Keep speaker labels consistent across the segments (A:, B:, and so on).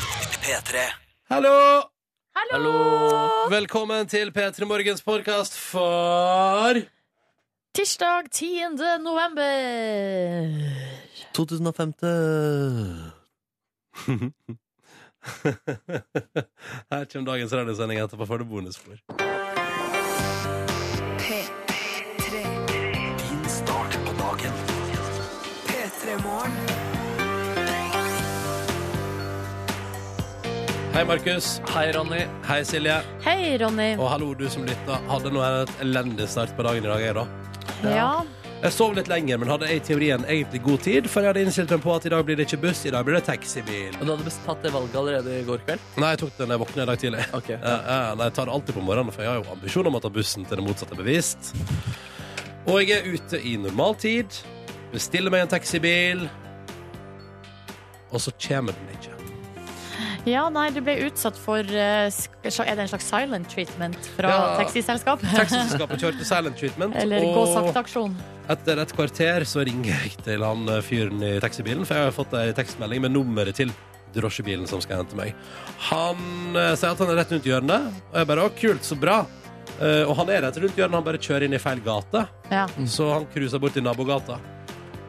A: P3.
B: Hallo!
C: Hallo!
B: Velkommen til P3 Morgens podkast for
C: Tirsdag 10. november.
D: 2005.
B: Her kommer dagens radiosending etterpå for det bonusspor.
A: Din start på dagen.
B: Hei, Markus.
D: Hei, Ronny.
B: Hei, Silje.
C: Hei, Ronny.
B: Og hallo, du som lytter. Hadde nå en elendig start på dagen i dag, jeg, da.
C: Ja.
B: Jeg sov litt lenger, men hadde jeg i teorien egentlig god tid, for jeg hadde innstilt meg på at i dag blir det ikke buss, i dag blir det taxibil.
D: Og du hadde best- tatt det valget allerede i går kveld?
B: Nei, jeg tok den da jeg våkna i dag tidlig.
D: Ok.
B: Ja, ja, nei, jeg tar det alltid på morgenen, for jeg har jo ambisjon om å ta bussen til det motsatte er bevist. Og jeg er ute i normal tid, bestiller meg en taxibil, og så kommer den ikke.
C: ja, nei, du ble utsatt for eh, sk- Er det en slags silent treatment fra
B: Ja.
C: taxiselskapet?
B: Taxiselskapet kjørte silent treatment,
C: Eller gå
B: og
C: sakte-aksjon?
B: etter et kvarter så ringer jeg til han eh, fyren i taxibilen, for jeg har fått ei tekstmelding med nummeret til drosjebilen som skal hente meg. Han eh, sier at han er rett rundt hjørnet, og jeg bare 'Å, kult, så bra'. Eh, og han er rett rundt hjørnet, han bare kjører inn i feil gate.
C: Ja.
B: Så han cruiser bort til nabogata.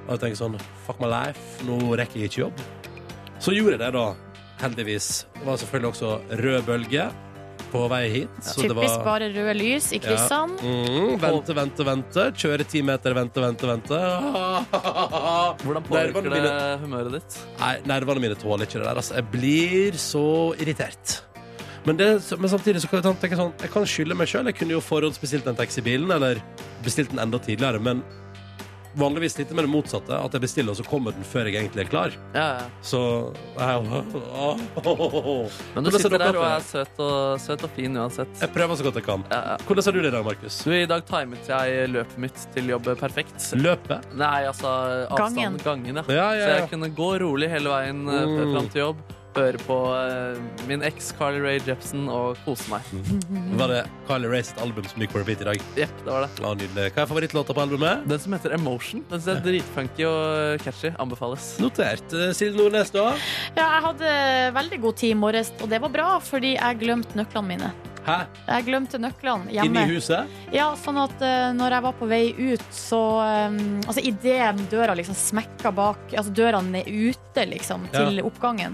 B: Og jeg tenker sånn Fuck my life, nå rekker jeg ikke jobb. Så gjorde jeg det, da. Heldigvis. Det var selvfølgelig også rød bølge på vei hit. Så det
C: Typisk
B: var
C: bare røde lys i kryssene.
B: mm, Vente, vente, vente. Kjøre ti meter, vente, vente, vente.
D: Hvordan
B: Nervene
D: påvirker det
B: mine-
D: humøret ditt?
B: Nei, nervene mine tåler ikke det der. Altså, jeg blir så irritert. Men, det, men samtidig så kan jeg tenke sånn Jeg kan skylde meg sjøl. Jeg kunne jo forhåndsbestilt den taxibilen, eller bestilt den enda tidligere, men vanligvis litt med det motsatte. At jeg bestiller, og så kommer den før jeg egentlig er klar.
D: Ja, ja.
B: Så jeg,
D: Men du sitter der og er søt og, søt og fin uansett.
B: Jeg prøver så godt jeg kan.
D: Ja, ja.
B: Hvordan har du det i dag, Markus?
D: Du, I dag timet jeg løpet mitt til jobb perfekt.
B: Løpet?
D: Nei, altså avstanden gangen, ja.
B: Ja,
D: Så
B: ja,
D: jeg
B: ja.
D: kunne gå rolig hele veien eh,
B: Mm.
D: fram til jobb, høre på eh, min eks Carly Rae Jepsen og kose meg.
B: Var det Kylie Rays sitt album som gikk på repeat i dag?
D: Jepp, det var det.
B: Ja, nydelig. eh, Hva er favorittlåta på albumet?
D: Den som heter Emotion. Den synes jeg er dritfunky og catchy. Anbefales.
B: Notert. Eh, Silje Nordnes, da?
C: Ja, jeg hadde veldig god tid i morges, og det var bra, fordi jeg glemte nøklene mine.
B: Hæ?
C: Jeg glemte nøklene hjemme.
B: Inni huset?
C: Ja, sånn at eh, når jeg var på vei ut, så um, Altså idet døra liksom smekka bak Altså døra er ute, liksom, til oppgangen.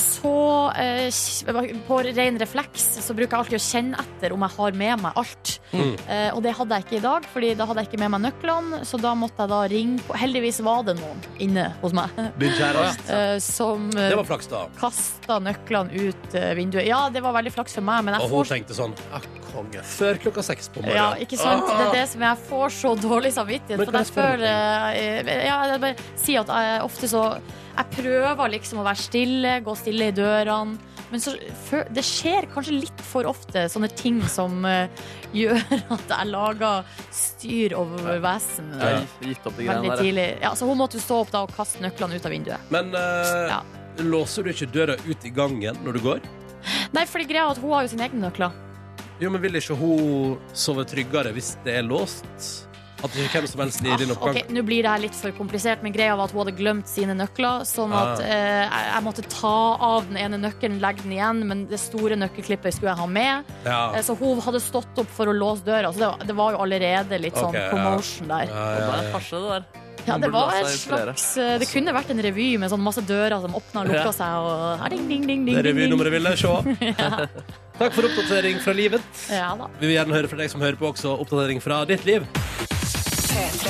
C: Så eh, kj- på ren refleks så bruker jeg alltid å kjenne etter om jeg har med meg alt.
B: Mm.
C: Eh, og det hadde jeg ikke i dag, Fordi da hadde jeg ikke med meg nøklene. Så da måtte jeg da ringe på Heldigvis var det noen inne hos meg
B: Din kjæreste.
C: eh, som
B: Det
C: uh,
B: var flaks, da.
C: kasta nøklene ut eh, vinduet. Ja, det var veldig flaks for meg, men
B: Og
C: jeg
B: hun
C: får
B: tenkte sånn «Ah, Konge. Før klokka seks på morgenen.
C: Ja, ikke sant?
B: Ah!
C: Det er det som jeg får så dårlig samvittighet
B: Men
C: for.
B: kan
C: Jeg
B: jeg spørre
C: føler eh, Ja, jeg bare sier at jeg ofte så Jeg prøver liksom å være stille, gå stille i dørene. Men så, fø- det skjer kanskje litt for ofte sånne ting som eh, gjør at jeg lager styr over vesen
D: Jeg har gitt opp de
C: veldig
D: greiene der. jeg.
C: tidlig. Ja, så hun måtte jo stå opp da og kaste nøklene ut av vinduet.
B: Men eh,
C: Ja.
B: låser du ikke døra ut i gangen når du går?
C: Nei, for greia er at hun har jo sine egne nøkler.
B: Jo, men Vil ikke hun sove tryggere hvis det er låst? At ikke hvem som helst i din
C: Ah,
B: oppgang
C: ok, Nå blir det her litt for komplisert, men greia var at hun hadde glemt sine nøkler. Sånn
B: Ah.
C: at eh, jeg, jeg måtte ta av den ene nøkkelen, legge den igjen, men det store nøkkelklippet skulle jeg ha med. Eh,
B: ja.
C: Så hun hadde stått opp for å låse døra, så det var, det var jo allerede litt sånn
B: Ok, ja.
C: promotion der.
B: Ja,
D: Og
B: ja,
D: det er
B: ja.
D: farse, det der.
C: Ja,
D: Man
C: det
D: burde
C: var
D: la
C: en
D: seg inspirere.
C: slags eh, Det kunne vært en revy med sånn masse dører som åpna og
D: Ja.
C: lukka seg, og ja, ding, ding, ding,
B: Det
C: ding,
B: er
C: ding, ding.
B: revynummeret ville se. Takk for oppdatering fra livet.
C: Ja da.
B: Vi vil gjerne høre fra deg som hører på også oppdatering fra ditt liv.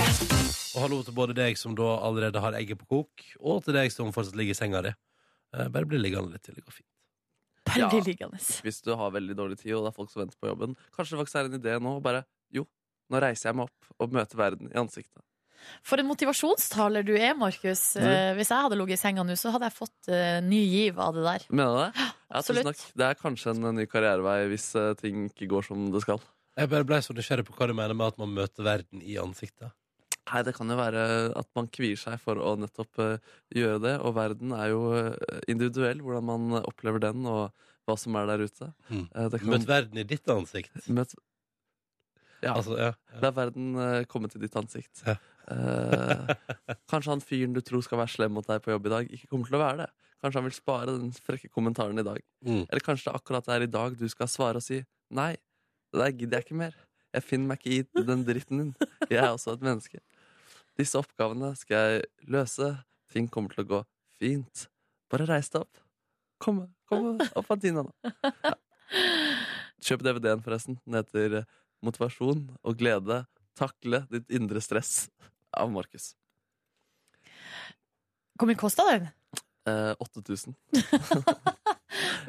B: Og hallo til både deg som da allerede har egget på kok, og til deg som fortsatt ligger i senga di. Eh, Bare bli liggende litt til det går fint.
C: Veldig
D: Ja.
C: liggende.
D: Hvis du har veldig dårlig tid, og det er folk som venter på jobben. Kanskje det faktisk er en idé nå. og Bare jo, nå reiser jeg meg opp og møter verden i ansiktet.
C: For en motivasjonstaler du er, Markus.
B: Mm.
C: Eh, hvis jeg hadde ligget i senga nå, så hadde jeg fått eh, ny giv av det der.
D: Mener du det? Ja, tusen
C: absolutt.
D: takk. Det er kanskje en ny karrierevei hvis eh, ting ikke går som det skal.
B: Jeg bare ble så nysgjerrig på hva du mener med at man møter verden i ansiktet.
D: Nei, det kan jo være at man kvier seg for å nettopp eh, gjøre det, og verden er jo eh, individuell, hvordan man opplever den, og hva som er der ute.
B: Mm.
D: Eh, det kan
B: Møt verden i ditt ansikt.
D: møt... Ja,
B: Altså, ja. ja.
D: la verden eh, komme til ditt ansikt.
B: Ja.
D: Eh, kanskje han fyren du tror skal være slem mot deg på jobb i dag, ikke kommer til å være det. Kanskje han vil spare den frekke kommentaren i dag.
B: Mm.
D: Eller kanskje det er akkurat der i dag du skal svare og si nei, det der gidder jeg ikke mer. Jeg finner meg ikke i den dritten din. Jeg er også et menneske. Disse oppgavene skal jeg løse. Ting kommer til å gå fint. Bare reis deg opp. Kom, kom opp av dyna nå. Ja. Kjøp DVD-en, forresten. Den heter eh, Motivasjon og glede. Takle ditt indre stress av Markus.
C: Hvor mye kosta den?
D: Eh, 8000.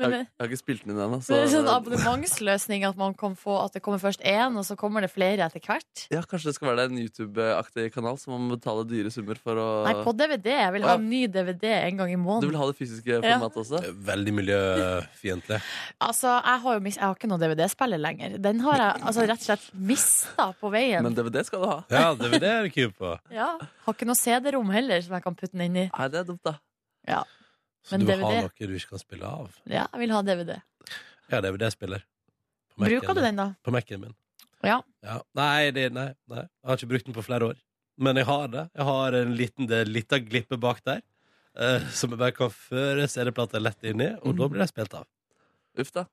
C: Men,
D: jeg, jeg har ikke spilt den inn ennå.
C: så, det er sånn
D: så-
C: abonnementsløsning at, man kan få, at det kommer først én, og så kommer det flere etter hvert?
D: Ja, Kanskje det skal være en YouTube-aktig kanal som man må betale dyre summer for å
C: Nei, på DVD. Jeg vil
D: Å,
C: ha
D: ja.
C: ny DVD en gang i
D: Du vil
C: måneden.
D: ha det fysiske
C: Ja.
D: formatet også?
B: Veldig miljøfiendtlig.
C: Altså, jeg har jo mis jeg har ikke noen DVD-spiller lenger. Den har jeg altså, rett og slett mista på veien.
D: Men DVD skal du ha.
B: Ja, DVD er du keen på.
C: Ja, Har ikke noe CD-rom heller som jeg kan putte den inn i.
D: Nei, det er dumt, da.
B: Så
C: Men
B: du har
C: DVD?
B: noe du ikke kan spille av.
C: Ja, jeg vil ha DVD.
B: Ja, DVD-spiller. På Mac-en
C: Bruker du
B: min.
C: den, da?
B: På Mac-en min.
C: Ja.
B: Nei, det, nei, nei, jeg har ikke brukt den på flere år. Men jeg har det. Jeg har en liten det er litt av glippe bak der. eh, som jeg bare kan føre CD-plata lett inn i, og da blir det spilt av.
D: Uff da.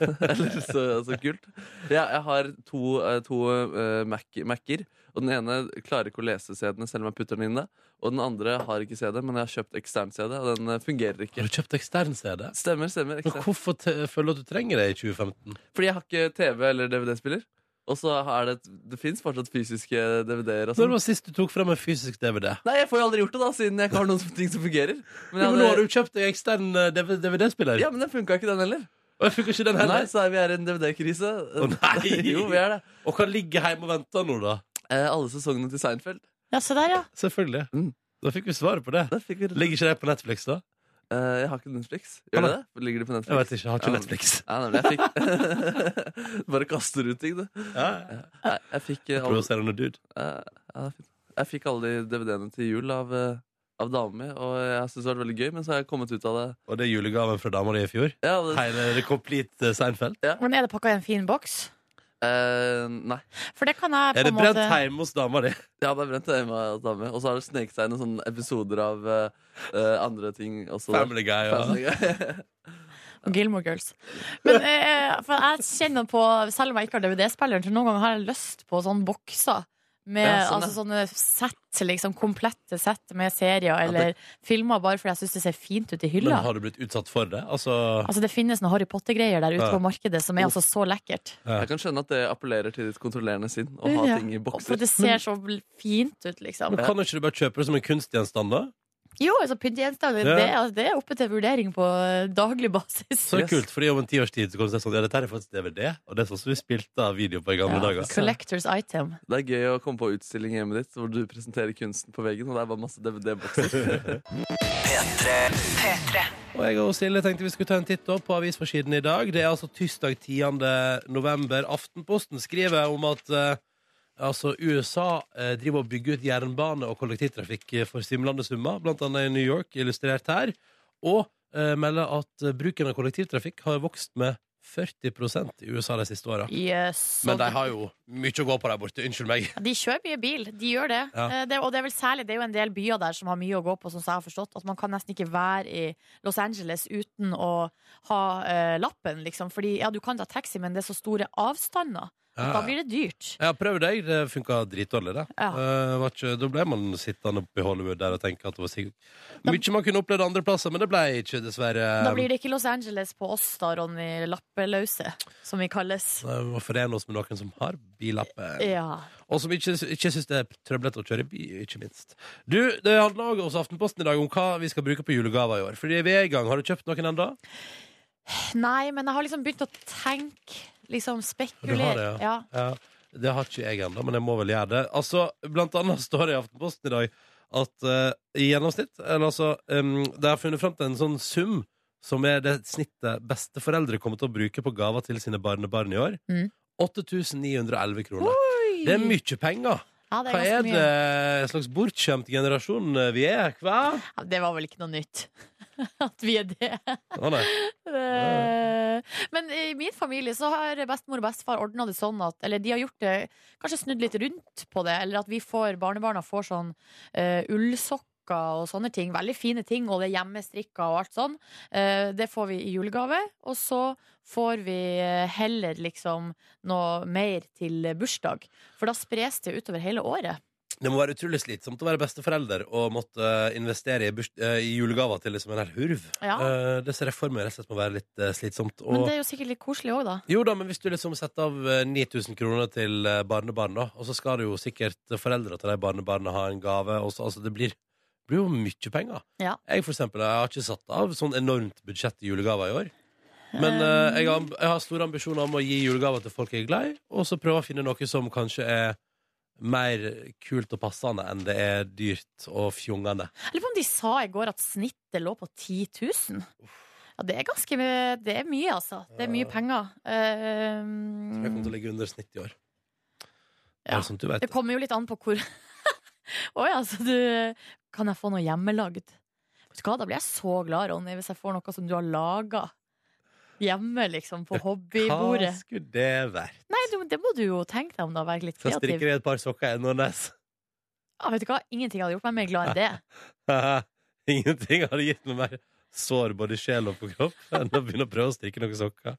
D: Eller så, så kult. Ja, jeg har to, eh, to eh, Mac, Mac-er. Og den ene klarer ikke å lese CD-ene selv om jeg putter den inn. det. Og den andre har ikke CD, men jeg har kjøpt ekstern CD, og den eh, fungerer ikke.
B: Har du kjøpt ekstern CD?
D: Stemmer, stemmer.
B: Men
D: ekstern.
B: hvorfor te føler du at du trenger det i 2015?
D: Fordi jeg har ikke TV eller DVD-spiller. Og så er det Det fins fortsatt fysiske DVD-er og
B: Når
D: sånn.
B: var sist du tok frem en fysisk DVD?
D: Nei, jeg får jo aldri gjort det, da, siden jeg ikke har noen som- ting som fungerer. Men,
B: Ja,
D: jeg
B: men nå har
D: hadde,
B: du kjøpt deg ekstern eh, DV- DVD-spiller.
D: ja, men den funka ikke, den heller.
B: Og jeg fikk ikke den
D: Nei,
B: heller.
D: så er vi her i en DVD-krise.
B: Å, nei.
D: jo, vi er det.
B: Og kan ligge hjemme og vente nå, da.
D: Eh, alle sesongene til Seinfeld.
C: Ja, se der, ja.
B: Selvfølgelig.
D: Mm.
B: Da fikk vi svaret på det.
D: Der fikk vi
B: Ligger ikke det på Netflix, da?
D: Eh, jeg har ikke Netflix. Gjør det? det? Ligger det på Netflix?
B: Jeg vet ikke. Jeg har
D: Ja,
B: ikke
D: men-
B: Netflix.
D: Nei, nemlig, jeg fikk Bare kaster ut ting, du.
B: Ja.
D: Nei, jeg fikk eh, alle,
B: Provoserende dude.
D: eh, ja, det er fint. jeg fikk alle de DVD-ene til jul av, eh, av damen min, og jeg syns det har vært veldig gøy, men så har jeg kommet ut av det.
B: Og det er julegaven fra dama di i fjor.
D: Ja, det
B: Hele det Complete eh, Seinfeld.
C: Men er det pakka i en fin boks?
D: eh, nei.
C: For det kan jeg på
B: Er det
C: en
B: brent
C: måte
B: hjemme hos dama di?
D: Ja, det er brent det hjemme av damen min. Og så har det sneket seg inn noen sånne episoder av eh, eh, andre ting også. der.
B: Family Guy. Ja.
D: Family Guy.
C: Og Gilmore Girls. Men eh, for jeg kjenner på, selv om jeg ikke har DVD-spilleren, så noen ganger har jeg lyst på sånne bokser. Med
D: Ja, sånn, ja.
C: altså, sånne sett, liksom komplette sett med serier
D: det-
C: eller filmer, bare fordi jeg syns det ser fint ut i
B: Men
C: hylla.
B: har du blitt utsatt for det? Altså,
C: Altså Det finnes noen Harry Potter-greier der ute
B: Ja.
C: på markedet som er altså så lekkert.
B: Ja.
D: Jeg kan skjønne at det appellerer til ditt kontrollerende sinn å ha
C: Ja.
D: ting i
C: Og For
D: bokser.
C: det ser så bl- fint ut, liksom.
B: men kan du ikke du bare kjøpe det som en kunstgjenstand, da?
C: Jo, altså pyntegjenstander,
B: Ja.
C: det, altså, det er oppe til vurdering på eh, daglig basis.
B: Så
D: Yes.
B: kult, fordi om en tiårs tid så kommer det til å si sånn Ja, dette her er faktisk DVD, og det er sånn som vi spilte av video på i gamle
C: Ja,
B: dager.
C: collectors item.
D: Det er gøy å komme på utstilling hjemme ditt hvor du presenterer kunsten på veggen, og det er bare masse DVD-bokser.
B: Og jeg og Silje tenkte vi skulle ta en titt opp på avisforsiden i dag. Det er altså tirsdag 10. november. Aftenposten skriver om at eh, altså USA eh, driver og bygger ut jernbane og kollektivtrafikk eh, for svimlende summer, blant annet i New York, illustrert her. Og eh, melder at eh, bruken av kollektivtrafikk har vokst med 40 i USA de siste åra.
C: Yes,
B: Men
C: og
B: de har jo mye å gå på der borte. Unnskyld meg.
C: De kjører mye bil, de gjør det.
B: Ja.
C: Eh, det. Og det er vel særlig, det er jo en del byer der som har mye å gå på, som jeg har forstått. At man kan nesten ikke være i Los Angeles uten å ha eh, lappen, liksom. Fordi ja, du kan ta taxi, men det er så store avstander. at Da
B: Ja.
C: blir det dyrt.
B: Jeg har prøvd det, det funka dritdårlig. Det.
C: Ja.
B: Eh, var ikke, da ble man sittende oppe i Hollywood der og tenke at det var sikkert Mye man kunne opplevd andre plasser, men det ble ikke, dessverre.
C: Da blir det ikke Los Angeles på oss da, Ronny. Lappeløse, som vi kalles.
B: Nei, Eh, Vi må forene oss med noen som har billappe.
C: Ja.
B: Og som ikke, ikke syns det er trøblete å kjøre bil, ikke minst. Du, Det handler også hos Aftenposten i dag om hva vi skal bruke på julegaver i år. Fordi vi er i gang. Har du kjøpt noen ennå?
C: Nei, men jeg har liksom begynt å tenke, liksom
B: Du har det,
C: spekulere.
B: ja. Ja, det har ikke jeg ennå, men jeg må vel gjøre det. Altså, Blant annet står det i Aftenposten i dag at eh, i gjennomsnitt eller altså, um, De har funnet fram til en sånn sum som er det snittet besteforeldre kommer til å bruke på gaver til sine barnebarn i år.
C: Mm.
B: 8911 kroner.
C: Oi!
B: Det er mye penger!
C: Ja, det er
B: Hva er
C: ganske
B: det
C: mye.
B: en slags bortskjemt generasjon vi er? Hva?
C: Ja, det var vel ikke noe nytt. At vi er det.
B: Å, nei.
C: Eh, Men i min familie så har bestemor og bestefar ordna det sånn at Eller de har gjort det, kanskje snudd litt rundt på det, eller at vi får, barnebarna får sånn eh, ullsokker sokker og sånne ting. Veldig fine ting, og det er hjemmestrikka og alt sånn. Eh, Det får vi i julegave. Og så får vi eh, heller liksom noe mer til bursdag. For da spres det utover hele året.
B: Det må være utrolig slitsomt å være besteforelder og måtte eh, investere i, burs- eh, i julegaver til liksom en hel hurv.
C: Ja.
B: Eh, det ser jeg for meg rett og slett må være litt eh, slitsomt. Og,
C: Men det er jo sikkert litt koselig òg, da.
B: Jo da, men hvis du liksom setter av eh, 9000 kroner til eh, barnebarn, da, og så skal det jo sikkert foreldre til de barnebarna ha en gave, og så, altså det blir, blir jo mye penger.
C: Ja.
B: Jeg for eksempel, jeg har ikke satt av sånn enormt budsjett i julegaver i år, men eh, jeg, har, jeg har store ambisjoner om å gi julegaver til folk jeg er glad i, og så prøve å finne noe som kanskje er mer kult og passende enn det er dyrt og fjongende.
C: Jeg lurer på om de sa i går at snittet lå på 10 000. Ja, det er ganske mye, det er mye altså. Det er mye penger.
B: Jeg kommer til å
C: Eh,
B: ligge under snitt i år.
C: Ja.
B: Bare sånn at du vet.
C: det kommer jo litt an på hvor Å ja, så du Kan jeg få noe hjemmelagd? Vet du hva, da blir jeg så glad, Ronny, hvis jeg får noe som du har laga hjemme, liksom, på
B: Hva
C: hobbybordet.
B: skulle det vært?
C: Nei, du, det må du jo tenke deg om, da. Være litt
B: Så strikker
C: kreativ.
B: jeg et par sokker ennå, Nes.
C: Ja, vet du hva, ingenting hadde gjort meg mer glad enn det.
B: Ingenting hadde gitt meg mer sår både i sjel og på kropp enn å begynne å prøve å strikke noen sokker.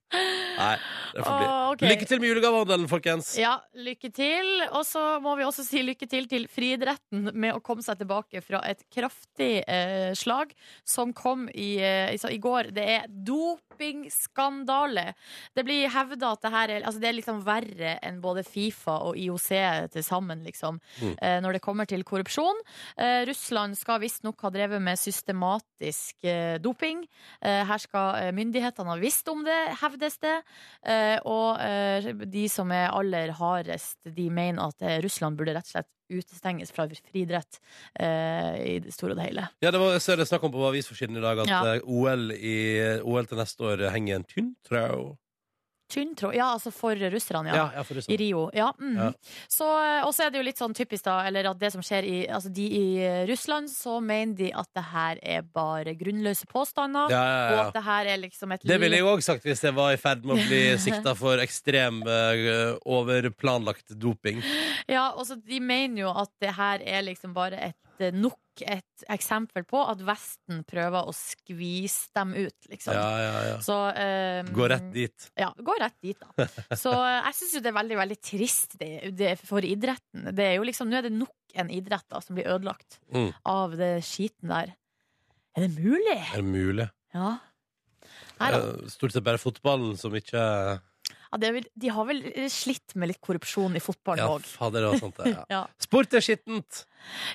B: Nei, det får bli.
C: Å, ok.
B: Lykke til med julegavehandelen, folkens!
C: Ja, lykke til. Og så må vi også si lykke til til friidretten med å komme seg tilbake fra et kraftig eh, slag som kom i, eh, i- så, i går. Det er dopingskandale. Det blir hevda at det her er, altså, det er liksom verre enn både Fifa og IOC til sammen, liksom,
B: Mm.
C: eh, når det kommer til korrupsjon. Eh, Russland skal visstnok ha drevet med systematisk eh, doping. Eh, her skal eh, myndighetene ha visst om det, hevdes det. Eh, og eh, de som er aller hardest, de mener at eh, Russland burde rett og slett utestenges fra friidrett eh, i det store og det hele.
B: Ja, det var, jeg ser det snakk om på avisforsiden i dag at
C: Ja.
B: eh, OL, i, OL til neste år henger i en tynn tråd.
C: Tynn tråd. Ja, altså for russerne, ja.
B: Ja, ja, for det
C: I
B: er sant.
C: Rio. Ja. Mm.
B: Ja.
C: Så, eh, og så er det jo litt sånn typisk, da, eller at det som skjer i Altså, de i Russland, så mener de at det her er bare grunnløse påstander.
B: Ja, ja,
C: Og
B: ja.
C: at det her er liksom et
B: Det ville jeg
C: lite-
B: jo òg sagt hvis jeg var i ferd med å bli sikta for ekstrem eh, overplanlagt doping.
C: Ja, og så De mener jo at det her er liksom bare et, eh, nok et eksempel på at Vesten prøver å skvise dem ut, liksom.
B: Ja, ja, ja.
C: Så, eh,
B: Gå rett dit.
C: Ja, gå rett dit, da. Så eh, jeg syns jo det er veldig veldig trist det, det, for idretten. Det er jo liksom, Nå er det nok en idrett da, som blir ødelagt
B: Mm.
C: av det skiten der. Er det mulig?
B: Er det mulig?
C: Ja. Nei da.
B: Eh, Stort sett bare fotballen som ikke
C: Ja, det er vel, de har vel slitt med litt korrupsjon i
B: Ja,
C: fotballen òg.
B: fader, det var sant, det. Ja.
C: Ja.
B: Sport er skittent!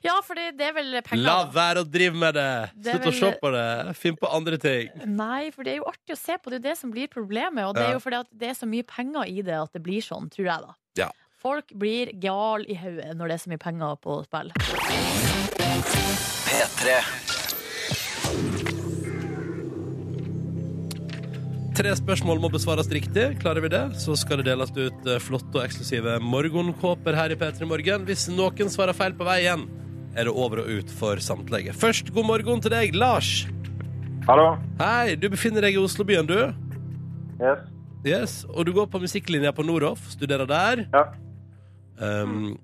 C: Ja. for det, det er vel penger.
B: La
C: da.
B: være å drive med det!
C: Det er
B: Slutt å
C: vel-
B: se på det! Finn på andre ting.
C: Nei, for det er jo artig å se på. Det er jo det som blir problemet. Og det
B: Ja.
C: er jo fordi at det er så mye penger i det at det blir sånn, tror jeg, da.
B: Ja.
C: Folk blir gal i hodet når det er så mye penger på spill.
A: P3
B: Tre spørsmål må besvares riktig. Klarer vi det, så skal det deles ut eh, flotte og eksklusive morgenkåper her i P3 Morgen. Hvis noen svarer feil på vei igjen, er det over og ut for samtlige. Først god morgen til deg, Lars.
E: Hallo.
B: Hei, du befinner deg i Oslobyen, du.
E: Yes.
B: Yes, Og du går på musikklinja på Nordhoff, studerer der.
E: Ja.
B: Um,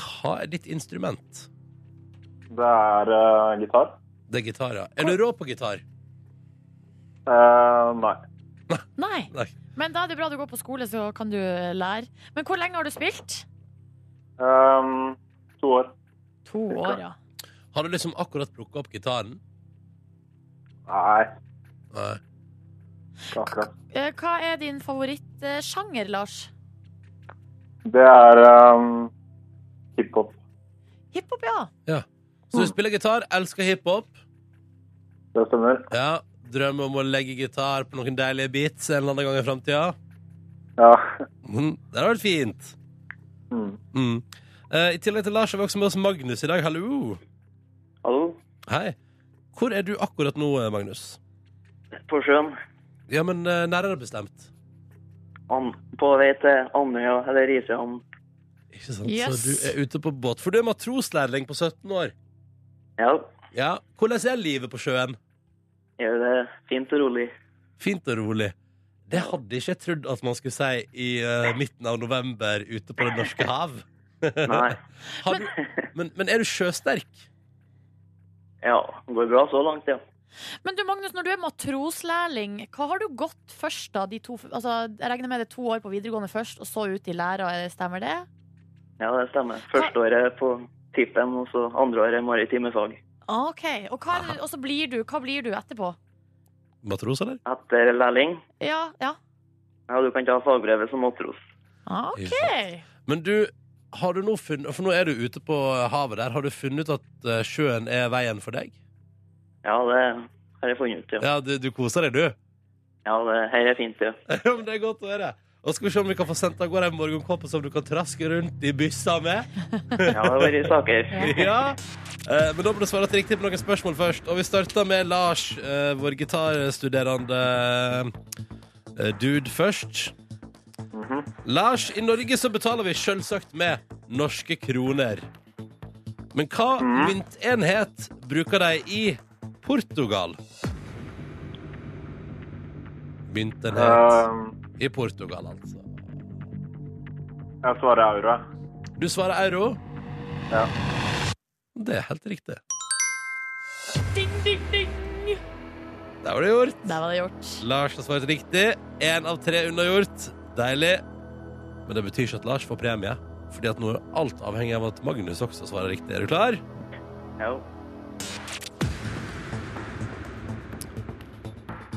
B: hva er ditt instrument?
E: Det er eh, gitar.
B: Det er gitar, ja. Er du rå på gitar?
E: Eh, nei.
C: Nei.
B: Nei.
C: Men da er det bra du går på skole, så kan du lære. Men hvor lenge har du spilt?
E: Ehm, to år.
C: To år, ja.
B: Har du liksom akkurat plukka opp gitaren?
E: Nei,
B: Nei.
E: ikke akkurat.
C: Eh, Hva er din favorittsjanger, Lars?
E: Det er ehm, hiphop.
C: Hiphop, ja.
B: Så du spiller gitar, elsker hiphop.
E: Det stemmer.
B: Ja, Drømmer om å legge gitar på noen deilige beats en eller annen gang i framtida.
E: Ja.
B: Mm, det hadde vært fint.
E: Mm.
B: Mm. Eh, I tillegg til Lars har vi også med oss Magnus i dag. Hallo.
F: Hallo,
B: Hei. Hvor er du akkurat nå, eh, Magnus?
F: på sjøen.
B: Ja, men eh, nærmere bestemt.
F: An på vei til Andøya, eller Risøyhamn.
B: Ikke sant? Så
C: Yes.
B: du er ute på båt. For du er matroslærling på 17 år.
F: Ja,
B: Ja, Hvordan er livet på sjøen?
F: gjør det fint og rolig.
B: Fint og rolig. Det hadde ikke jeg trodd at man skulle si i eh, midten av november ute på det norske hav.
F: Nei,
B: Har du, men, men er du sjøsterk?
F: Ja, det går bra så langt, ja.
C: Men du Magnus, når du er matroslærling, hva har du gått først da? De to, altså, jeg regner med det er to år på videregående først, og så ut i læra, stemmer det?
F: Ja, det stemmer. Første året på tippen, og så andre året maritime fag.
C: Ah, Ok, og, hva, er- og så blir du, hva blir du etterpå?
B: Matros, eller?
F: Etter lærling,
C: Ja, ja.
F: ja, du kan ta fagbrevet som matros.
C: Ah,
B: Ikke
C: Ok.
B: sant. Men du, har du nå funnet For nå er du ute på eh, havet der. Har du funnet ut at eh, sjøen er veien for deg?
F: Ja, det har jeg funnet ut, ja.
B: Ja, du, du koser deg, du.
F: Ja, det her er fint, ja.
B: Ja, men det er godt å høre. Og skal vi se om vi kan få sendt av gårde en morgenkåpe som du kan traske rundt i byssa med.
F: Ja, det har vært saker.
B: Ja. Eh, men da må du svare til riktig på noen spørsmål først. Og vi starter med Lars, eh, vår gitarstuderende eh, dude, først. Lars, i Norge så betaler vi selvsagt med norske kroner. Men hva myntenhet bruker de i Portugal? Myntenhet
E: Ehm,
B: i Portugal, altså.
E: jeg svarer euro. jeg.
B: Du svarer euro.
E: Ja.
B: Det er helt riktig.
C: Ding, ding, ding.
B: Der var det gjort.
C: Der var det gjort.
B: Lars har svart riktig. Én av tre unnagjort. Deilig. Men det betyr ikke at Lars får premie, Fordi at nå er alt avhengig av at Magnus også svarer riktig. Er du klar?
F: Ja.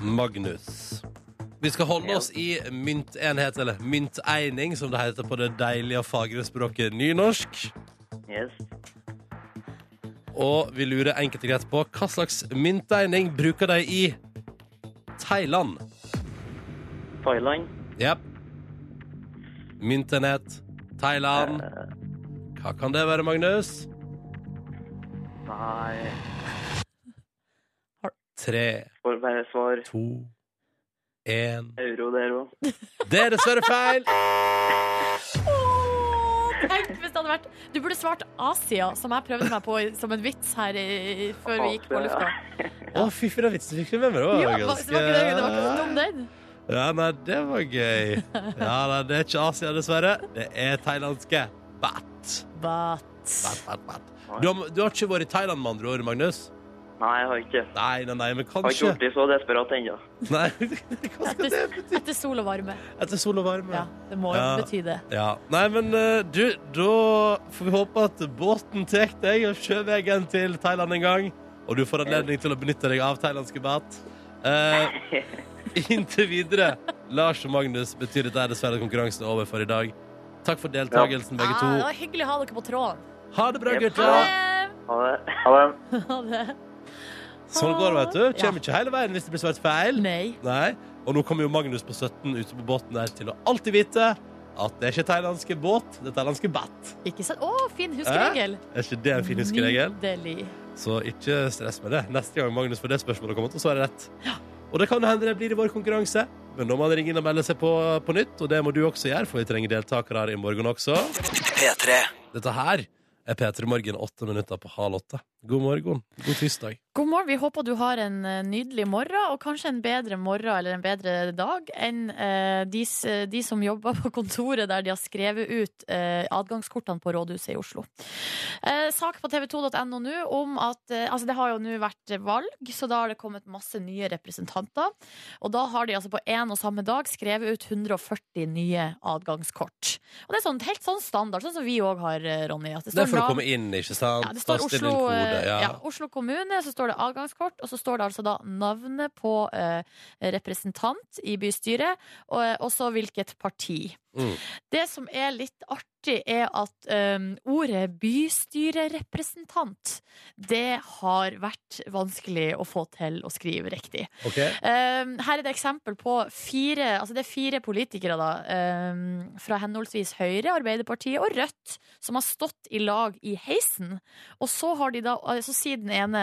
B: Magnus. Vi skal holde oss i myntenhet, eller mynteining, som det heter på det deilige og fagre språket nynorsk.
F: Yes.
B: Og vi lurer enkelt og greit på hva slags myntegning bruker de i Thailand.
F: Thailand.
B: Jepp. Myntenhet. Thailand. Hva kan det være, Magnus?
F: Nei,
B: Tre,
F: får bare svar
B: to, én
F: euro der òg.
B: Det er dessverre feil!
C: Åh, Tenk hvis det hadde vært Du burde svart Asia, som jeg prøvde meg på i- som en vits her i, før vi gikk på
F: Asia,
C: lufta.
B: Å, fy fy, den vitsen fikk du med meg. Det
C: Ja,
B: var
C: det var
B: ganske
C: ikke det, det var ikke så dum, den.
B: Ja, nei, det var gøy. Ja, nei, det er ikke Asia, dessverre. Det er thailandske. Bat. Bat,
C: But
B: bat, bat. Du, har, du har ikke vært i Thailand, med andre ord, Magnus?
F: Nei, jeg har ikke.
B: Nei, nei, nei, men
F: Har ikke
B: kanskje
F: gjort det så desperat ennå.
B: Nei, Hva skal det
C: etter,
B: bety?
C: etter sol og varme.
B: Etter sol og varme.
C: Ja, det må jo
B: Ja.
C: bety det.
B: Ja. Nei, men eh, du, da får vi håpe at båten tar deg og sjøveien til Thailand en gang. Og du får anledning til å benytte deg av thailandske bat. Eh, inntil videre, Lars og Magnus, betyr dette dessverre at konkurransen er over for i dag. Takk for deltakelsen, begge
C: Ah, det var
B: to.
C: hyggelig å ha dere på tråden.
B: Ha det bra,
F: Yep.
B: gutter.
C: Ha det!
F: Ha det.
E: Ha det.
C: Ha det.
B: Sånn går det, vet du.
C: Ja.
B: Kommer ikke hele veien hvis det blir svart feil.
C: Nei.
B: Nei. Og nå kommer jo Magnus på 17 ute på båten der til å alltid vite at det er ikke thailandske båt, det er thailandske bat.
C: Ikke sant? Å, fin huskeregel.
B: Er ikke det en fin
C: Mm.
B: huskeregel?
C: Nydelig.
B: Så ikke stress med det. Neste gang Magnus får det spørsmålet, kommer han til å svare rett. Og det kan jo hende det blir i vår konkurranse, men da må han ringe inn og melde seg på på nytt. Og det må du også gjøre, for vi trenger deltakere her i morgen også.
A: P3
B: Dette her er P3 Morgen åtte minutter på halv åtte. God morgen. God tirsdag.
C: God morgen. Vi håper du har en eh, nydelig morgen, og kanskje en bedre morgen eller en bedre dag enn eh, de, s- de som jobber på kontoret der de har skrevet ut eh, adgangskortene på rådhuset i Oslo. Eh, sak på tv2.no nå om at eh, altså Det har jo nå vært valg, så da har det kommet masse nye representanter. Og da har de altså på én og samme dag skrevet ut 140 nye adgangskort. Og det er sånn, helt sånn standard, sånn som vi òg har, eh, Ronny. At det
B: Det
C: står
B: er for å
C: navn-
B: komme inn, ikke sant?
C: ja, det står
B: Taste inn
C: Oslo,
B: en kode,
C: eh,
B: ja.
C: ja, Oslo kommune, så står det avgangskort, og så står det altså da navnet på eh, representant i bystyret, og eh, også hvilket parti.
B: Mm.
C: Det som er litt artig, er at eh, ordet bystyrerepresentant, det har vært vanskelig å få til å skrive riktig.
B: Ok.
C: Um, her er det eksempel på fire Altså det er fire politikere da um, fra henholdsvis Høyre, Arbeiderpartiet og Rødt som har stått i lag i heisen. Og så har de da eh, Så sier den ene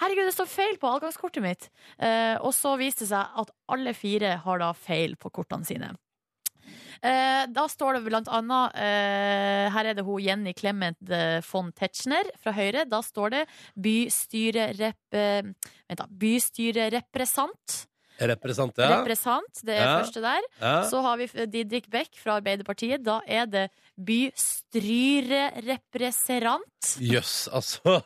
C: Herregud, det står feil på adgangskortet mitt! Eh, og så viste det seg at alle fire har da feil på kortene sine. Eh, da står det blant annet eh, Her er det hun Jenny Clement eh, von Tetzschner fra Høyre. Da står det bystyrerepp... eh, Vent da, bystyrerepresent.
B: Representant, ja.
C: Represent, det er
B: Ja.
C: første der.
B: ja.
C: Så har vi Didrik Beck fra Arbeiderpartiet. Da er det bystyrerepresentant.
B: Jøss, altså.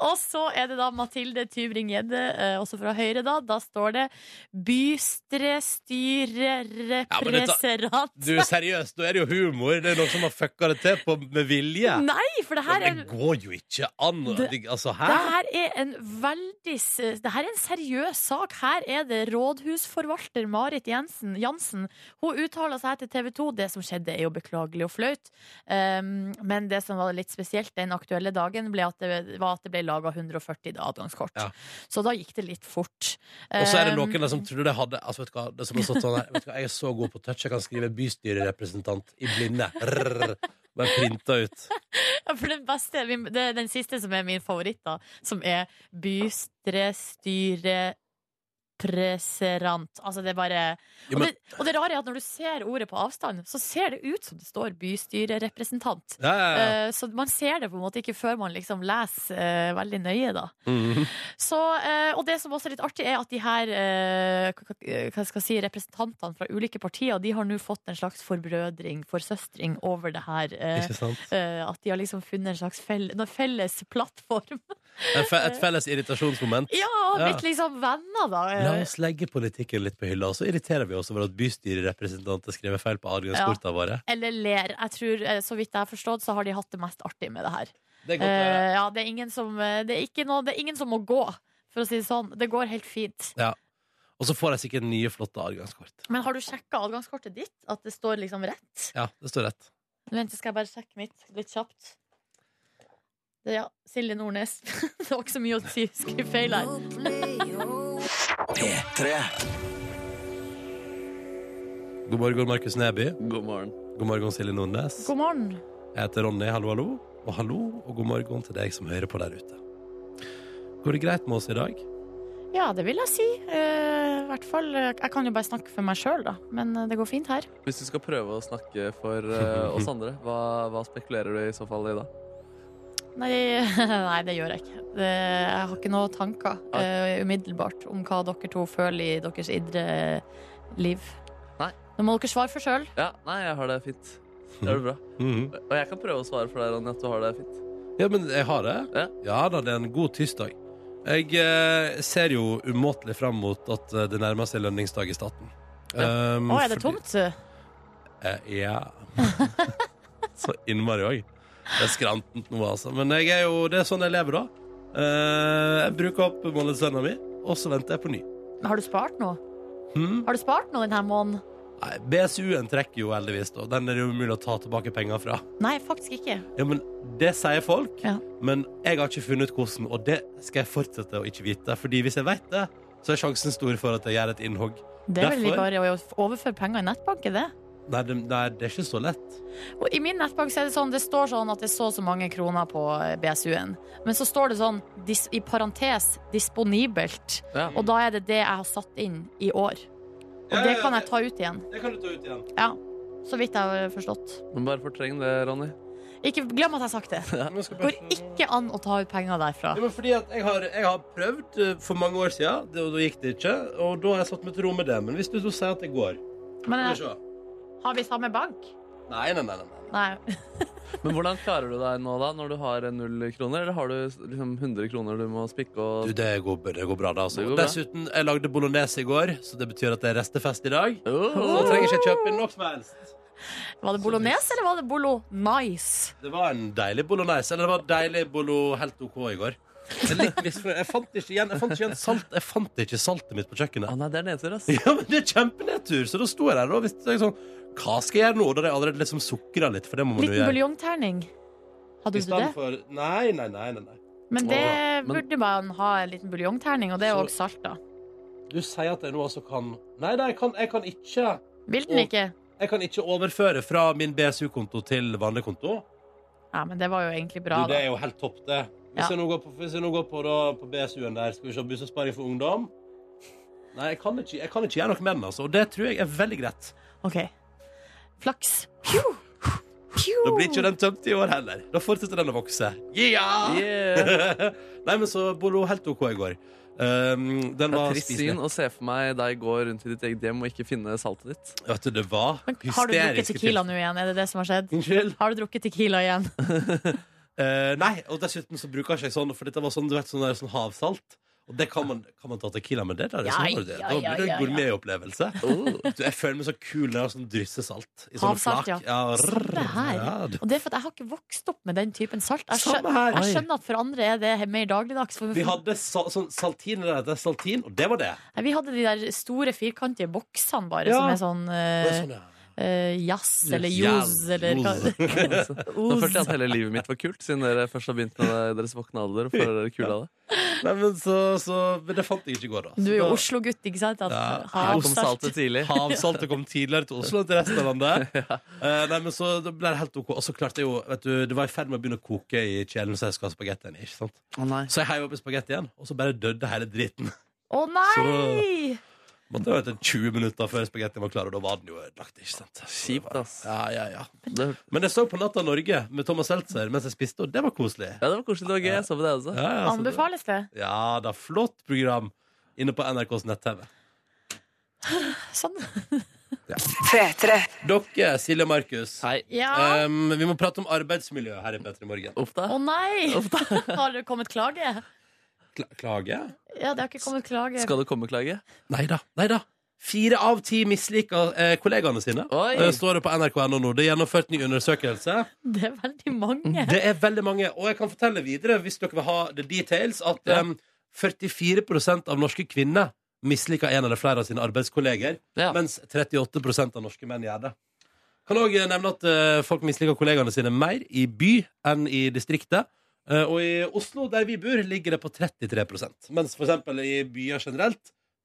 C: Og så er det da Mathilde Tybring-Gjedde, eh, også fra Høyre, da. Da står det
B: men dette-
C: bystrestyrerepresentant.
B: Du, seriøst, nå er det jo humor. Det er noen som har fucka det til på, med vilje.
C: Nei, for det
B: Ja,
C: her er
B: det går jo ikke an. å-
C: Det-
B: det- altså,
C: det
B: hæ?
C: her er en veldig s- Det her er en seriøs sak. Her er det rådhusforvalter Marit Jensen, Jansen. Hun uttaler seg til TV 2. Det som skjedde, er jo beklagelig og flaut. Um, men det som var litt spesielt den aktuelle dagen, ble at det, var at det ble laga 140 adgangskort.
B: Ja.
C: Så da gikk det litt fort.
B: Og så er det
C: Um,
B: noen der som tror de hadde altså, vet du hva, det som har stått sånn her, vet du hva, Jeg er så god på touch, jeg kan skrive bystyrerepresentant i blinde. Rrr, bare printa ut.
C: Ja, for den beste, vi- det er den siste som er min favoritt, da, som er bystyrepreserant. Altså, det er bare
B: Jo,
C: og,
B: men-
C: det, og det rare er at når du ser ordet på avstand, så ser det ut som det står bystyrerepresentant.
B: Ja, ja, ja.
C: Eh, så man ser det på en måte ikke før man liksom leser eh, veldig nøye, da.
B: Mhm.
C: Så, eh, og det som også er litt artig, er at de her eh, k- k- hva skal jeg si, representantene fra ulike partier De har nå fått en slags forbrødring, forsøstring, over det her. eh,
B: Ikke sant?
C: eh, at de har liksom funnet en slags fell, en felles plattform.
B: En fe et felles irritasjonsmoment.
C: Ja, og blitt liksom venner, da. Eh,
B: La oss legge politikken litt på hylla, og så irriterer vi oss over at bystyrerepresentanter skriver feil på adgangskortene våre.
C: Eller ler. Jeg tror, eh, Så vidt jeg har forstått, så har de hatt det mest artig med det her.
B: Det er godt å høre.
C: Eh, ja, det er ingen som eh, Det er ikke noe Det er ingen som må gå, for å si det sånn. Det går helt fint.
B: Og så får de sikkert nye, flotte adgangskort.
C: Men har du sjekka adgangskortet ditt? At det står liksom rett?
B: Ja, det står rett.
C: Vent, skal jeg bare sjekke mitt litt kjapt. Det, ja, Silje Nordnes. det var ikke så mye å si. Skriv feil her.
A: P3
B: God morgen, Markus Neby.
D: God morgen.
B: God morgen, Silje Nordnes.
C: God morgen.
B: Jeg heter Ronny, hallo, hallo. Og hallo og god morgen til deg som hører på der ute. Går det greit med oss i dag?
C: Ja, det vil jeg si. Eh, I hvert fall, eh, Jeg kan jo bare snakke for meg sjøl, da. Men eh, det går fint her.
D: Hvis du skal prøve å snakke for eh, oss andre, hva, hva spekulerer du i så fall i da?
C: Nei, nei det gjør jeg ikke. Det, jeg har ikke noen tanker eh, umiddelbart om hva dere to føler i deres indre liv.
D: Nei.
C: Nå må dere svare for sjøl.
D: Ja, nei, jeg har det fint. Gjør det bra.
B: Mhm.
D: Og jeg kan prøve å svare for deg, Ronny, at du har det fint.
B: Ja, men jeg har det.
D: Ja.
B: da, det er en god tirsdag. Jeg eh, ser jo umåtelig fram mot at eh, det nærmer seg lønningsdag i staten. Um,
C: Å, er det
B: fordi-
C: tomt?
B: Eh, ja. Så innmari òg. Det er skrantent nå, altså. Men jeg er jo, det er sånn jeg lever, da. Eh, jeg bruker opp månedslønna mi, og så venter jeg på ny.
C: Har du spart noe?
B: Hmm.
C: Har du spart noe denne måneden?
B: Nei, BSU-en trekker jo heldigvis, da. Den er det jo umulig å ta tilbake penger fra.
C: Nei, faktisk ikke.
B: Ja, men Det sier folk,
C: Ja.
B: men jeg har ikke funnet ut hvordan, og det skal jeg fortsette å ikke vite. Fordi hvis jeg vet det, så er sjansen stor for at jeg gjør et innhogg.
C: Det er vel
B: Derfor?
C: bare å overføre penger i nettbanken, det.
B: Nei, det, nei, det er ikke så lett.
C: Og I min nettbank så er det sånn Det står sånn at det er så og så mange kroner på eh, BSU-en. Men så står det sånn dis, i parentes 'disponibelt'.
D: Ja.
C: Og da er det det jeg har satt inn i år. Og
B: Ja,
C: det
B: ja,
C: kan
B: ja.
C: jeg ta ut igjen.
B: Det kan du ta ut igjen.
C: Ja. Så vidt jeg har forstått.
D: Men bare fortreng det, Ronny.
C: Ikke glem at jeg har sagt det.
B: Men jeg skal
C: Går
B: bare-
C: ikke an å ta ut penger derfra.
B: Ja, men fordi at jeg har, jeg har prøvd eh, for mange år siden, det, og da gikk det ikke. Og da har jeg satt meg til ro med det. Men hvis du så sier at det går
C: Men
B: Skal vi
C: eh,
B: se.
C: har vi samme bank?
B: Nei, nei, nei. nei, nei.
C: Nei.
D: Men hvordan klarer du deg nå, da, når du har null kroner? Eller har du liksom 100 kroner du må spikke
B: Du,
D: og
B: det går, det går bra, da. Altså.
D: Det går bra.
B: Dessuten, jeg lagde bolognese i går, så det betyr at det er restefest i dag. Så
D: oh,
B: da trenger jeg ikke kjøpe inn noe som helst.
C: Var det bolognese, eller var det bolo nice?
B: Det var en deilig bolognese. Eller det var deilig bolo helt OK i går. Jeg, er litt misfornøyd. jeg fant ikke igjen, jeg fant ikke igjen salt. Jeg fant ikke saltet mitt på
D: Å
B: kjøkkenet.
D: nei, det er nedtur, ass.
B: Ja, men det er kjempenedtur! Så da sto jeg der og visste jeg sånn Hva skal jeg gjøre nå? Da hadde jeg allerede liksom sukra litt, for det må man jo
C: Liten
B: gjøre.
C: buljongterning. Hadde
B: I
C: du det?
B: stedet for Nei, nei, nei. nei, nei.
C: Men
D: Åh,
C: det
D: men-
C: burde man ha en liten buljongterning, og det er
B: Så-
C: òg salt, da.
B: Du sier at jeg nå altså kan Nei, nei, jeg kan, jeg kan ikke
C: Vil den
B: Og-
C: ikke?
B: Jeg kan ikke overføre fra min BSU-konto til vanlig konto.
C: Ja, men det var jo egentlig bra,
B: du, det
C: da.
B: er jo helt topp, det. Hvis
C: Ja.
B: jeg nå går på, hvis jeg nå går på, da, på BSU-en der, skal vi se Bussesparing for ungdom. Nei, jeg kan ikke, jeg kan ikke gjøre noe med den, altså. Og det tror jeg er veldig greit.
C: OK. Flaks. Pju! Pju!
B: Da blir ikke den tømt i år heller. Da fortsetter den å vokse. Yeah!
D: Yeah.
B: Nei, men så Bolo helt OK i går. Um, den
D: Det
B: var
D: er trist
B: spiselig.
D: syn å se for meg deg gå rundt i ditt eget hjem og ikke finne saltet ditt.
B: Vet du, det var
C: Men
B: hysterisk.
C: har du drukket Tequila nå igjen? Er det det som har skjedd?
B: Unnskyld?
C: Har du drukket Tequila igjen?
B: Eh, nei, og dessuten så bruker ikke jeg sånn, for dette var sånn, du vet, sånn, der, sånn havsalt. Og det kan man, kan man ta tequila med. det der, det er
C: Ja,
B: sånn, det. Da
C: ja,
B: blir det
C: ja, ja, ja.
B: en gourmetopplevelse.
D: Oh.
B: Du, Jeg føler meg så kul når jeg har sånn dryssesalt. I sånn
C: Havsalt, ja.
B: flak. ja. rrr.
C: Samme her.
B: Ja, du-
C: Og det er for at Jeg har ikke vokst opp med den typen salt. Jeg
B: Samme
C: skjønner,
B: her.
C: jeg skjønner at for andre er det mer dagligdags. For
B: Vi hadde sa, sånn saltin, eller det heter saltin, og det var det.
C: Nei, vi hadde de der store firkantige boksene bare,
B: Ja.
C: som er sånn
B: det var
C: eh,
B: sånn, ja.
C: eh, jazz eller
B: Jazz,
C: jazz eller hva
B: jazz.
D: Nå følte jeg at hele livet mitt var kult, siden dere først har begynt med det i deres våkne alder. Og får dere kule av det.
B: Nei, men, så, så, men det fant jeg ikke i går, da. Så
C: Du er jo
B: da-
C: Oslo-gutt, ikke sant? At
B: Ja.
D: Her kom
C: havsalt
D: saltet tidlig.
B: Havsaltet kom tidligere til Oslo enn til resten av landet. Eh, nei, men så da ble det helt OK. Og så klarte jeg jo vet du, Det var i ferd med å begynne å koke i kjelen, så jeg skal ha spagettien i. ikke sant?
D: Å nei.
B: Så jeg heiv oppi spagettien, og så bare døde hele driten.
C: Å nei!
B: Måtte ha vært en 20 minutter før spagettien var klar, og da var den jo ødelagt. ikke sant?
D: Kjipt, ass.
B: Ja, ja, ja.
D: Det,
B: Men jeg så på Natta Norge med Thomas Seltzer mens jeg spiste, og det var koselig.
D: ja, det var koselig. Det var gøy. Jeg så på det også.
B: Ja, ja, så det-
C: Anbefales det?
B: Ja da, flott program inne på NRKs nett-TV.
C: Sånn.
B: Dere, Silje og Markus.
D: Hei.
C: Ja.
B: Em, vi må prate om arbeidsmiljø her i Petter i morgen.
D: Uff da.
C: Å nei! Har det kommet klage?
B: Kla- Klage?
C: Ja, det har ikke kommet klage.
D: Skal du komme, Klage?
B: Nei da. Nei da. Fire av ti misliker eh, kollegaene sine,
D: Oi.
B: eh, står det på nrk.no nå. Det er gjennomført ny undersøkelse.
C: Det er veldig mange.
B: Det er veldig mange. Og jeg kan fortelle videre, hvis dere vil ha the details, at
D: Ja.
B: em, 44 av norske kvinner misliker en eller flere av sine arbeidskolleger,
D: Ja.
B: mens 38 av norske menn gjør det. Kan òg nevne at eh, folk misliker kollegaene sine mer i by enn i distriktet. Eh, og i Oslo, der vi bor, ligger det på 33 mens for eksempel i byer generelt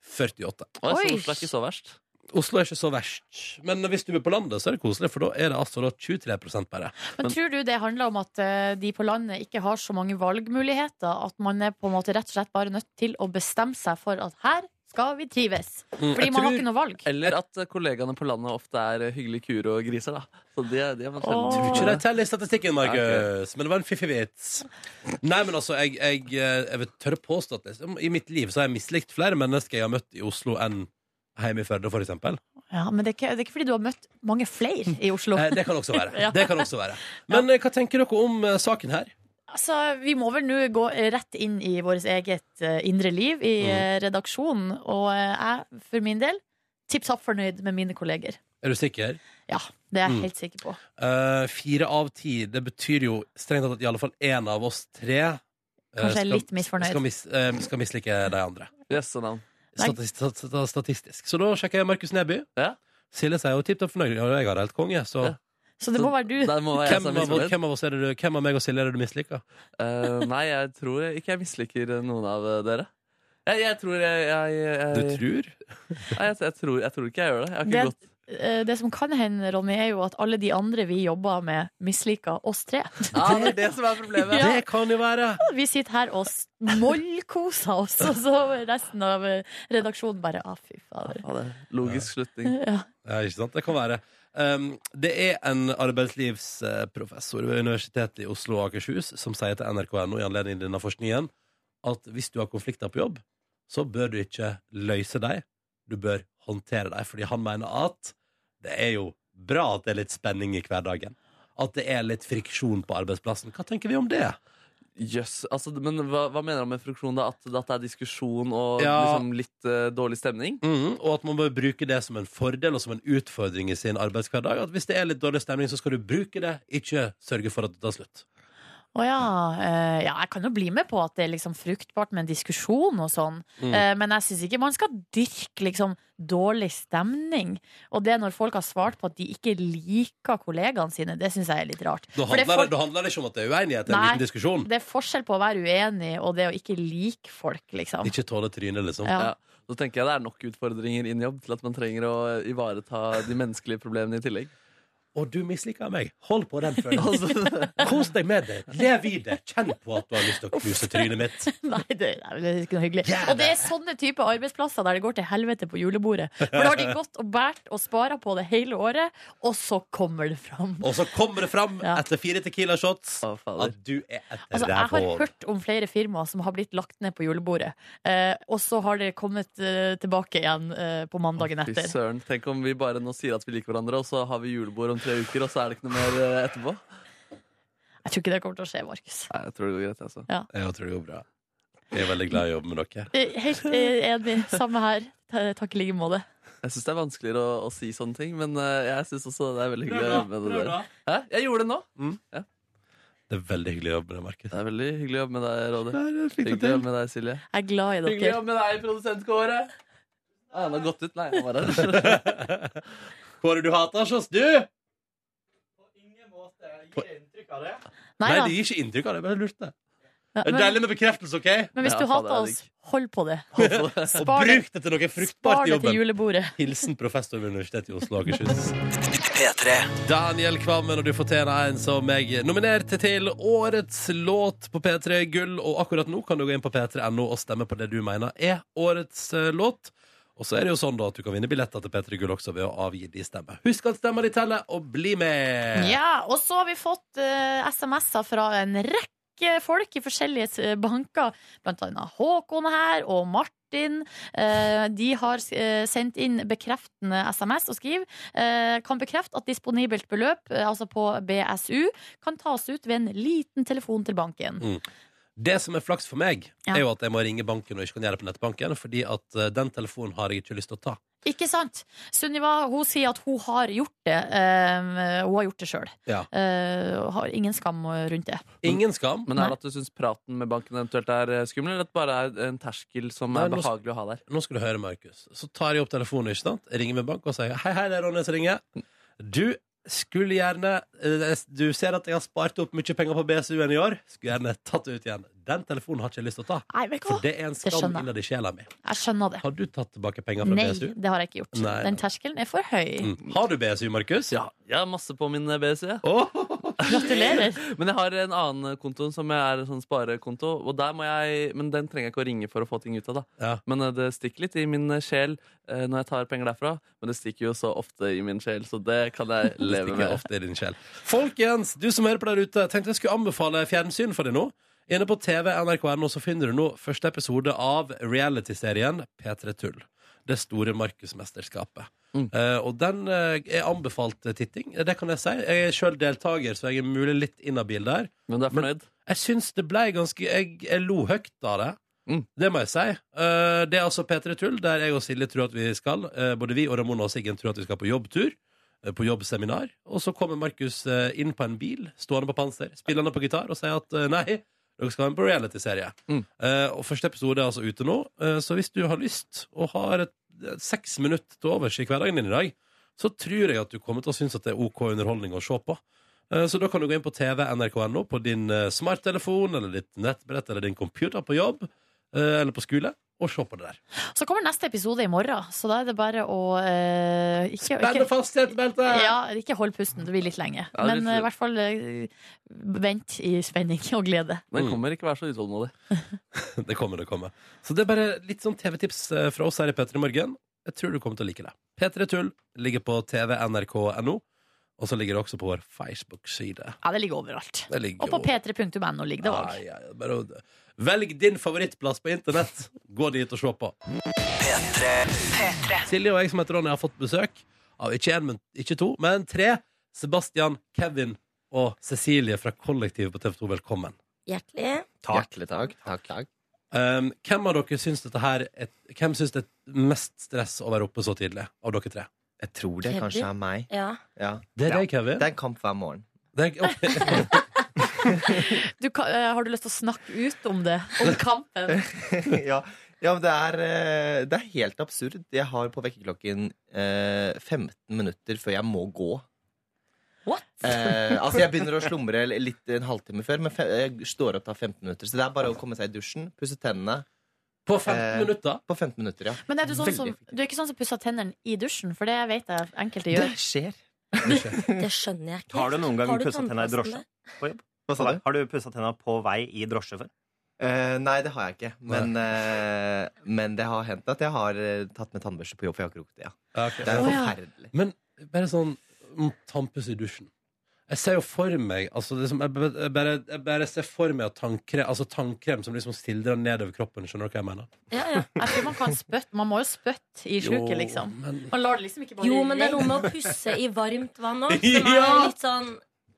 B: 48
D: Oi, så
C: Oi.
D: Oslo er ikke så verst.
B: Oslo er ikke så verst. Men hvis du bor på landet, så er det koselig, for da er det altså da 23 bare.
C: Men tror du det handler om at eh, de på landet ikke har så mange valgmuligheter? At man er på en måte rett og slett bare nødt til å bestemme seg for at her skal vi trives?
B: Mm,
C: Fordi man har ikke noe valg.
D: Eller at eh, kollegaene på landet ofte er eh, hyggelige kuer og griser, da. Så det, det er man sjelden.
C: Åh.
B: Jeg tror ikke de
D: det.
B: teller i statistikken, Markus.
D: Ja,
B: Men det var en fiffig vits. Nei, men altså, jeg, jeg, jeg vil tørre påstå at liksom, i mitt liv så har jeg mislikt flere mennesker jeg har møtt i Oslo enn hjemme i Førde, for eksempel.
C: Ja, men det er, ikke, det er ikke fordi du har møtt mange flere i Oslo.
B: Eh, det kan også være.
C: Ja.
B: Det kan også være. Men eh, hva tenker dere om eh, saken her?
C: Altså, Vi må vel nå gå rett inn i vårt eget eh, indre liv i eh, redaksjonen. Og eh, jeg, for min del, tipp topp fornøyd med mine kolleger.
B: Er du sikker?
C: Ja, det er jeg
B: Mm.
C: helt sikker på.
B: Eh, fire av ti. Det betyr jo strengt tatt at i alle fall én av oss tre eh,
C: Kanskje jeg er
B: skal-
C: litt misfornøyd.
B: Skal, mis, eh, skal mislike de andre.
D: Jøsse navn.
C: Nei.
B: Statist, stat- stat- statistisk. Så da sjekker jeg Markus Neby.
D: Ja.
B: Silje sier jo tipp topp fornøyd. Ja, jeg har helt konge, så
D: Ja.
C: Så det må være du.
D: Der må jeg
B: Hvem
D: som er
B: av, oss-
D: misfornøyd.
B: hvem av oss er det du, hvem av meg og Silje er det du misliker?
D: Eh, nei, jeg tror ikke jeg misliker noen av eh, dere. Jeg, jeg tror jeg jeg, jeg, jeg,
B: tror?
D: Nei, jeg, jeg, tror, jeg tror ikke jeg gjør det. Jeg har ikke
C: Det-
D: gått
C: Eh, Det som kan hende, Ronny, er jo at alle de andre vi jobber med, misliker oss tre.
D: Ja, det er det som er problemet.
B: Det kan jo være!
C: Vi sitter her og mollkoser oss, og så resten av eh, redaksjonen bare Å, fy fader.
D: Ja, det er logisk slutning.
C: Ja.
B: Ja, ikke sant? Det kan være. Um, det er en arbeidslivsprofessor ved Universitetet i Oslo og Akershus som sier til NRK.no i anledning denne forskningen at hvis du har konflikter på jobb, så bør du ikke løse dem, du bør håndtere dem. Fordi han mener at det er jo bra at det er litt spenning i hverdagen. At det er litt friksjon på arbeidsplassen. Hva tenker vi om det?
D: Jøss. Altså, men hva, hva mener han med friksjon? da? At, at det er diskusjon og
B: Ja.
D: liksom litt eh, dårlig stemning?
B: Mhm, og at man bør bruke det som en fordel og som en utfordring i sin arbeidshverdag. At hvis det er litt dårlig stemning, så skal du bruke det, ikke sørge for at det tar slutt.
C: Å ja. eh, ja. Jeg kan jo bli med på at det er liksom fruktbart med en diskusjon og sånn,
B: Mm.
C: Eh, men jeg syns ikke man skal dyrke liksom dårlig stemning. Og det når folk har svart på at de ikke liker kollegaene sine, det syns jeg er litt rart.
B: Da
C: For det
B: handler,
C: er
B: det,
C: folk-
B: da handler det ikke om at det er uenighet, det er en
C: Nei.
B: liten diskusjon.
C: Det er forskjell på å være uenig og det å ikke like folk, liksom.
B: Ikke tåle trynet, liksom.
C: Ja.
D: Ja. Så tenker jeg det er nok utfordringer inn i jobb til at man trenger å eh, ivareta de menneskelige problemene i tillegg.
B: Og du misliker meg. Hold på den
C: altså.
B: følelsen.
D: Altså,
B: Kos deg med det. Lev i det. Kjenn på at du har lyst til å knuse trynet mitt.
C: Nei, det, nei, det er ikke noe hyggelig.
B: Jævlig.
C: Og det er sånne type arbeidsplasser der det går til helvete på julebordet. For da har de gått og båret og spara på det hele året, og så kommer det fram.
B: Og så kommer det fram
C: Ja.
B: etter fire Tequila shots
D: Å, fader.
B: at du er et
C: Altså, jeg har
B: rævhål.
C: hørt om flere firmaer som har blitt lagt ned på julebordet, eh, og så har det kommet eh, tilbake igjen eh, på mandagen
D: Fy
C: etter.
D: søren. Tenk om vi bare nå sier at vi liker hverandre, og så har vi julebord om tre uker, og så er det ikke noe mer eh, etterpå.
C: Jeg tror ikke det kommer til å skje, Markus.
D: Nei, jeg tror det går greit, jeg, altså.
B: Jeg tror det går bra. Jeg er veldig glad i å jobbe med dere.
C: Eh, Helt eh, enig. Samme her. Ta- Takk i like måte.
D: Jeg syns det er vanskeligere å, å si sånne ting, men eh, jeg syns også det er veldig hyggelig å jobbe med det der. Hæ? Jeg gjorde det nå!
B: Det er veldig hyggelig å jobbe med deg, Markus.
D: Det er veldig hyggelig å jobbe med deg, Råde.
B: Der, jeg fikk det
D: Hyggelig å
B: til.
D: jobbe med deg, Silje.
C: Jeg er glad i
D: Hyggelig å
C: dere.
D: jobbe med deg, produsent Kåre. Ah, han har gått ut. Nei, han var her.
B: Kåre, du hater oss, du!
C: Nei
B: Nei,
C: da.
B: det gir ikke inntrykk av det. Bare lurt det.
C: Ja,
B: Det er
C: Men,
B: deilig med bekreftelse, OK?
C: men hvis
D: Ja, faen,
C: du
D: det
C: hater
D: er
C: oss, hold på det.
B: Og
C: Spar det,
B: bruk det til noe fruktbart
C: spar
B: i
C: det til
B: jobben.
C: julebordet.
B: Hilsen professor ved Universitetet i Oslo og Akershus.
A: P3
B: Daniel Kvammen, og du fortjener en som jeg nominerte til årets låt på P3 Gull. Og akkurat nå kan du gå inn på p3.no og stemme på det du mener er årets eh, låt. Og så er det jo sånn da at du kan vinne billetter til P3 Gull også ved å avgi din stemme. Husk at stemma di teller, og bli med!
C: Ja, og så har vi fått eh, SMS-er fra en rekke folk i forskjellige eh, banker, blant annet Håkon her og Martin. Eh, de har eh, sendt inn bekreftende SMS og skriver eh, kan bekrefte at disponibelt beløp, eh, altså på BSU, kan tas ut ved en liten telefon til banken.
B: Det som er flaks for meg,
C: Ja.
B: er jo at jeg må ringe banken og ikke kan gjøre det på nettbanken, fordi at eh, den telefonen har jeg ikke lyst til å ta.
C: Ikke sant? Sunniva hun sier at hun har gjort det. eh, hun har gjort det sjøl.
B: Ja.
C: har ingen skam rundt det.
B: Ingen skam.
D: Men er det at du syns praten med banken eventuelt er eh, skummel, eller at det bare er en terskel som
B: Nei,
D: er
B: nå-
D: behagelig å ha der?
B: Nå skal du høre, Markus. Så tar jeg opp telefonen, ikke sant? Jeg ringer min bank og sier hei, hei, det er Ronny som ringer. Du skulle gjerne eh, Du ser at jeg har spart opp mye penger på BSU-en i år. Skulle gjerne tatt det ut igjen. Den telefonen har ikke jeg lyst til å ta.
C: Nei, vet du hva?
B: For det er en skam
C: skjønner jeg.
B: innad i sjela mi.
C: Jeg skjønner det.
B: Har du tatt tilbake penger fra
C: Nei,
B: BSU?
C: det har jeg ikke gjort.
B: Nei.
C: Den terskelen er for høy.
B: Mm. Har du BSU, Markus?
D: Ja, jeg har masse på min eh, BSU. jeg.
C: Gratulerer.
D: Men jeg har en annen konto som jeg er en sånn sparekonto, og der må jeg, men den trenger jeg ikke å ringe for å få ting ut av. da.
B: Ja.
D: Men eh, det stikker litt i min eh, sjel eh, når jeg tar penger derfra, men det stikker jo så ofte i min sjel, så det kan jeg leve
B: stikker
D: med.
B: ofte i din sjel. Folkens, du som hører på der ute, tenkte jeg skulle anbefale fjernsyn for deg nå. Inne på TV NRK.no så finner du nå første episode av realityserien P3 Tull. Det store Markusmesterskapet.
D: Mm.
B: Eh, og den eh, er anbefalt eh, titting. Eh, Det kan jeg si. Jeg er sjøl deltaker, så jeg er mulig litt inhabil der.
D: Men du er
B: Men-
D: fornøyd?
B: Jeg syns det ble ganske Jeg, jeg lo høyt av det.
D: Mm.
B: Det må jeg si. Eh, det er altså P3 Tull, der jeg og Silje tror at vi skal. Eh, både vi og Ramona og Siggen tror at vi skal på jobbtur. eh, På jobbseminar. Og så kommer Markus eh, inn på en bil, stående på panser, spillende på gitar, og sier at eh, nei, dere skal være med på reality-serie.
D: Mm.
B: Eh, og første episode er altså ute nå, eh, så hvis du har lyst og har et, et seks minutter til overs i hverdagen din i dag, så tror jeg at du kommer til å synes at det er OK underholdning å se på. Eh, Så da kan du gå inn på TV NRK.no på din eh, smarttelefon eller ditt nettbrett eller din computer på jobb eh, eller på skole og se på det der.
C: Så kommer neste episode i morgen, så da er det bare å eh, ikke,
B: Spenne
C: ikke,
B: fast setebeltet!
C: ja, ikke hold pusten, det blir litt lenge.
D: Ja, litt
C: Men eh, i
D: litt.
C: hvert fall eh, vent i spenning og glede.
D: Den
B: Mm.
D: kommer ikke være så utålmodig.
B: Det kommer, det kommer. Så det er bare litt sånn TV-tips eh, fra oss her i P3 Morgen. Jeg tror du kommer til å like det. P3 Tull ligger på TV NRK.no, og så ligger det også på vår Facebook-side.
C: Ja, det ligger overalt.
B: Det ligger
C: Og på
B: jo-
C: p3.no ligger det òg.
B: Ja, ja, bare å- Velg din favorittplass på internett. Gå dit og se på. Silje og jeg som heter Ronny, har fått besøk av ikke én, men ikke to, men tre. Sebastian, Kevin og Cecilie fra Kollektivet på TV 2, velkommen.
G: Hjertelig.
H: Hjertelig takk. takk, takk.
B: Um, hvem av dere syns dette her er, Hvem syns det er mest stress å være oppe så tidlig? Av dere tre?
H: Jeg tror det kanskje er meg.
G: Ja.
H: Ja.
B: Det er
H: Ja.
B: deg, Kevin.
H: Det er en kamp hver morgen.
B: Det er, ok.
C: Du, kan- eh, har du lyst til å snakke ut om det? Om kampen?
H: ja. ja, men det er, eh, det er helt absurd. Jeg har på vekkerklokken eh, 15 minutter før jeg må gå.
C: What?
H: Eh, altså Jeg begynner å slumre l- litt en halvtime før, men fe jeg står opp tar 15 minutter. Så det er bare å komme seg i dusjen, pusse tennene
B: På 15
H: Eh,
B: minutter?
H: på 15 minutter. ja
C: Men er du, sånn
H: Veldig
C: som,
H: effektivt.
C: du er ikke sånn som pusser tennene i dusjen, for det vet jeg enkelte gjør.
H: Det skjer.
G: Det skjønner jeg ikke.
I: Har du noen gang
G: Har du
I: pusset tennene i
G: tannpasten
I: drosje?
H: Hva sa du?
I: Har du pussa tenna på vei i drosje før?
H: Eh, nei, det har jeg ikke. Men, eh, men det har hendt at jeg har eh, tatt med tannbørste på jobb, for jeg har ikke rukket det. Ja.
B: Ja, ok.
H: Det er
C: Å, ja.
H: forferdelig.
B: Men bare sånn mm, Tampes i dusjen Jeg ser jo for meg altså det som, jeg, b- jeg, bare, jeg bare ser for meg at tannkrem, altså tannkrem som liksom stiller nedover kroppen Skjønner du hva jeg mener?
C: Ja, ja. Jeg tror man kan spytte. Man må jo spytte i sluket,
B: Jo,
C: liksom.
B: men-
C: Man lar det liksom ikke bare
G: Jo, men det er noe med å pusse i varmt vann òg. Som er
B: Ja!
G: litt sånn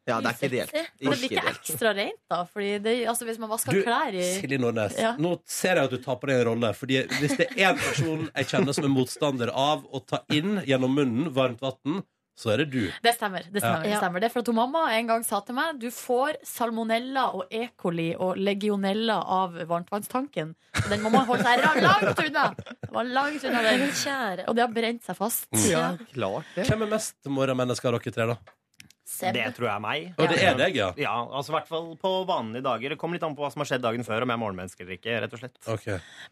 H: Ja, det er ikke ideelt.
G: Usexy.
C: Men det blir
H: Ikke
C: ikke
H: ideelt.
C: ekstra rent, da? Fordi det, altså, hvis man vasker
B: Du,
C: klær i
B: Silje Nordnes,
C: Ja.
B: nå ser jeg at du tar på deg en rolle. Fordi Hvis det er én person jeg kjenner som er motstander av å ta inn gjennom munnen varmt vann, så er det du.
C: Det stemmer. Det stemmer,
G: Ja.
C: det stemmer. Det er for at hun mamma en gang sa til meg du får salmonella og E. coli og legionella av varmtvannstanken. Så den må man holde seg ra- langt unna! Det var langt unna den.
G: Men kjære
C: Og det har brent seg fast.
G: Ja.
H: Klart det.
B: Hvem er mest morgenmenneske av dere tre, da?
C: Seb.
I: Det tror jeg er meg.
B: Og det er deg, ja.
I: Ja, altså i hvert fall på vanlige dager. Det kommer litt an på hva som har skjedd dagen før, om jeg er morgenmenneske eller ikke. rett og slett.
B: Ok.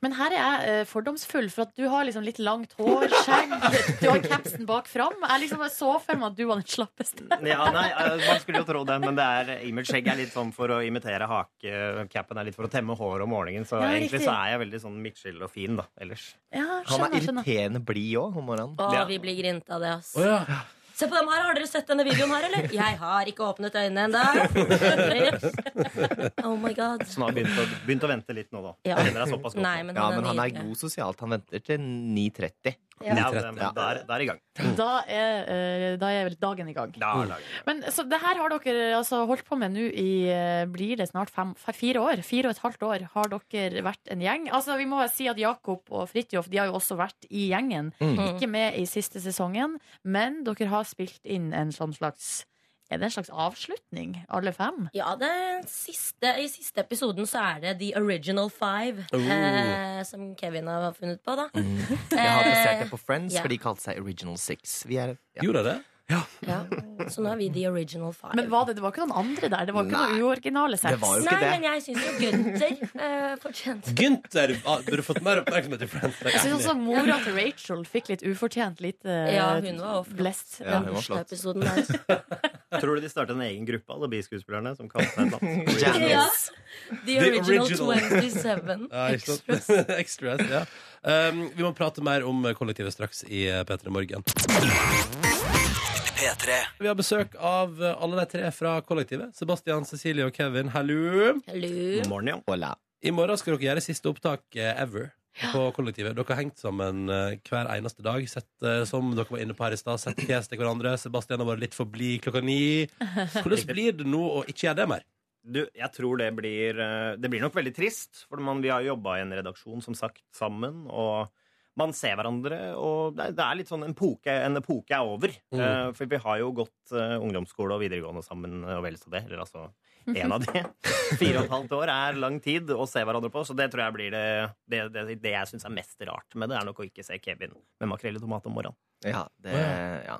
C: Men her er jeg eh, fordomsfull, for at du har liksom litt langt hår, skjegg, du har capsen bak fram. Jeg liksom bare så for meg at du var den slappeste.
H: liksom.
I: Ja, nei, eh, Man skulle jo tro det, men det er
H: eh,
I: image-skjegg er litt sånn for å imitere hake. Capen er litt for å temme håret om morgenen. Så
C: Ja,
I: egentlig
C: riktig.
I: så er jeg veldig sånn midtskill og fin da, ellers.
C: Ja,
H: Han er
C: skjønner, skjønner.
H: irriterende blid òg om morgenen.
G: Å,
I: Ja.
G: vi blir grint av det, ass.
B: Å ja.
G: Se på dem her, har dere sett denne videoen her, eller? Jeg har ikke åpnet øynene ennå. Oh my god.
I: Så nå har jeg begynt å, begynt å vente litt nå, da.
G: Ja.
I: Jeg kjenner deg såpass godt.
G: Nei, men
H: Ja,
G: han
H: men
G: er
H: han er
G: nydelig.
H: god sosialt. Han venter til 9.30.
I: Ja, det,
H: Ja.
I: det, er, det er i gang.
C: Da er, eh, da er vel dagen i gang.
I: Det er dagen.
C: Men så det her har dere altså, holdt på med nå i eh, blir det snart fem, fe- fire år. Fire og et halvt år har dere vært en gjeng. Altså, vi må si at Jakob og Fridtjof de har jo også vært i gjengen.
G: Mm.
C: Ikke med i siste sesongen, men dere har spilt inn en sånn slags Er det en slags avslutning, alle fem?
G: Ja, det er siste, I siste episoden så er det The Original Five,
B: Oh.
G: eh, som Kevin har funnet på, da.
I: Mhm.
H: Jeg har basert det på Friends,
G: ja.
H: for de kalte seg Original Six. Vi er, ja.
B: Gjorde jeg det?
G: Ja. Så nå er vi The Original Five.
C: Men var det, det var ikke noen andre der? Det var ikke
H: Nei.
C: noen uoriginale
H: Det
C: seks?
H: var jo
G: Nei,
H: ikke det.
G: men jeg syns jo Gunther eh, fortjente
B: Gunther ah, burde fått mer oppmerksomhet i Friends.
C: Jeg synes også mora til Rachel fikk litt ufortjent lite
G: Ja, hun var også flott.
C: blest.
H: Ja,
G: den
H: hun var
G: første
H: flott.
G: episoden der.
I: Tror du de startet en egen gruppe, alle biskuespillerne, som kalte seg et eller annet?
H: Janice.
G: Ja. The Original
B: original.
G: 27.
B: Ja, ikke sant?
G: Extras.
B: Extras, ja. Um, vi må prate mer om kollektivet straks i eh, P3 Morgen.
A: P3
B: Vi har besøk av eh, alle de tre fra kollektivet. Sebastian, Cecilie og Kevin. Hallo!
G: Hallo.
I: God morgen, ja.
H: Hola.
B: I morgen skal dere gjøre siste opptak eh, ever på kollektivet. Dere har hengt sammen eh, hver eneste dag. Sett, eh, som dere var inne på her i stad, sett fjes til hverandre. Sebastian har vært litt for blid klokka ni. Hvordan blir det nå å ikke gjøre det mer?
I: Du, jeg tror det blir eh, Det blir nok veldig trist, for man, vi har jobba i en redaksjon, som sagt, sammen. Og man ser hverandre, og det er, det er litt sånn en epoke, en epoke er over.
B: Mm.
I: Eh, for vi har jo gått eh, ungdomsskole og videregående sammen, og vel så det. Eller altså én av det. Fire og et halvt år er lang tid å se hverandre på, så det tror jeg blir det Det, det, det jeg syns er mest rart med det, er nok å ikke se Kevin med makrell i tomat om morgenen.
H: Ja, det, ja.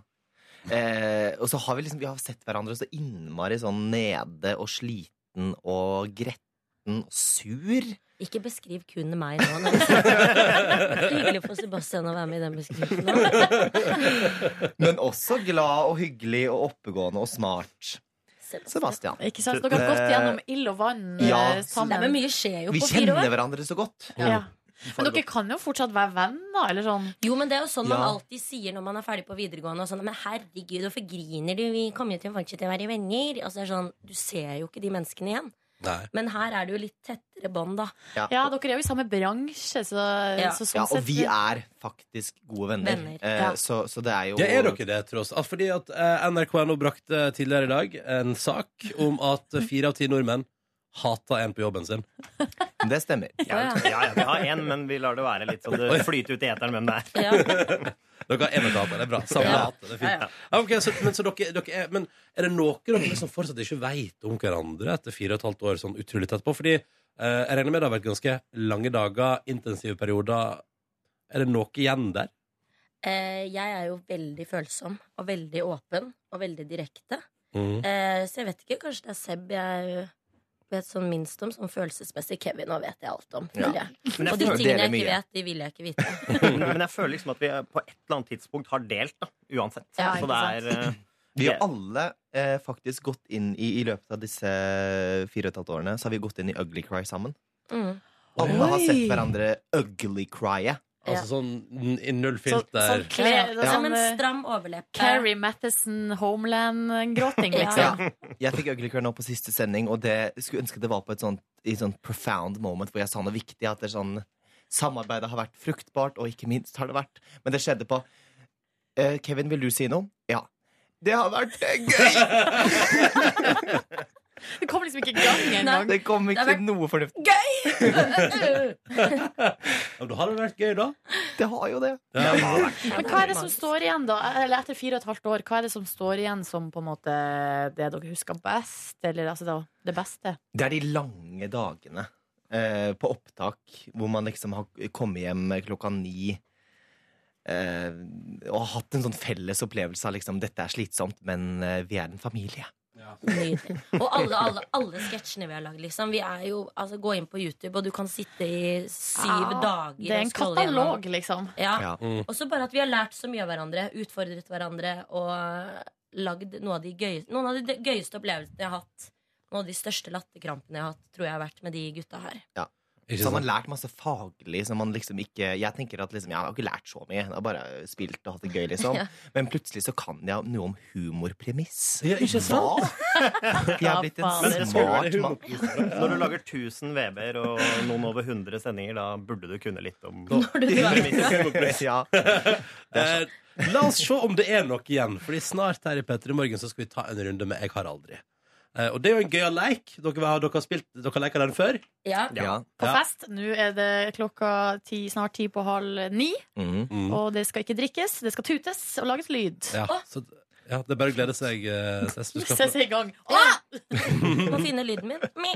H: Eh, og så har vi liksom Vi har sett hverandre så innmari sånn nede og sliten og gretten og sur.
G: Ikke beskriv kun meg nå. Nancy. Hyggelig for Sebastian å være med i den beskrivelsen. nå.
H: Men også glad og hyggelig og oppegående og smart. Sebastian.
C: Ikke sant? Dere har gått gjennom ild og vann eh,
H: Ja.
G: Nei, men
C: sammen.
G: mye skjer jo
H: Vi
G: på fire
H: kjenner
G: år.
H: hverandre så godt.
C: Ja. Men dere kan jo fortsatt være venner, eller sånn.
G: Jo, men det er jo sånn man
H: Ja.
G: alltid sier når man er ferdig på videregående. Og sånn, men herregud, hvorfor griner du? Vi kommer jo til å fortsette å være venner. Altså, det er sånn, du ser jo ikke de menneskene igjen.
B: Nei.
G: Men her er det jo litt tettere bånd, da.
C: Ja, dere er jo i samme bransje, så,
G: Ja.
C: så sånn
H: Ja, og
C: sett
H: vi er faktisk gode venner.
G: Venner,
H: Eh,
C: ja.
H: så, så det er jo
B: Det er dere det, tross. alt. Fordi at eh, NRK nå brakte tidligere i dag en sak om at fire av ti nordmenn hater en på jobben sin.
H: Det stemmer.
I: Ja, ja, vi har én, men vi lar det være litt sånn det flyter ut i eteren hvem det er.
G: Ja.
B: Dere har en og damer, det er bra. Samme
G: Ja.
B: hatet, det er fint. Ja, ok, så, men, så dere, dere er, men er det noe dere som fortsatt ikke vet om hverandre etter fire og et halvt år sånn utrolig tett på? Fordi eh, jeg regner med det har vært ganske lange dager, intensive perioder. Er det noe igjen der?
G: Eh, jeg er jo veldig følsom og veldig åpen og veldig direkte.
B: Mm.
G: Eh, så jeg vet ikke, kanskje det er Seb jeg vet sånn minst om, sånn følelsesmessig. Kevin nå vet jeg alt om. føler jeg.
I: Men
G: Og
I: jeg
G: de
H: føler-
G: tingene
H: deler
G: jeg ikke
H: mye.
G: vet, de vil jeg ikke vite.
I: Men jeg føler liksom at vi på et eller annet tidspunkt har delt, da. Uansett.
C: Ja,
I: så
C: ikke
I: det er eh,
H: Vi har alle eh, faktisk gått inn i, i løpet av disse eh, fire og et halvt årene, så har vi gått inn i Ugly Cry sammen.
G: Mm.
H: Alle har
C: Oi.
H: sett hverandre Ugly Crye.
G: Ja.
B: Altså sånn n- i null
C: Sånn,
B: filter.
C: sånn kle,
G: Ja.
C: sånn,
G: Som en
C: eh,
G: stram overleppe.
C: Carrie Matheson, Homeland-gråting,
H: Ja.
C: liksom.
H: Jeg fikk Ugly Cry nå på siste sending, og det skulle ønske det var på et sånt, i et sånt profound moment hvor jeg sa noe viktig. At det er sånn Samarbeidet har vært fruktbart, og ikke minst har det vært Men det skjedde på eh, Kevin, vil du si noe? Ja. Det har vært gøy!
C: Det kom liksom ikke i gang engang.
H: Det kom
G: Det
H: ikke
G: har vært-
H: noe fornuftig.
B: Ja, da har det vært gøy, da.
H: Det har jo det.
C: Men hva er det som står igjen, da? Eller etter fire og et halvt år, hva er det som står igjen som på en måte det dere husker best? Eller altså da, det beste?
H: Det er de lange dagene eh, på opptak hvor man liksom har kommet hjem klokka ni eh, og har hatt en sånn felles opplevelse av liksom dette er slitsomt, men eh, vi er en familie.
G: Nydelig. Og alle, alle, alle sketsjene vi har lagd, liksom. Vi er jo, altså, gå inn på YouTube, og du kan sitte i syv
C: Ah,
G: dager
C: Det er en
G: og scrolle gjennom.
C: katalog, liksom.
G: Ja.
H: Ja.
B: Mm.
G: Og så bare at vi har lært så mye av hverandre, utfordret hverandre og lagd noe av de gøy- noen av de de gøyeste opplevelsene jeg har hatt. Noen av de største latterkrampene jeg har hatt, tror jeg har vært med de gutta her.
B: Ikke
H: Så har man
B: sant?
H: lært masse faglig som man liksom ikke Jeg tenker at liksom, jeg har ikke lært så mye. Jeg har bare spilt og hatt det gøy, liksom.
G: Ja.
H: Men plutselig så kan jeg noe om humorpremiss.
B: Ja, ikke sant?
H: Hva? Jeg har blitt
C: faen, dere
H: en
C: skulle
H: smart mann.
I: Når du lager 1000 VB-er og noen over 100 sendinger, da burde du kunne litt om
G: Når du var
H: Ja.
B: Eh, la oss se om det er noe igjen, Fordi snart her i Petter i morgen så skal vi ta en runde med Jeg har aldri. Eh, og det er jo en gøyal leik. Dere, har, dere har spilt dere har leket den før?
G: Ja.
H: ja.
C: På
B: Ja.
C: fest. Nå er det klokka ti, snart ti på halv ni,
H: Mhm.
C: og det skal ikke drikkes, det skal tutes og lages lyd.
B: Mm. Ja, så, ja det er bare å glede seg. eh, Tess. Du
C: Nå
B: skal
C: ses
B: få-
C: jeg i gang.
G: Ah! Må finne lyden min. Mi.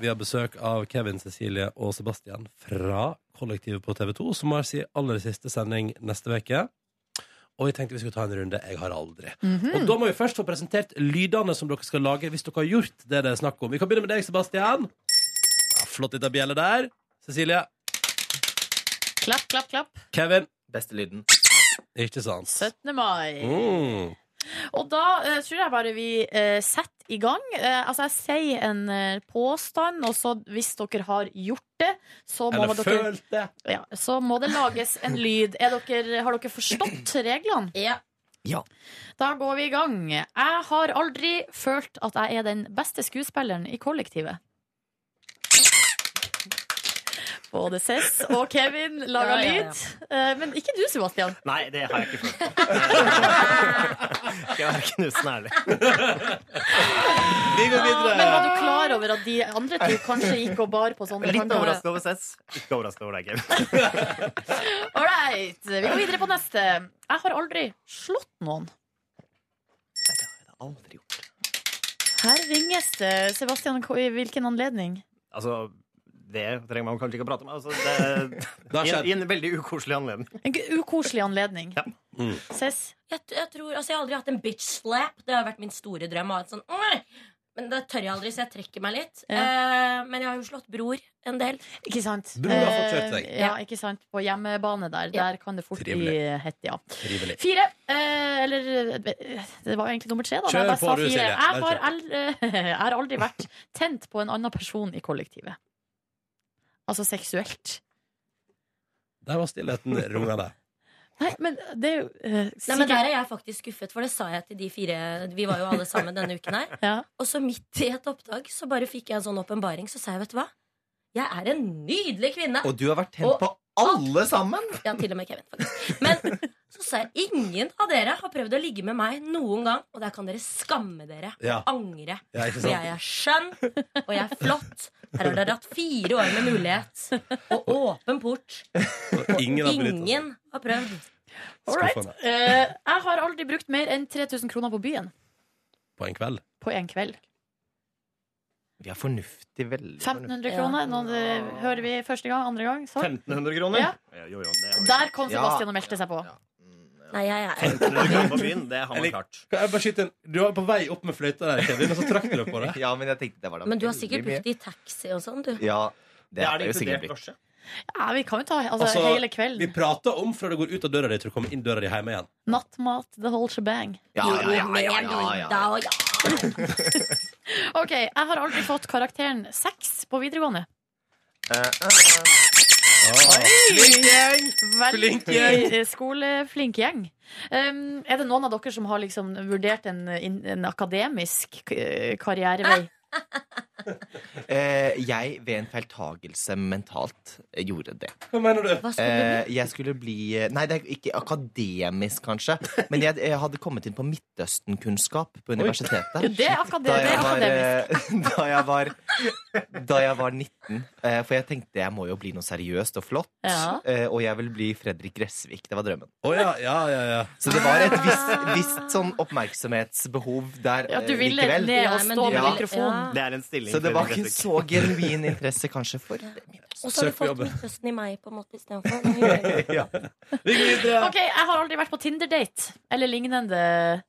B: Vi har besøk av Kevin, Cecilie og Sebastian fra kollektivet på TV 2, som har sin aller siste sending neste uke. Og vi tenkte vi skulle ta en runde Jeg har aldri. Og Da må vi først få presentert lydene som dere skal lage hvis dere har gjort det det er snakk om. Vi kan begynne med deg, Sebastian. Ja, flott lita bjelle der. Cecilie.
C: Klapp, klapp, klapp.
B: Kevin.
H: Beste lyden.
B: Ikke sant?
C: 17. mai.
B: Mm.
C: Og da eh, tror jeg bare vi eh, setter i gang. Eh, altså, jeg sier en eh, påstand, og så hvis dere har gjort det, så må,
B: Eller
C: dere,
B: følt det.
C: ja, så må det lages en lyd. Er dere, har dere forstått reglene?
G: Ja.
C: Da går vi i gang. Jeg har aldri følt at jeg er den beste skuespilleren i kollektivet. Både Cess og Kevin lager
G: Ja, ja, ja.
C: lyd. Eh, Men ikke du, Sebastian.
I: Nei, det har jeg ikke følt på. Jeg er knusende ærlig.
B: Vi går
C: Men var
B: videre.
C: du klar over at de andre to kanskje gikk og bar på sånne
I: Litt
C: tanker?
I: overraskende over Sess. Ikke overraskende over deg, Kevin.
C: All right. Vi går videre på neste. Jeg har aldri slått noen.
H: Nei, det har jeg aldri gjort.
C: Her ringes det. Sebastian, hva- i hvilken anledning?
I: Altså, det trenger man kanskje ikke å prate om. Altså, det,
B: Det har
I: i, en, I
B: skjedd.
I: en veldig ukoselig anledning.
C: En g- ukoselig anledning.
I: Ja.
B: Mm.
C: Cess,
G: Jeg, t- jeg tror, altså jeg har aldri hatt en bitch slap. Det har vært min store drøm. å ha et sånn, "Åh!" men det tør jeg aldri, så jeg trekker meg litt.
C: Ja.
G: Eh, men jeg har jo slått bror en del.
C: ikke sant?
B: Bror har fått kjørt seg.
C: Eh, Ja, ikke sant? På hjemmebane der.
G: Ja.
C: Der kan det fort bli
B: Trivelig.
C: hett, ja.
B: Trivelig.
C: Fire. Eh, eller eh, Det var jo egentlig nummer tre, da.
B: Kjør
C: men jeg
B: på,
C: sa
B: du,
C: fire.
B: Silje. Bare
C: Jeg har,
B: kjør.
C: aldri, jeg har aldri vært tent på en annen person i kollektivet. Altså seksuelt.
B: Der var stillheten rungende.
C: Nei, men det er jo eh,
G: Nei, men
C: sikkert-
G: Der er jeg faktisk skuffet, for det sa jeg til de fire. Vi var jo alle sammen denne uken her.
C: ja.
G: Og så midt i et oppdrag så bare fikk jeg en sånn åpenbaring. Så sa jeg, vet du hva? Jeg er en nydelig kvinne.
H: Og du har vært tent
G: Og-
H: på alle sammen!
G: Ja, til og med Kevin, faktisk. Men så sa jeg ingen av dere har prøvd å ligge med meg noen gang, og der kan dere skamme dere.
B: Ja.
G: Angre.
B: Ja, ikke
G: For jeg
B: sant?
G: er skjønn, og jeg er flott. Her har dere hatt fire år med mulighet. Og åpen port.
B: Og ingen har benyttet seg.
G: Ingen har prøvd.
C: All right.
B: Skuffende.
C: Eh, jeg har aldri brukt mer enn 3000 kroner på byen
B: På en kveld.
C: på én kveld.
H: Vi er fornuftig, veldig fornuftig.
C: 1500 kroner. Nå eh, hører vi første gang, andre gang. Så.
I: 1500 kroner?
C: Ja.
I: Jo, jo, det er jo-
C: Der kom Sebastian og meldte seg på.
H: Ja. Mm, ja.
G: Nei, jeg er
I: 1500 kroner på byen, det har man
B: Eller-
I: klart.
B: Kan jeg bare skyte en? Du var på vei opp med fløyta der, Kevin, og så trakk du deg på det.
H: Ja, men jeg tenkte det var da
G: Men du har
H: veldig
G: sikkert
H: mye.
G: brukt det i taxi og sånn, du.
H: Ja, det
I: Det
H: har
I: er det
H: jeg jo sikkert
I: inkludert
H: blitt.
I: drosje.
C: Ja, vi kan jo ta altså,
B: Altså,
C: hele
B: Vi
C: kvelden.
B: prater om fra du går ut av døra di til du kommer inn døra di hjemme igjen.
C: Nattmat, the whole shebang.
H: Ja, ja, ja, ja, ja, ja, ja.
G: Da, ja.
C: Ok, Jeg har aldri fått karakteren seks på videregående.
H: Eh, eh, eh.
B: Flink gjeng!
C: Veldig
B: Flink gjeng.
C: eh, skoleflink gjeng. Um, er det noen av dere som har liksom vurdert en, en akademisk eh, karrierevei?
H: Eh, jeg, ved en feiltagelse mentalt, eh, gjorde det.
B: Hva mener du?
G: Hva skulle
H: Eh, jeg skulle bli eh, Nei, det er ikke akademisk, kanskje, men jeg, jeg hadde kommet inn på Midtøsten-kunnskap på universitetet.
C: Det er akade-
H: Da
C: det
H: jeg
C: er
H: var,
C: akademisk.
H: eh, da jeg var, da jeg var 19. eh, For jeg tenkte jeg må jo bli noe seriøst og flott,
C: Ja.
H: eh, og jeg vil bli Fredrik Gressvik. Det var drømmen.
B: Å ja, ja, ja, ja.
H: Så det var et visst, visst sånn oppmerksomhetsbehov der
C: Ja, du
H: eh,
C: ville
H: likevel.
C: ned og
G: Nei, men
C: stå
G: du-
C: med
H: Ja.
C: mikrofonen.
I: Det er en stilling.
H: Så det var ikke
I: Fredrik Gressvik.
H: så genuin interesse kanskje for
G: Og
B: Søk
G: så har du
B: på
G: fått
B: jobben.
G: Midtøsten i meg på en måte istedenfor.
B: Vi går videre.
C: Ok, jeg har aldri vært på Tinder-date eller lignende.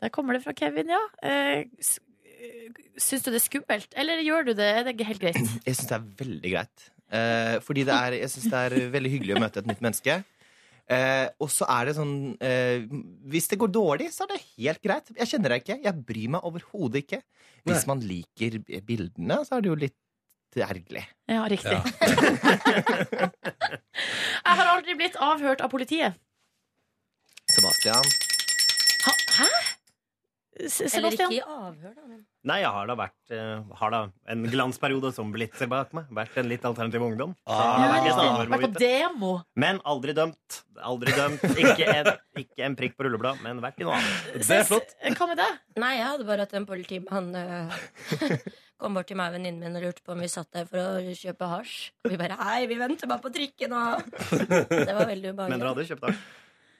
C: Der kommer det fra Kevin, ja. Eh, s- eh, Syns du det er skummelt, eller gjør du det? Er det ikke helt greit?
H: Jeg syns det er veldig greit. Eh, fordi det er, jeg syns det er veldig hyggelig å møte et nytt menneske. Eh, og så er det sånn eh, Hvis det går dårlig, så er det helt greit. Jeg kjenner deg ikke. Jeg bryr meg overhodet ikke. Hvis man liker bildene, så er det jo litt ergerlig.
C: Ja, riktig.
B: Ja.
C: jeg har aldri blitt avhørt av politiet.
H: Sebastian.
C: Ha, hæ? S-
G: Eller ikke
C: Sebastian?
G: i avhør, da. Men.
I: Nei, jeg har da vært eh, Har da en glansperiode som blitzer bak meg. Vært en litt alternativ ungdom. Så jeg har
C: Ja,
I: vært litt
C: riktig.
I: avhørt
C: Vært på
I: hvorvidt-
C: demo.
I: Men aldri dømt. Aldri dømt. Ikke en, ikke en prikk på rullebladet, men vært i noe annet.
B: Det er flott.
C: Hva med deg?
G: Nei, jeg hadde bare hatt en politimann øh, kom bort til meg og venninnen min og lurte på om vi satt der for å kjøpe hasj. Og vi bare 'hei, vi venter bare på trikken' og Det var veldig
I: Men dere
G: ubehagelig.
I: hadde kjøpt det.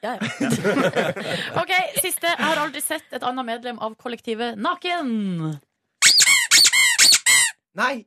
G: Ja, ja.
C: Ok, siste. Jeg har aldri sett et annet medlem av kollektivet naken.
H: Nei!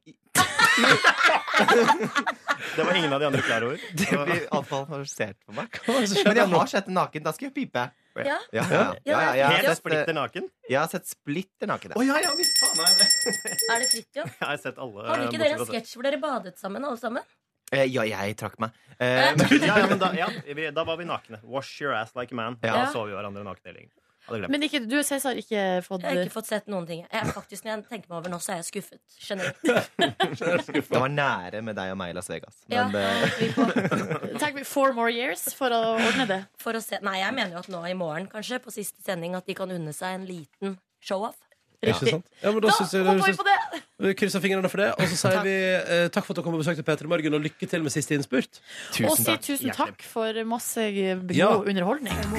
I: Det var ingen av de andre klar over.
H: Det
I: Så-
H: blir iallfall arrestert for meg.
B: skjedde
H: Men jeg har sett naken. Da skal jeg pipe.
G: Ja.
H: ja, ja, ja, ja, jeg, har
I: Helt
H: sett,
I: splitter naken.
H: jeg har sett splitter naken.
I: eh, Å ja, ja visst faen meg det.
G: Er det Fridtjof?
I: Jeg har sett alle.
G: Har du ikke
I: eh,
G: dere en
I: bortsett fra-
G: sketsj hvor dere badet sammen, alle sammen?
H: Eh, ja, jeg trakk meg. Eh, men-
I: Ja, ja, men da, ja, vi, da var vi nakne. Wash your ass like a man.
H: Ja.
I: Da så vi hverandre nakne. Eller. Hadde glemt.
C: Men ikke, du og Cæsar ikke fått
G: Jeg har ikke fått sett noen ting. Jeg er faktisk, Når jeg tenker meg over nå, så er jeg skuffet. Generelt.
H: det var nære med deg og meg i Las Vegas.
G: Ja,
H: Men eh,
G: vi får-
C: Tenk meg four more years for å ordne det.
G: for å se. Nei, jeg mener jo at nå i morgen, kanskje, på siste sending, at de kan unne seg en liten show-off.
B: Ikke sant? Ja, men da
C: Da
B: synes jeg,
C: hopper vi på det!
B: vi krysser fingrene for det, og så sier
G: Takk.
B: vi eh, takk for at dere kom og besøkte P3 Morgen, og lykke til med siste innspurt.
C: Og
H: tusen
C: si
H: takk.
C: tusen takk for masse god
B: Ja.
C: underholdning.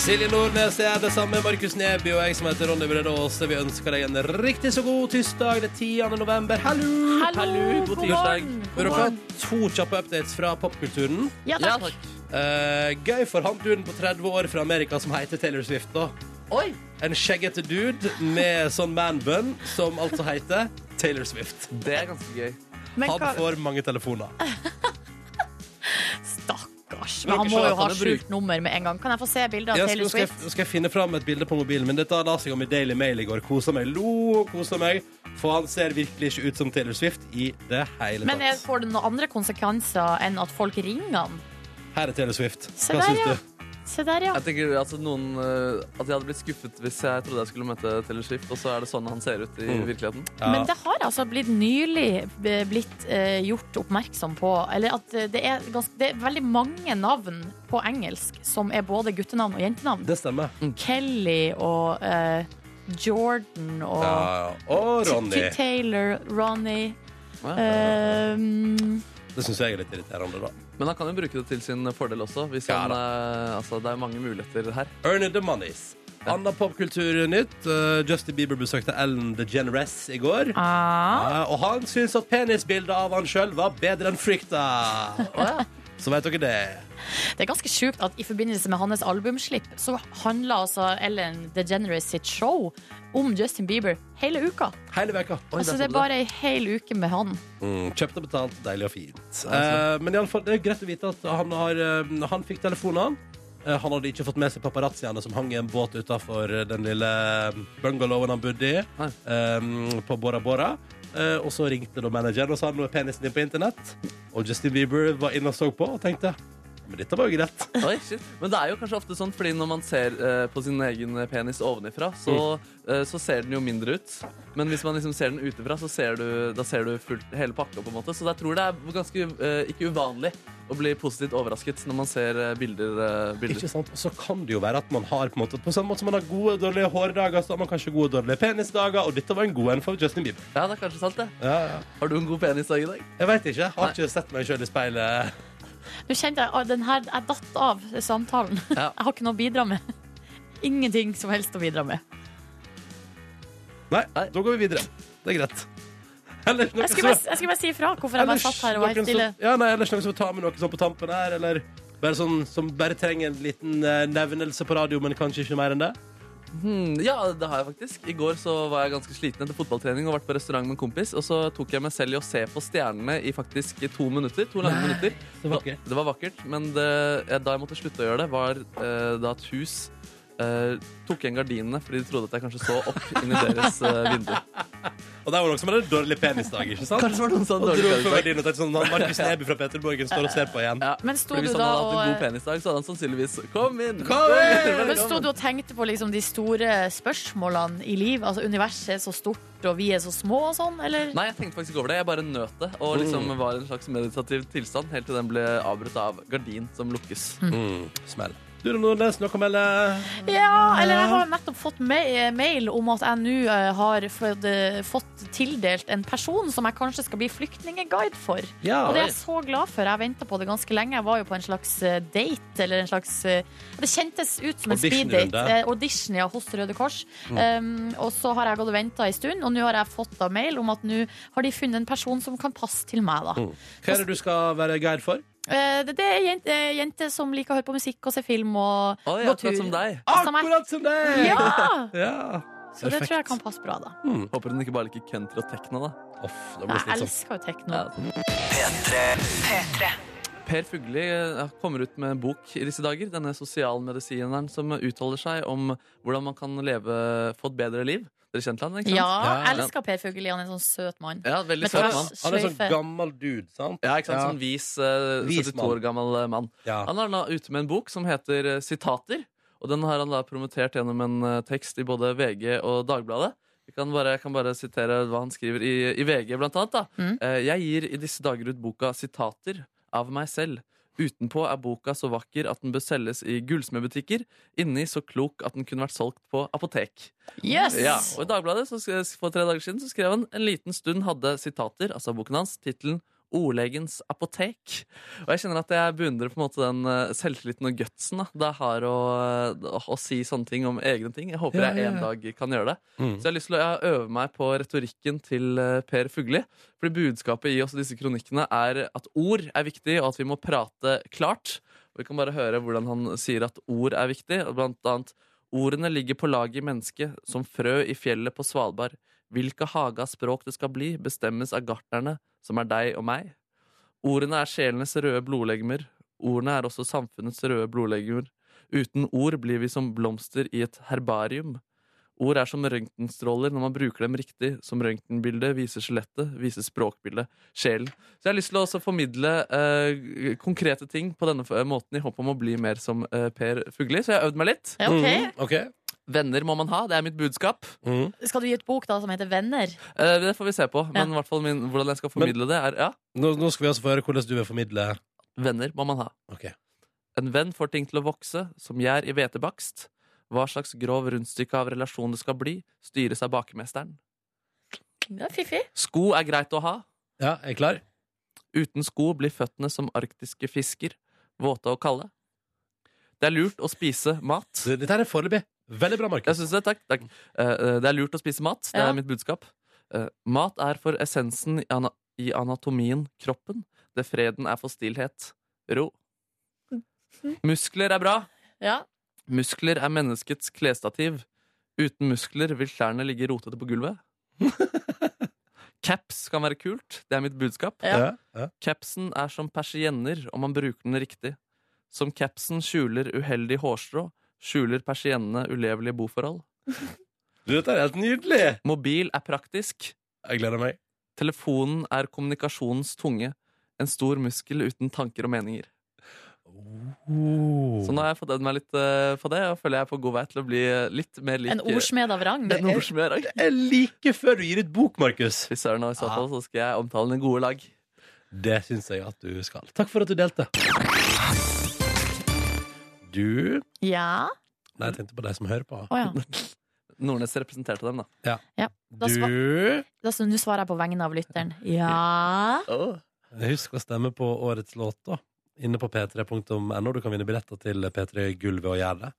B: Silje Nordnes jeg er det samme, Markus Neby og jeg som heter Ronny Brede Aase. Vi ønsker deg en riktig så god tirsdag den 10. november. Hallo!
C: Hallo, god morgen!
B: Vil dere ha to kjappe updates fra popkulturen?
C: Ja, takk.
B: Eh, gøy for han duden på 30 år fra Amerika som heter Taylor Swift, da.
G: Oi!
B: En skjeggete dude med sånn man-bun som altså heter Taylor Swift.
D: Det er ganske gøy.
C: Men hva
B: Han får mange telefoner.
C: Stakkars.
B: Dere
C: Men han
B: ser
C: må
B: at
C: jo ha
B: han er bruk.
C: skjult nummer med en gang. Kan jeg få se bilde av
B: Ja, skal,
C: Taylor
B: skal, jeg,
C: Swift?
B: skal jeg finne fram et bilde på mobilen min? Dette la seg om i Daily Mail i går. Kosa meg. Lo, kosa meg. For han ser virkelig ikke ut som Taylor Swift i det hele
C: Men er-
B: tatt.
C: får det noen andre konsekvenser enn at folk ringer han?
B: Her er Taylor Swift.
C: Se
B: Hva
C: der,
B: syns
C: ja.
B: du?
C: Se der, ja.
D: Jeg tenker altså, noen, eh, at jeg hadde blitt skuffet hvis jeg trodde jeg skulle møte Taylor Swift, og så er det sånn han ser ut i virkeligheten.
B: Ja.
C: Men det har altså blitt nylig eh, blitt eh, gjort oppmerksom på Eller at eh, det er, ganske, det er veldig mange navn på engelsk som er både guttenavn og jentenavn.
B: Det stemmer.
C: Kelly og eh, Jordan og
B: Ja, ja. Og Ronny.
C: T- Taylor, Ronny
D: Ja.
C: Eh. ehm,
B: Det syns jeg er litt irriterende, da.
D: Men han kan jo bruke det til sin fordel også. Hvis
B: Ja,
D: han, eh, altså, det er mange muligheter her.
B: Earn the Monies. Anna popkulturnytt. Uh, Justin Bieber besøkte Ellen DeGeneres i går.
C: ah.
B: Ja, og han syns at penisbildet av han sjøl var bedre enn frykta. Så vet dere det.
C: Det er ganske sjukt at i forbindelse med hans albumslipp så handla altså Ellen DeGeneres sitt show om Justin Bieber hele uka.
B: Hele veka.
C: altså det er bare ei hel uke med han.
B: Mm, kjøpt og betalt, deilig og fint. Eh, men i alle fall, det er greit å vite at han, har, eh, han fikk telefonen. Eh, han hadde ikke fått med seg paparazziene som hang i en båt utafor den lille eh, bungalowen han bodde i,
D: Nei.
B: eh, på Bora Bora. Eh, og så ringte da manageren og sa nå er penisen din på internett. Og Justin Bieber var inne og så på og tenkte Men dette var jo greit.
D: Oi, shit. Men det er jo kanskje ofte sånn, fordi når man ser eh, på sin egen penis ovenifra, så,
B: Mm.
D: eh, så ser den jo mindre ut. Men hvis man liksom ser den utenfra, så ser du, da ser du fullt, hele pakka, på en måte. Så jeg tror det er ganske eh, ikke uvanlig å bli positivt overrasket når man ser eh, bilder. eh, bilder.
B: Ikke sant? Og så kan det jo være at man har på en måte På samme måte som man har gode og dårlige hårdager, så har man kanskje gode og dårlige penisdager, og dette var en god en for Justin Bieber.
D: Ja, det er kanskje sant, det.
B: Ja, ja.
D: Har du en god penisdag i dag?
B: Jeg veit ikke. Har ikke sett meg sjøl i speilet.
C: Nå kjente jeg ah, den her, Jeg datt av samtalen.
D: Ja.
C: Jeg har ikke noe å bidra med. Ingenting som helst å bidra med.
B: Nei,
D: Nei.
B: da går vi videre. Det er greit. Ellers noe
C: Jeg skulle bare, jeg skulle bare si ifra hvorfor jeg bare satt her og var
B: noen
C: helt stille.
B: Som, ja, nei, ellers noen som tar med noe sånn på tampen her, eller bare sånn som bare trenger en liten eh, nevnelse på radio, men kanskje ikke mer enn det?
D: Hmm, ja, det har jeg faktisk. I går så var jeg ganske sliten etter fotballtrening og vært på restaurant med en kompis. Og så tok jeg meg selv i å se på stjernene i faktisk to minutter. To lange minutter.
B: så vakkert.
D: Da, det var vakkert. Men det, jeg, da jeg måtte slutte å gjøre det, var eh, da et hus eh, tok igjen gardinene fordi de trodde at jeg kanskje så opp inn i deres eh, vindu.
B: Og der var det noen som hadde en dårlig penisdag, ikke sant?
D: Kanskje var det noen som
B: Og
D: hadde
B: dro
D: dårlig
B: for
D: penisdag.
B: verdien og tenkte sånn han Markus Neby fra Peterborgen står og ser på igjen.
D: Ja.
C: Men sto
D: Fordi
C: du
D: hvis han
C: da
D: hadde hatt en god
C: og eh,
D: penisdag, så hadde han sannsynligvis Kom inn!
B: Kom inn!
C: men sto du og tenkte på liksom de store spørsmålene i livet? Altså Universet er så stort, og vi er så små og sånn, eller?
D: Nei, jeg tenkte faktisk ikke over det. Jeg bare nøt det. Og liksom
B: Mm.
D: var i en slags meditativ tilstand helt til den ble avbrutt av gardin som lukkes.
B: Smell. Du, Nordnes, noe å melde?
C: Ja, eller jeg har nettopp fått ma- eh, mail om at jeg nå eh, har fått, eh, fått tildelt en person som jeg kanskje skal bli flyktningeguide for.
B: Ja,
C: Og det er jeg så glad for. Jeg venta på det ganske lenge. Jeg var jo på en slags eh, date, eller en slags eh, Det kjentes ut som en
B: Auditionrunde.
C: speeddate. Eh, Audition ja, hos Røde Kors. Um, og så har jeg gått og venta en stund, og nå har jeg fått da mail om at nå har de funnet en person som kan passe til meg, da.
B: Hva er det du skal være guide for?
C: Eh, det, det er jenter jente som liker å høre på musikk og se film og
D: Oi,
C: gå tur.
D: akkurat som deg.
C: Som jeg-
B: Akkurat som deg!
C: Ja!
B: Ja.
C: Så det tror jeg
B: Perfekt.
C: kan passe bra, da.
D: Håper hun ikke bare liker country og techno, da.
B: Off, det blir
C: Jeg
B: slitsomt.
C: elsker jo tekno.
D: Ja. Per Fugli eh, kommer ut med en bok i disse dager. Denne sosialmedisineren som uttaler seg om hvordan man kan leve, få et bedre liv. Dere kjente han, ikke sant?
C: Ja, jeg
D: Ja.
C: elsker Per Fugelli. Han er en sånn søt mann.
D: Ja, veldig
C: Men
D: søt
C: kanskje-
D: mann.
B: Han er sånn
C: sløyfe.
B: gammel dude, sant?
D: Ja, ikke sant? Sånn vis, eh,
B: Vis
D: 72 år gammel eh, mann.
B: Ja.
D: Han er da ute med en bok som heter eh, Sitater. Og den har han da promotert gjennom en eh, tekst i både VG og Dagbladet. Vi kan bare, jeg kan bare sitere hva han skriver i, i VG, blant annet. Da.
C: Mm.
D: Eh, Jeg gir i disse dager ut boka Sitater av meg selv. Utenpå er boka så vakker at den bør selges i gullsmedbutikker. Inni så klok at den kunne vært solgt på apotek.
C: Yes!
D: Ja, og I Dagbladet så, sk- for tre dager siden så skrev han en liten stund hadde sitater, altså boken hans, tittelen Ordlegens apotek. Og jeg kjenner at jeg beundrer på en måte den eh, selvtilliten og gutsen da, det har å, eh, å, å si sånne ting om egne ting. Jeg håper
B: Ja, ja,
D: jeg en
B: ja.
D: dag kan gjøre det.
B: Mm.
D: Så jeg har lyst til å øve meg på retorikken til eh, Per Fugli. Fordi budskapet i oss disse kronikkene er at ord er viktig, og at vi må prate klart. Og vi kan bare høre hvordan han sier at ord er viktig. og Blant annet Ordene ligger på laget i mennesket, som frø i fjellet på Svalbard. Hvilke hage av språk det skal bli, bestemmes av gartnerne, som er deg og meg. Ordene er sjelenes røde blodlegemer. Ordene er også samfunnets røde blodlegemer. Uten ord blir vi som blomster i et herbarium. Ord er som røntgenstråler når man bruker dem riktig. Som røntgenbildet viser skjelettet, viser språkbildet, sjelen. Så jeg har lyst til å også formidle eh, konkrete ting på denne f- måten i håp om å bli mer som eh, Per Fugli. Så jeg har øvd meg litt.
C: Ja, ok.
B: Mm, ok.
D: Venner må man ha, det er mitt budskap.
B: Mm.
C: Skal du gi ut bok da som heter Venner?
D: Eh, det får vi se på. Men
C: Ja.
D: i hvert fall min, hvordan jeg skal formidle det, er ja,
B: Nå, nå skal vi altså få høre hvordan du vil formidle
D: venner må man ha.
B: Ok.
D: En venn får ting til å vokse, som gjær i hvetebakst. Hva slags grov rundstykke av relasjon det skal bli, styres av bakemesteren.
C: Ja, Fiffig.
D: Sko er greit å ha,
B: Ja, er jeg klar?
D: Uten sko blir føttene som arktiske fisker, våte og kalde. Det er lurt å spise mat.
B: Så Dette her er foreløpig. Veldig bra,
D: Jeg
B: Markus.
D: synes det, takk, takk. Eh, eh, Det er lurt å spise mat, det
C: Ja.
D: er mitt budskap. Eh, Mat er for essensen i ana- i anatomien kroppen, det freden er for stillhet. Ro. Muskler er bra.
C: Ja.
D: Muskler er menneskets klesstativ. Uten muskler vil klærne ligge rotete på gulvet. Caps kan være kult, det er mitt budskap.
C: Ja.
B: Ja, ja.
D: Capsen er som persienner om man bruker den riktig. Som capsen skjuler uheldig hårstrå, skjuler persiennene ulevelige boforhold.
B: Du, dette er helt nydelig!
D: Mobil er praktisk,
B: Jeg gleder meg.
D: telefonen er kommunikasjonens tunge, en stor muskel uten tanker og meninger.
B: Oh.
D: Så
B: Sånn
D: nå har jeg fått øvd meg litt eh, på det, og føler jeg er på god vei til å bli eh, litt mer lik
C: En ordsmed av rang.
D: En ordsmed, ja.
B: Det er like før du gir ut bok, Markus.
D: Hvis det er noe i så fall, så skal jeg omtale den gode lag.
B: Det syns jeg at du skal. Takk for at du delte. Du
C: Ja.
B: Nei, jeg tenkte på deg som hører på.
C: Å ja.
D: Nordnes representerte dem, da.
C: Da
B: Du
C: Da- så Nå svarer jeg på vegne av lytteren. Ja.
B: Husk å stemme på årets låt, da. Inne på p3.no. Du kan vinne billetter til P3 Gull ved å gjøre det.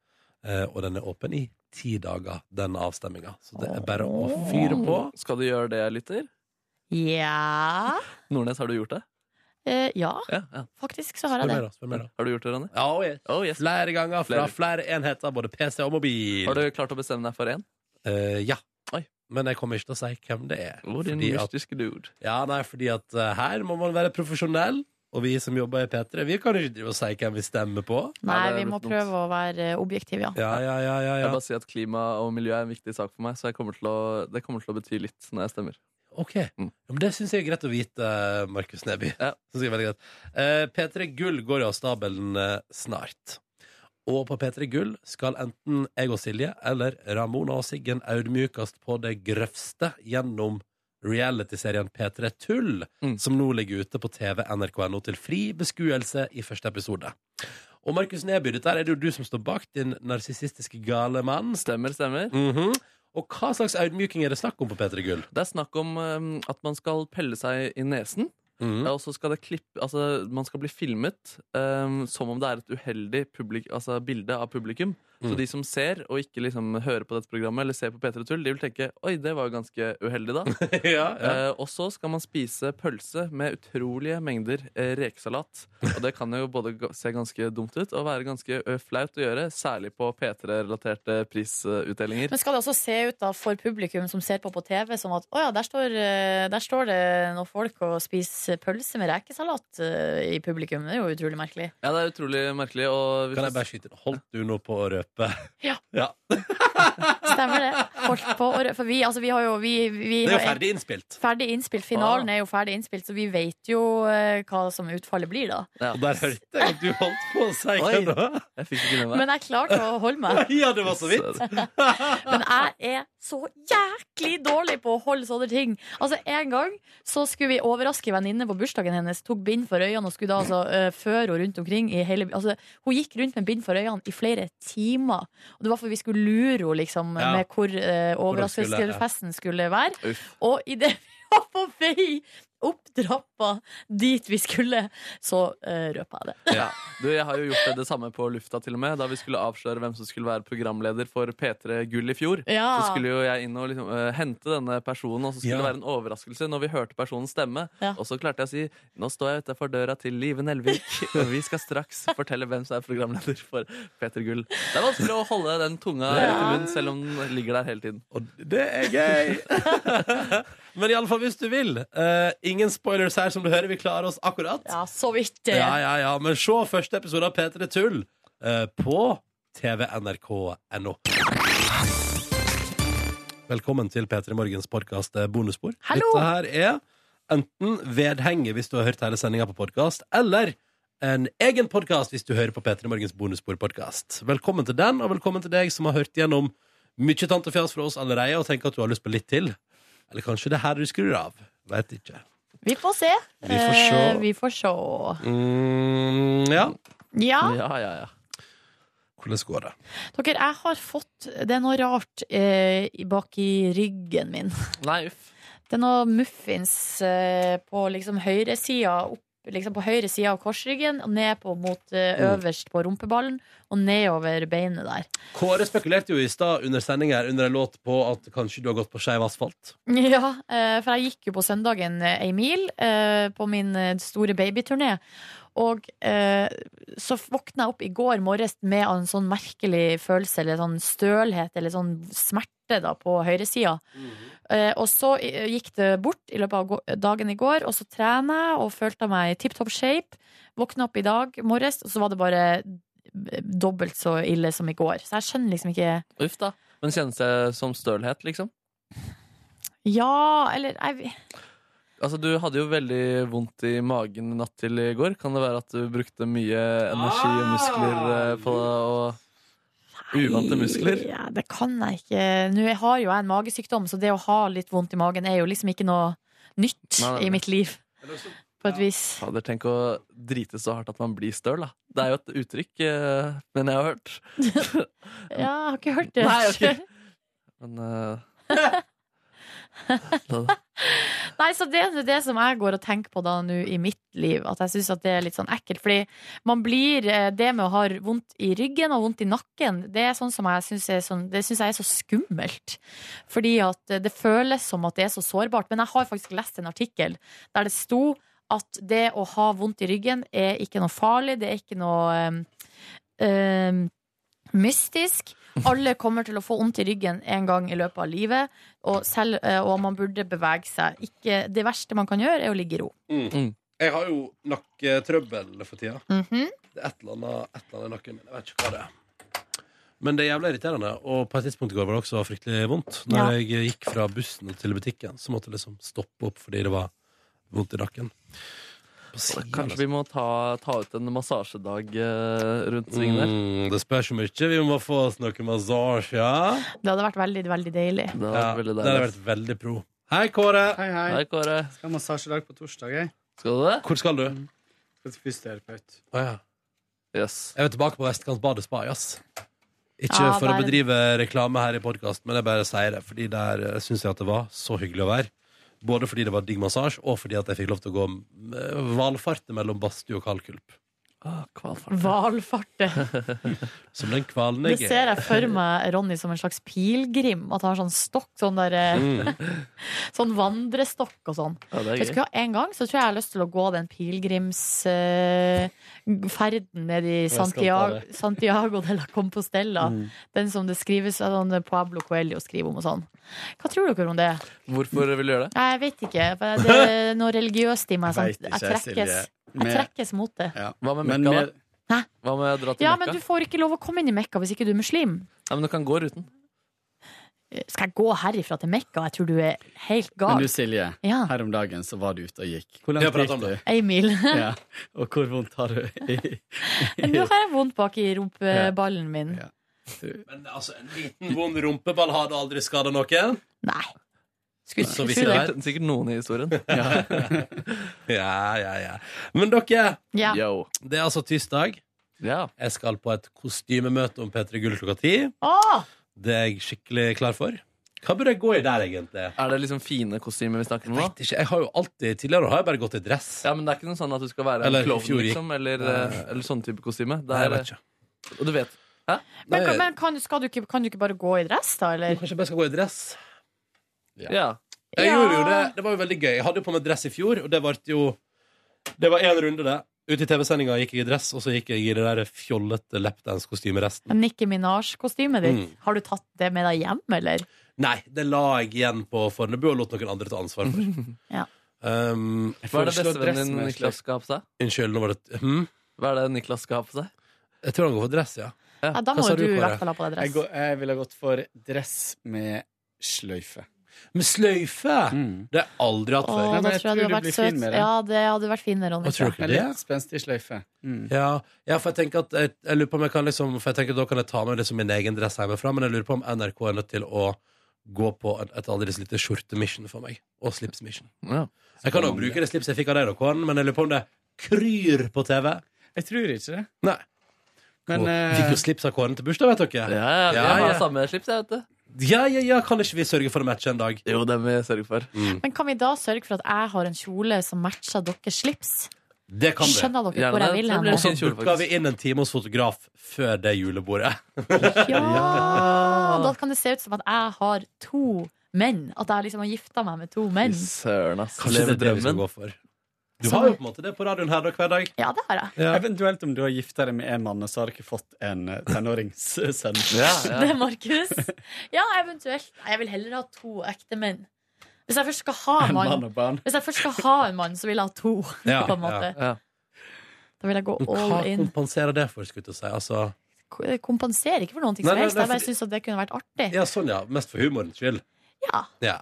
B: Eh, Og den er åpen i ti dager, den avstemminga. Så det er bare å fyre på.
D: Skal du gjøre det, lytter?
C: Ja.
D: Nordnes, har du gjort det?
C: Eh, ja,
D: Ja, ja.
C: faktisk så har
B: Spør
C: jeg
B: mer,
C: det.
B: da. Spør mer, da.
D: Har du gjort det, Ronny?
B: Ja, og jeg-
D: Oh, yes.
B: Flere ganger fra
D: Flere.
B: flere enheter, både PC og mobil.
D: Har du klart å bestemme deg for én?
B: Eh, ja.
D: Oi.
B: Men jeg kommer ikke til å si hvem det er.
D: Hvor din
B: Fordi at
D: mystiske dude.
B: Ja, nei, fordi at eh, her må man være profesjonell. Og vi som jobber i P3, vi kan jo ikke drive og si hvem vi stemmer på.
C: Nei,
D: det er
C: vi må
D: litt dumt.
C: prøve å være eh, objektive, ja.
B: Ja, ja, ja, ja,
D: Jeg vil
B: ja.
D: bare si at Klima og miljø er en viktig sak for meg, så jeg kommer til å, det kommer til å bety litt når jeg stemmer.
B: Ok, ja, men Det syns jeg er greit å vite, Markus Neby.
D: Mm. Ja.
B: Synes jeg er veldig greit. Eh, P3 Gull går jo av stabelen eh, snart. Og på P3 Gull skal enten jeg og Silje eller Ramona og Siggen audmykast på det grøvste gjennom realityserien P3 Tull,
D: Mm.
B: som nå ligger ute på TV nrk.no til fri beskuelse i første episode. Og Markus Neby, dette er det jo du som står bak, din narsissistiske gale mann.
D: Stemmer, stemmer.
B: Mhm. Og hva slags audmyking er det snakk om på P3 Gull?
D: Det er snakk om eh, at man skal pelle seg i nesen.
B: Mhm.
D: Ja, og så skal det klippe, altså Man skal bli filmet ehm, som om det er et uheldig publik, altså, bilde av publikum. Så
B: Mm.
D: de som ser og ikke liksom hører på dette programmet, eller ser på P3 Tull, de vil tenke oi, det var jo ganske uheldig, da.
B: ja, ja.
D: Eh, og så skal man spise pølse med utrolige mengder eh, rekesalat. Og det kan jo både ga- se ganske dumt ut og være ganske ø, flaut å gjøre, særlig på P3-relaterte prisutdelinger.
C: Men skal det også se ut da for publikum som ser på på TV, som at å ja, der står, eh, der står det noen folk og spiser pølse med rekesalat eh, i publikum? Det er jo utrolig merkelig.
D: Ja, det er utrolig merkelig. Og hvis
B: Kan jeg bare skyte inn? Holdt du nå på å røpe?
C: Ja.
B: ja.
C: Stemmer det. Holdt på å rø- For vi, altså, vi har jo vi, vi
B: Det er jo
C: har-
B: ferdig Ah. innspilt.
C: Ferdig innspilt. Finalen er jo ferdig innspilt, så vi vet jo eh, hva som utfallet blir, da.
D: ja.
B: Og der hørte jeg at du holdt på å si
D: Oi.
B: hva da?
D: Jeg fikk ikke med meg.
C: Men jeg klarte å holde meg.
B: Ja, det var så vidt.
D: Så-
C: Men jeg er så jæklig dårlig på å holde sånne ting. Altså En gang så skulle vi overraske en venninne på bursdagen hennes. Tok bind for øynene og skulle da altså eh, føre henne rundt omkring. I hele, altså, hun gikk rundt med bind for øynene i flere timer. Og Det var for vi skulle lure henne liksom,
B: Ja.
C: med hvor eh,
B: hun skulle, ja.
C: overraskelsesfesten skulle være.
D: Uff.
C: Og idet vi var på vei opp trappa dit vi skulle, så uh, røpa jeg det.
D: Ja. Du, jeg har jo gjort det, det samme på lufta til og med Da vi skulle avsløre hvem som skulle være programleder for P3 Gull i fjor
C: Ja.
D: Så skulle jo jeg inn og liksom, eh, hente denne personen Og så skulle
B: Ja.
D: det være en overraskelse når vi hørte personen stemme
C: Ja.
D: Og så klarte jeg å si Nå står jeg utenfor døra til Live Nelvik Og vi skal straks fortelle hvem som er programleder for P3 Gull Det er vanskelig å holde den tunga rett i munnen Selv om den ligger der hele tiden
B: Og det er gøy! Men iallfall hvis du vil. Eh, ingen spoilers her, som du hører. Vi klarer oss akkurat.
C: Ja, så vidt. eh.
B: Ja, ja, ja. Men se første episode av P3 Tull eh, på tvnrk.no. Velkommen til P3 Morgens podkast Bonusspor.
C: Hallo!
B: Dette her er enten vedhenget hvis du har hørt hele sendinga på podkast, eller en egen podkast hvis du hører på P3 Morgens bonusspor-podkast. Velkommen til den, og velkommen til deg som har hørt gjennom mye tant og fjas fra oss allerede og tenker at du har lyst på litt til. Eller kanskje det er her du skrur av. Veit ikke.
C: Vi får se.
B: Vi får se.
C: Eh, vi får se.
B: Mm, ja.
C: Ja.
D: Ja, ja, ja
B: Hvordan går det?
C: Dere, jeg har fått Det er noe rart eh, i- bak i ryggen min.
D: Nei, uff
C: Det er noe muffins eh, på liksom høyresida opp. Liksom på høyre sida av korsryggen, og ned på mot eh, øverst på rumpeballen, og nedover beinet der.
B: Kåre spekulerte jo i stad under sending her under en låt på at kanskje du har gått på skeiv asfalt.
C: Ja, eh, for jeg gikk jo på søndagen eh, ei mil eh, på min eh, store babyturné. Og eh, så våkna jeg opp i går morges med en sånn merkelig følelse, eller sånn stølhet, eller sånn smerte da på høyresida. eh, og så eh, gikk det bort i løpet av gå- dagen i går, og så trener jeg og følte meg i tipp topp shape. Våkna opp i dag morges, og så var det bare eh, dobbelt så ille som i går. Så jeg skjønner liksom ikke
D: Uff da Men kjennes det som stølhet liksom?
C: Ja, eller jeg,
D: Altså, du hadde jo veldig vondt i magen natt til i går. Kan det være at du brukte mye energi og muskler
C: Ah,
D: eh, på og uvante muskler?
C: Ja, det kan jeg ikke. Nå jeg har jo jeg en magesykdom, så det å ha litt vondt i magen er jo liksom ikke noe nytt
D: Nei, nei, nei.
C: i mitt liv. På et vis.
D: Fader, tenk å drite så hardt at man blir støl, da. Det er jo et uttrykk, eh, men jeg har hørt.
C: Ja, jeg har ikke hørt det.
D: Nei, ok. Men eh, så,
C: Nei, så det er jo det som jeg går og tenker på da nå i mitt liv. At jeg syns at det er litt sånn ekkelt. Fordi man blir eh, Det med å ha vondt i ryggen og vondt i nakken, det er sånn som jeg syns er sånn Det syns jeg er så skummelt. Fordi at eh, det føles som at det er så sårbart. Men jeg har faktisk lest en artikkel der det sto at det å ha vondt i ryggen er ikke noe farlig, det er ikke noe eh, eh, mystisk. Alle kommer til å få vondt i ryggen en gang i løpet av livet, og, selv, eh, og man burde bevege seg. Ikke, det verste man kan gjøre, er å ligge i ro.
D: Mm.
B: Jeg har jo nakketrøbbel for tida.
C: Mhm.
B: Det er et eller annet, et eller annet i nakken min. Jeg vet ikke hva det er. Men det er jævlig irriterende, og på et tidspunkt i går var det også fryktelig vondt. Når jeg gikk fra bussen til butikken, så måtte jeg liksom stoppe opp fordi det var vondt i nakken. På
D: så
B: siden, altså.
D: kanskje vi må ta, ta ut en massasjedag eh, rundt svingen der.
B: Mm, det spørs så mye. Vi må få oss noe massasje. Ja.
C: Det hadde vært veldig, veldig deilig.
D: Det hadde
B: Ja,
D: vært
B: det
D: veldig
B: hadde
D: deilig.
B: vært veldig pro. Hei, Kåre.
J: Hei, hei.
D: Hei, Kåre.
J: Skal ha massasjedag på torsdag. Jeg
D: Skal du det?
B: Hvor skal du?
J: skal til fysioterapeut.
B: Å, ja.
D: Yes.
B: Jeg er tilbake på Vestkant badespa, ass. Ikke
C: Ja,
B: for å
C: Ah, der-
B: bedrive reklame her i podkast, men jeg bare sier det, fordi der eh, syns jeg at det var så hyggelig å være. Både fordi det var digg massasje, og fordi at jeg fikk lov til å gå eh, valfarte mellom badstue og kaldkulp.
D: Ah, kvalfart.
C: Hvalfarte.
B: Som den kvalen
C: Det
B: jeg
C: ser jeg for meg Ronny som en slags pilegrim. At han har sånn stokk, sånn, der, eh,
B: Mm.
C: sånn vandrestokk og sånn.
D: Ja, det er
C: Vet du
D: gøy.
C: hva, en gang så tror jeg jeg har lyst til å gå den pilegrimsferden ned i Santiago, Santiago de la Compostela.
D: Mm.
C: Den som det skrives sånn Pablo Coelho skriver om og sånn. Hva tror dere om det?
D: Hvorfor vil du gjøre det?
C: Nei, Jeg vet ikke. for Det er noe religiøst i meg. Sånn.
J: Vet ikke,
C: Jeg trekkes,
J: Silje.
C: jeg
J: Med-
C: trekkes mot det.
J: Ja.
D: Hva med
J: Men
D: Mekka,
J: med,
D: da?
C: Hæ?
D: Hva med å dra til
C: Ja,
D: Mekka?
C: men du får ikke lov å komme inn i Mekka hvis ikke du er muslim.
D: Nei, men du kan gå uten.
C: Skal jeg gå herifra til Mekka? Jeg tror du er helt
J: men
C: gal.
J: du, Silje,
C: Ja,
J: her om dagen så var du ute og gikk. Hvor
B: Vi har pratet om
J: du?
B: det.
C: ei mil.
J: Ja. Og hvor vondt har du?
C: Nå har jeg vondt bak i rumpeballen min.
J: Ja.
B: Men altså, en liten vond rumpeball har du aldri skada noen?
C: Nei. Skulle
B: Så
C: skulle
B: vidt jeg
C: tro det.
D: Sikkert, sikkert noen i historien.
B: Ja, ja, ja. Men dere,
C: Ja.
D: Yo.
B: det er altså tirsdag.
D: Ja.
B: Jeg skal på et kostymemøte om P3 Gull klokka ti.
C: Åh!
B: Det er jeg skikkelig klar for. Hva burde jeg gå i der, egentlig?
D: Er det liksom fine kostymer vi snakker om nå?
B: Vet ikke, jeg har jo alltid Tidligere har jeg bare gått i dress.
D: Ja, men det er ikke noe sånn at du skal være
B: Eller i
D: en klovn,
B: fjor gikk-
D: liksom? Eller, eh, eller sånn type kostyme? Det
B: Nei, jeg
D: er, eh,
B: vet ikke.
D: og du vet
C: Men,
B: Nei,
C: men kan, skal du ikke, kan du ikke bare gå i dress, da?
B: jeg-
C: Eller?
B: Kanskje jeg bare skal gå i dress.
D: Ja.
B: Jeg
C: Ja.
B: gjorde jo det. Det var jo veldig gøy. Jeg hadde jo på meg dress i fjor, og det ble jo Det var én runde, det. Ute i TV-sendinga gikk jeg i dress, og så gikk jeg i det der fjollete lapdance-kostymeresten.
C: Nikki Minaj-kostymet ditt.
B: Mm.
C: Har du tatt det med deg hjem, eller?
B: Nei, det la jeg igjen på Fornebu og lot noen andre ta ansvar for.
C: Ja.
B: Um, jeg
D: Hva er det
B: foreslår dress
D: bestevennen din
B: med en
D: Niklas
B: slags-
D: skal ha på seg?
B: Unnskyld, nå var det hm?
D: Hva er det Niklas skal ha på seg?
B: Jeg tror han går for dress, ja.
D: Ja.
C: Ja, da
B: Hva
C: må
B: sa
C: jo
B: du,
C: du i
B: Kåre?
C: hvert fall ha på deg
J: Jeg,
C: dress.
J: går, jeg ville gått for dress med sløyfe.
B: Med sløyfe! Det har jeg aldri hatt
C: Åh,
B: før.
J: Nei, men
C: da
J: jeg
C: tror jeg du
J: tror
C: hadde
J: du
C: vært
J: blir fin
C: søt.
J: med det.
C: Ja, det hadde vært fin, Ronny.
B: Hva tror dere
J: En
B: det?
J: litt spenstig sløyfe. Mm.
B: Ja, ja, for jeg tenker at jeg, jeg lurer på om jeg kan liksom For jeg tenker at da kan jeg ta med liksom min egen dress hjemmefra, men jeg lurer på om NRK er nødt til å gå på et, et aldri lite skjortemission for meg. Og slipsmission.
D: Ja.
B: Jeg kan jo bruke det slipset jeg fikk av deg, da, Kåren, men jeg lurer på om det kryr på TV.
J: Jeg tror ikke det.
B: Nei.
J: Men
B: og,
J: eh,
B: fikk jo slips av Kåren til bursdag, vet
D: Ja,
B: dere.
D: ja, vi
B: Ja,
D: har
B: ja.
D: samme slips, jeg, vet du.
B: Ja, ja, ja, kan ikke vi sørge for å matche en dag?
D: Jo, det må jeg sørge for.
C: Men kan vi da sørge for at jeg har en kjole som matcher deres slips?
B: Det kan vi.
C: Skjønner dere
D: Gjerne
C: hvor jeg
D: det.
C: vil
D: Det
C: hen?
D: blir
B: Og så
D: Fin kjole,
B: booka vi
D: faktisk.
B: inn en time hos fotograf før det julebordet.
C: Ja! Da kan det se ut som at jeg har to menn. At jeg liksom har gifta meg med to
D: Fy
C: menn.
D: Søren, ass.
B: Kanskje det
D: Lever
B: er det vi skal
D: drømmen.
B: gå for. Du
C: Så-
B: har jo på en måte det på radioen her da, hver dag.
C: Ja, det har jeg.
B: Ja.
J: Eventuelt om du har gifta deg med en mann, så har dere fått en eh, tenåringssønn.
D: Ja,
C: Det
D: ja.
C: er Markus. Ja, eventuelt. Nei, Jeg vil heller ha to ekte menn. Hvis jeg først skal ha en
J: En mann
C: mann,
J: og barn.
C: hvis jeg først skal ha en mann så vil jeg ha to.
B: Ja,
C: på en måte.
D: ja.
C: Da vil jeg gå
B: Men Hva
C: all in.
B: kompenserer det for, skulle jeg til å si? Altså,
C: Ko- Kompensere ikke for noen ting
B: Nei,
C: som
B: nei,
C: helst.
B: nei,
C: Jeg bare
B: fordi-
C: syns at det kunne vært artig.
B: ja, sånn, ja. Mest for humorens skyld.
C: Ja.
B: Ja.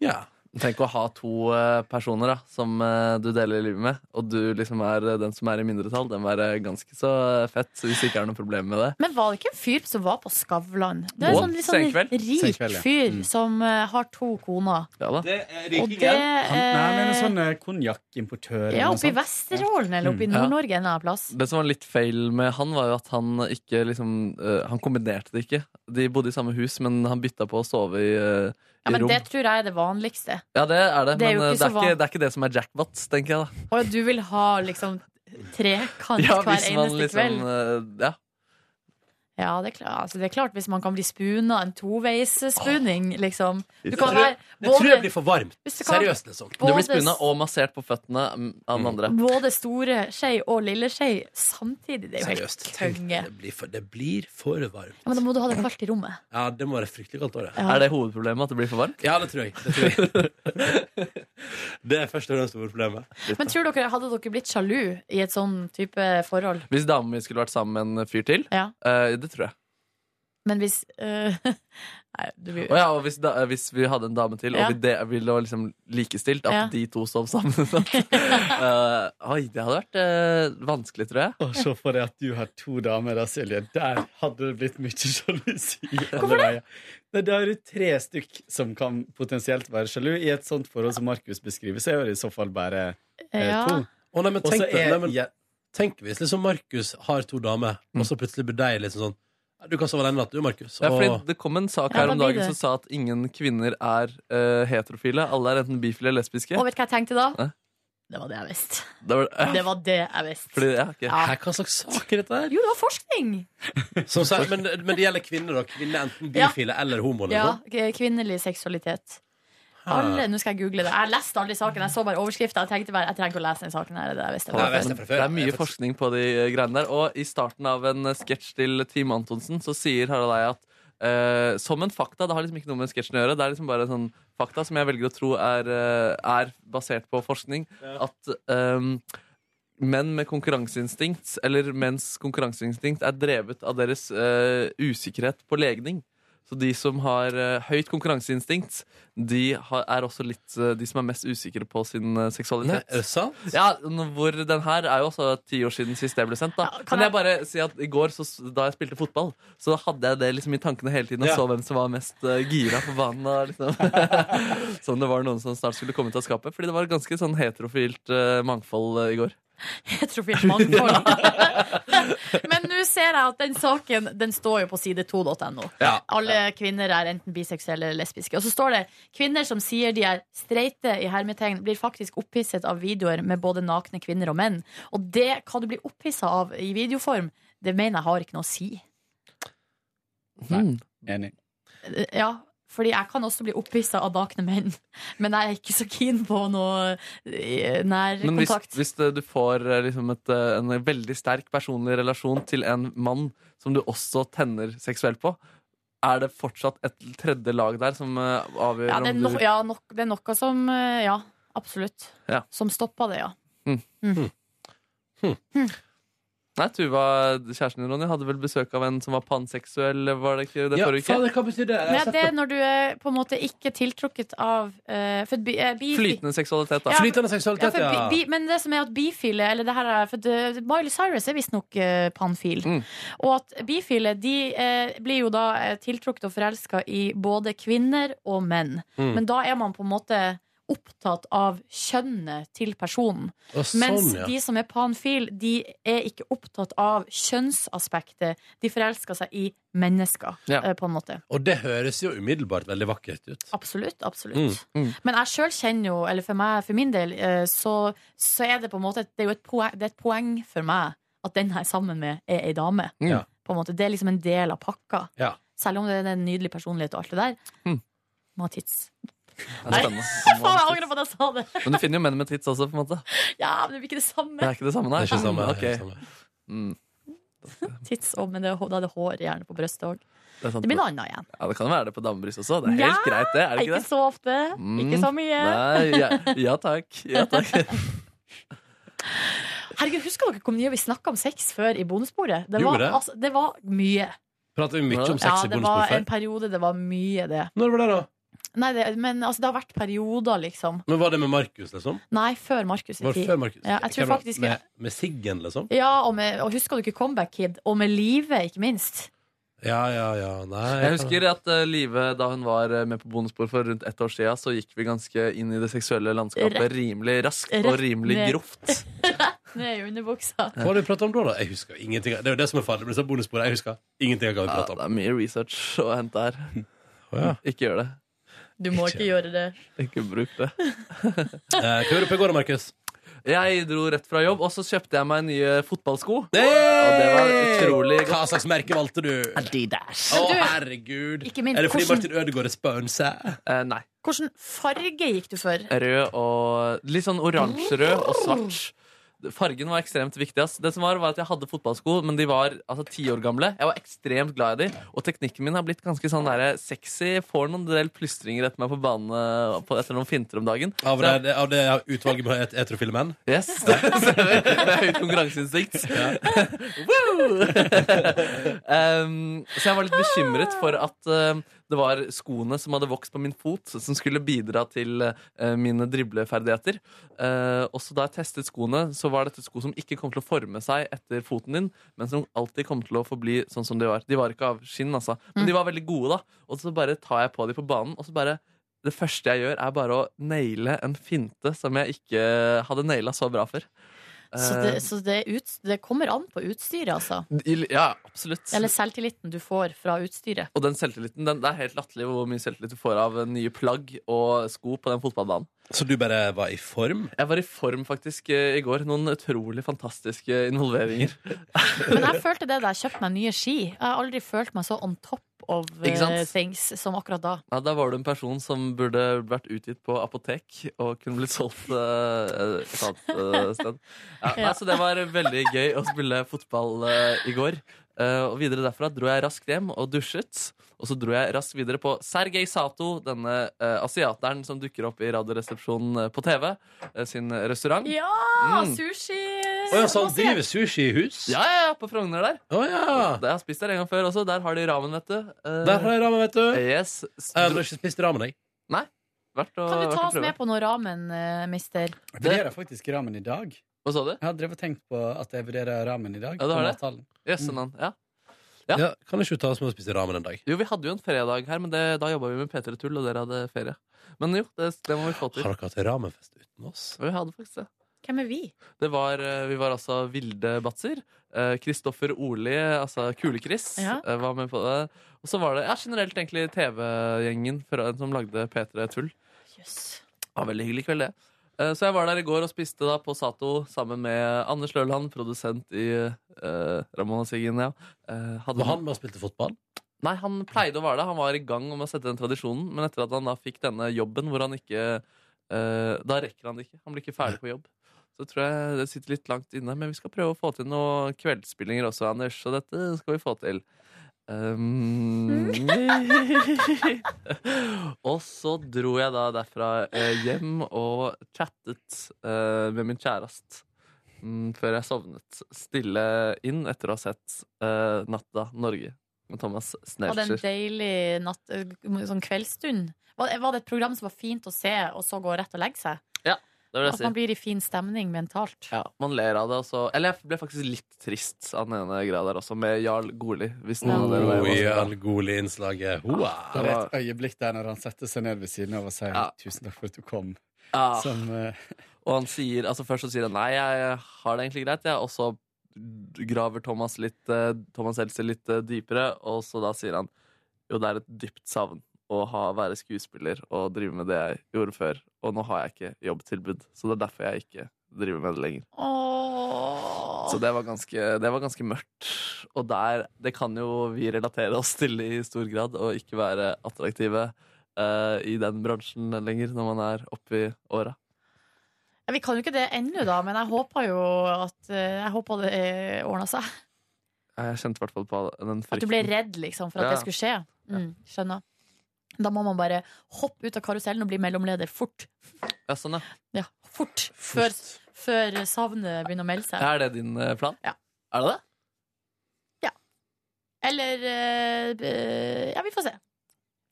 B: ja.
D: Tenk å ha to eh, personer da, som eh, du deler livet med, og du liksom er eh, den som er i mindretall. Den var eh, ganske så eh, fett, så hvis det ikke er noe problem med det.
C: Men var det ikke en fyr som var på Skavlan? Det er
D: Å,
C: en sånn, litt sånn
D: senkveld.
C: rik
D: Senkveld, ja. Mm.
C: fyr som eh, har to koner.
J: Det er
C: riking, Og det, ja.
J: Han, nei, han er en
C: eh,
J: sånn eh, konjakkimportør. eller
C: Ja,
J: noe
C: oppe i
J: sånt.
C: Vesterålen eller oppe i
D: Mm.
C: Nord-Norge en eller annen plass.
D: Det som var litt feil med han, var jo at han ikke liksom eh, Han kombinerte det ikke. De bodde i samme hus, men han bytta på å sove i, eh,
C: Ja,
D: i
C: men
D: rom.
C: det tror jeg er det vanligste.
D: ja, det er det,
C: Det er jo
D: men eh,
C: ikke
D: det,
C: så
D: er ikke, det er ikke det som er jackpots, tenker jeg da.
C: Og at du vil ha liksom trekant
D: Ja,
C: hver
D: hvis man
C: eneste
D: liksom,
C: kveld.
D: eh, ja.
C: Ja, det er, klart, altså, det er klart hvis man kan bli spuna en toveisspuning, liksom. Du
D: Det
C: kan
D: tror-
C: være
D: det tror jeg blir
B: for varmt.
C: Hvis det kan- Seriøst, liksom.
D: Du blir
C: både-
D: spunnet og massert på føttene mm, av den andre.
C: Både store skei og lille skei samtidig. Det er jo helt
B: Seriøst. Tenk,
C: konge.
B: det, blir for, det blir for varmt.
C: Ja, men da må du ha det kaldt i rommet.
B: Ja, det må være fryktelig kaldt år,
C: Ja. Er
D: det hovedproblemet at det blir for varmt?
B: Ja, det tror jeg. Det, tror jeg. det er først og fremst hovedproblemet.
C: Men tror dere, hadde dere blitt sjalu i et sånn type forhold?
D: Hvis damen min skulle vært sammen med en fyr til,
C: Ja.
D: eh, det tror jeg.
C: Men hvis øh, Nei, du blir
D: Og, ja, og hvis, da, eh, hvis vi hadde en dame til,
C: Ja.
D: og vi de, ville ha liksom likestilt at
C: Ja.
D: de to sov sammen Eh, Oi, det hadde vært eh, vanskelig, tror jeg.
J: Å, se for deg at du har to damer, da, Silje. Der hadde det blitt mye sjalusi.
D: Hvorfor
J: det? Nei, Da har du tre stykk som kan potensielt være sjalu. I et sånt forhold som Markus beskriver, så er det i så fall bare eh,
B: Ja.
J: to.
B: Å, nei, men
J: Og
B: tenk
J: så
B: det,
J: er-
B: nei, men-
J: ja,
B: Tenk hvis liksom Markus har to damer, og så plutselig blir de liksom sånn «Ja, Du kan sove den natten, du, Markus.
D: Ja, fordi
B: Og
D: det kom en sak
B: Ja,
D: her
B: hva
D: om
B: blir
D: dagen
B: det?
D: som sa at ingen kvinner er eh, heterofile. Alle er enten bifile eller lesbiske.
C: Og vet du hva jeg tenkte da?
D: Hæ?
C: Det var det jeg visste.
D: Det var,
C: Det var det jeg visste.
D: fordi, ja, ok.
B: Hæ, Hva slags sak er dette her?
C: Jo, det var forskning!
B: Som sagt, men, men det gjelder kvinner, da. Kvinner er enten bifile eller homo. Eller
C: Ja,
B: sånn.
C: k- kvinnelig seksualitet.
B: Ah.
C: Alle, nå skal jeg google det. Jeg leste aldri saken. Jeg så bare overskrifta. Jeg tenkte bare, jeg trenger ikke å lese den saken her. Det er det jeg visste.
D: Nei, men Det er mye forskning på de eh, greiene der. Og i starten av en eh, sketsj til Team Antonsen så sier Harald Eia at eh, som en fakta, det har liksom ikke noe med sketsjen å gjøre, det er liksom bare en sånn fakta som jeg velger å tro er, eh, er basert på forskning, at ehm, Menn med konkurranseinstinkt, eller menns konkurranseinstinkt, er drevet av deres eh, usikkerhet på legning. Så de som har eh, høyt konkurranseinstinkt, de har, er også litt eh, de som er mest usikre på sin eh, seksualitet.
B: Nei, er det sant?
D: Ja, n- hvor den her er jo også ti år siden sist det ble sendt. da Kan jeg bare si at i går, så, s- da jeg spilte fotball, så hadde jeg det liksom i tankene hele tiden og
B: Ja.
D: så hvem som var mest eh, gira på banen. og Liksom. som det var noen som snart skulle komme ut av skapet. Fordi det var ganske sånn heterofilt eh, mangfold eh, i går.
C: Heterofilt mangfold. Men nå ser jeg at den saken den står jo på side2.no.
D: Ja.
C: Alle kvinner er enten biseksuelle eller lesbiske. Og så står det kvinner som sier de er streite, i hermetegn, blir faktisk opphisset av videoer med både nakne kvinner og menn. Og det, hva du blir opphissa av i videoform, det mener jeg har ikke noe å si.
B: Mm.
D: Nei,
J: enig.
C: Eh, Ja, fordi jeg kan også bli opphisset av nakne menn. Men jeg er ikke så keen på noe eh,
D: Men hvis,
C: nærkontakt.
D: hvis eh, du får eh, liksom et, eh, en veldig sterk personlig relasjon til en mann som du også tenner seksuelt på, er det fortsatt et tredje lag der som eh, avgjør
C: Ja, det er,
D: om
C: no,
D: du
C: ja, nok, det er noe som eh, Ja, absolutt.
D: Ja.
C: Som stopper det, ja.
D: Mm. Nei, Tuva, kjæresten din, Ronny, hadde vel besøk av en som var panseksuell, var det ikke det
B: Ja,
D: forrige uke?
B: fader, hva betyr det? Jeg har
C: Men
B: sett
C: det er når du er på en måte ikke tiltrukket av eh, for bi, eh, bi,
D: Flytende seksualitet, da.
C: Ja, ja, for bi, bi, Men det som er at bifile Eller det her er for det, Miley Cyrus er visstnok uh, panfil. Og at bifile de eh, blir jo da eh, tiltrukket og forelska i både kvinner og menn.
K: Mm.
C: Men da er man på en måte opptatt av kjønnet til personen.
K: Å, sånn,
C: Mens
K: ja.
C: de som er panfil, de er ikke opptatt av kjønnsaspektet. De forelsker seg i mennesker,
B: Ja.
C: eh, på en måte.
B: Og det høres jo umiddelbart veldig vakkert ut.
C: Absolutt. absolutt.
B: Mm.
C: Men jeg sjøl kjenner jo, eller for meg, for min del, eh, så, så er det på en måte Det er jo et poeng, det er et poeng for meg at den jeg er sammen med, er ei dame.
B: Ja.
C: På en måte. Det er liksom en del av pakka.
B: Ja. Mm.
C: Selv om det er en nydelig personlighet og alt det der. Må ha tits.
D: Det er spennende.
C: Faen, jeg angrer på at jeg sa det!
D: Men du finner jo menn med tits også, på en måte.
C: Ja, men det blir ikke det samme.
D: Det er ikke det samme, nei?
B: Det er ikke det samme,
D: Mm,
B: det er ikke det
D: ok.
C: Tits og, men det, er hå- da er det hår gjerne på brystet òg.
D: Det, er sant.
C: Det blir noe annet igjen.
D: Ja, det kan jo være det på damebryst også. Det er
C: Ja,
D: helt greit, det. Er det ikke det?
C: så ofte. Ikke
B: Mm,
C: så mye.
D: Nei, ja, ja takk. Ja, takk.
C: Herregud, Husker dere hvor mye vi snakka om sex før i bonusbordet? Det
B: Gjorde
C: var,
B: det?
C: altså, det var mye.
B: Prater vi mye om
C: ja,
B: sex i
C: det var
B: bonusbordet
C: en
B: før?
C: periode det var mye det.
B: Når var det, da?
C: Nei, det, men altså, det har vært perioder, liksom.
B: Men var det med Markus, liksom?
C: Nei, før Markus. i
B: Var det
C: tid.
B: før Markus?
C: Ja, jeg tror
B: Hvem var-
C: faktisk
B: med, med Siggen, liksom?
C: Ja, og, med, og husker du ikke Comeback Kid? Og med Live, ikke minst.
B: Ja, ja, ja. Nei.
D: Jeg husker at eh, Live, da hun var eh, med på bonusbord for rundt ett år siden, så gikk vi ganske inn i det seksuelle landskapet
C: Rett-
D: rimelig raskt
C: rett
D: og rimelig
C: ned.
D: grovt.
C: Ned i underbuksa.
B: Hva var det vi pratet om da, da? Jeg husker ingenting. Det er jo det som er farlig med disse bonussporene. Jeg husker ingenting av hva vi
D: Ja,
B: pratet om.
D: det er mye research å hente her. Ikke gjør det.
C: Du må ikke gjøre det.
D: Ikke bruk det.
B: Eh, Hva gjorde du på i går, Markus?
D: Jeg dro rett fra jobb, og så kjøpte jeg meg nye fotballsko.
B: Og
D: det var utrolig
B: Hva slags merke valgte du? Adidas. Å,
C: Du-
B: herregud.
C: Ikke minst,
B: er det fordi
C: hvordan-
B: Martin Ødegaard er sponset?
D: nei.
C: Hvilken farge gikk du for?
D: Rød og Litt sånn oransjerød og svart. Fargen var ekstremt viktig. ass. Det som var, var at Jeg hadde fotballsko, men de var altså, ti år gamle. Jeg var ekstremt glad i de, og teknikken min har blitt ganske sånn der, sexy. Får noen del plystringer etter meg på banen eh, på- etter noen finter om dagen.
B: Av
D: Så jeg-
B: det, av det utvalget med et heterofile menn?
D: Yes, det stemmer. Det er høyt konkurranseinstinkt. Woo! um, så jeg var litt bekymret for at um, det var skoene som hadde vokst på min fot, som skulle bidra til uh, mine dribleferdigheter. Uh, også da jeg testet skoene, så var dette sko som ikke kom til å forme seg etter foten din, men som alltid kom til å forbli sånn som de var. De var ikke av skinn, altså. Men
C: Mm.
D: de var veldig gode, da. Og så bare tar jeg på de på banen, og så bare det første jeg gjør, er bare å naile en finte som jeg ikke hadde naila så bra før.
C: Så,
B: Eh.
C: det, så det, er ut, det kommer an på utstyret, altså.
D: Eh, ja, absolutt.
C: Eller selvtilliten du får fra utstyret.
D: Og den selvtilliten, den, det er helt latterlig hvor mye selvtillit du får av eh, nye plagg og sko på den fotballbanen.
B: Så du bare var i form?
D: Jeg var i form faktisk eh, i går. Noen utrolig fantastiske involveringer.
C: Men jeg følte det da jeg kjøpte meg nye ski. Jeg har aldri følt meg så on top of eh,
D: Ikke sant?
C: things som akkurat da.
D: Ja, da var du en person som burde vært utgitt på apotek og kunne blitt solgt eh, et annet eh, sted. Ja,
C: Ja.
D: nei, så det var veldig gøy å spille fotball eh, i går. Eh, og videre derfra dro jeg raskt hjem og dusjet. Og så dro jeg raskt videre på Sergej Sato, denne eh, asiateren som dukker opp i Radioresepsjonen eh, på TV, eh, sin restaurant.
C: Ja!
D: Mm.
C: Sushi!
B: Å ja, så han driver sushi i hus?
D: Ja, ja, ja, på Frogner der.
B: Å ja.
D: Jeg har spist der en gang før også. Der har de ramen, vet du. Eh,
B: Ah. Der har jeg Eh, ramen, vet du.
D: Yes.
B: Jeg har ikke spist ramen, jeg.
D: Nei. Verdt å,
C: Kan du
D: verdt
C: ta
D: å
C: oss
D: prøve.
C: med på noe ramen, eh, mister?
J: Jeg vurderer faktisk ramen i dag.
D: Hva sa du?
J: Jeg har drevet og tenkt på at jeg vurderer ramen i dag.
D: Ja, du
J: på
D: har det?
J: mathallen.
D: Jøsse
B: Mm.
D: navn. Ja.
B: Ja. kan ikke du ta oss med og spise ramen en dag?
D: Jo, vi hadde jo en fredag her, men det, da jobba vi med P3 Tull, og dere hadde ferie. Men jo, det, det må vi få til.
B: Har dere hatt ramenfest uten oss?
D: Vi hadde faktisk det.
C: Hvem er vi?
D: det var, eh, vi var altså Vilde Batzer. eh, Kristoffer Orli, altså Kule-Chris,
C: Ja.
D: eh, var med på det. Og så var det ja, generelt egentlig TV-gjengen fra- som lagde P3 Tull.
C: Jøss.
D: Det var veldig hyggelig kveld, det. Eh, Så jeg var der i går og spiste da på Sato sammen med Anders Løland, produsent i eh, Ramona Siggen. Ja. Eh, hadde-
B: Var han med og spilte fotball?
D: Nei, han pleide å være det. Han var i gang med å sette den tradisjonen, men etter at han da fikk denne jobben hvor han ikke eh, Da rekker han det ikke. Han blir ikke ferdig på jobb. Så tror jeg det sitter litt langt inne, men vi skal prøve å få til noen kveldsspillinger også, Anders, så dette skal vi få til. Um, og så dro jeg da derfra eh, hjem og chattet eh, med min kjæreste. Mm, før jeg sovnet stille inn etter å ha sett eh, Natta Norge med Thomas
C: Var det en
D: Snelcher.
C: deilig natt, eh, sånn kveldsstund? Var, var det et program som var fint å se, og så gå rett og legge seg?
D: Det vil jeg
C: At
D: si.
C: man blir i fin stemning mentalt.
D: Ja, man ler av det også. Eller jeg ble faktisk litt trist av den ene greia der også, med Jarl Goli. Hvis noen av dere var
B: Oh,
D: hjemme og så
B: ja,
D: det.
B: gode innslaget. Hoa.
J: Det
D: Det
J: var
D: var-
J: et øyeblikk der når han setter seg ned ved siden av og sier
D: Ja.
J: 'tusen takk for at du kom'.
D: Ah,
J: Som, eh,
D: og han sier, altså først så sier han nei, jeg har det egentlig greit, jeg. Og så graver Thomas litt, eh, Thomas Seltzer litt eh, dypere, og så da sier han jo, det er et dypt savn å ha, være skuespiller og drive med det jeg gjorde før. Og nå har jeg ikke jobbtilbud, så det er derfor jeg ikke driver med det lenger.
C: Åh.
D: Så det var ganske, det var ganske mørkt. Og der, det kan jo vi relatere oss til i stor grad, og ikke være attraktive eh, i den bransjen lenger når man er oppi åra.
C: Ja, Vi kan jo ikke det ennå, da, men jeg håper jo at eh, Jeg håper det eh, ordna seg.
D: Jeg kjente i hvert fall på den frykten.
C: At du ble redd liksom, for at
D: Ja.
C: det skulle skje. Mm, skjønner. Da må man bare hoppe ut av karusellen og bli mellomleder fort.
D: Ja, sånn, ja.
C: Ja, fort. Før, før savnet begynner å melde seg.
D: Er det din eh, plan?
C: Ja.
D: Er det det?
C: Eller eh, eh, Ja, vi får se.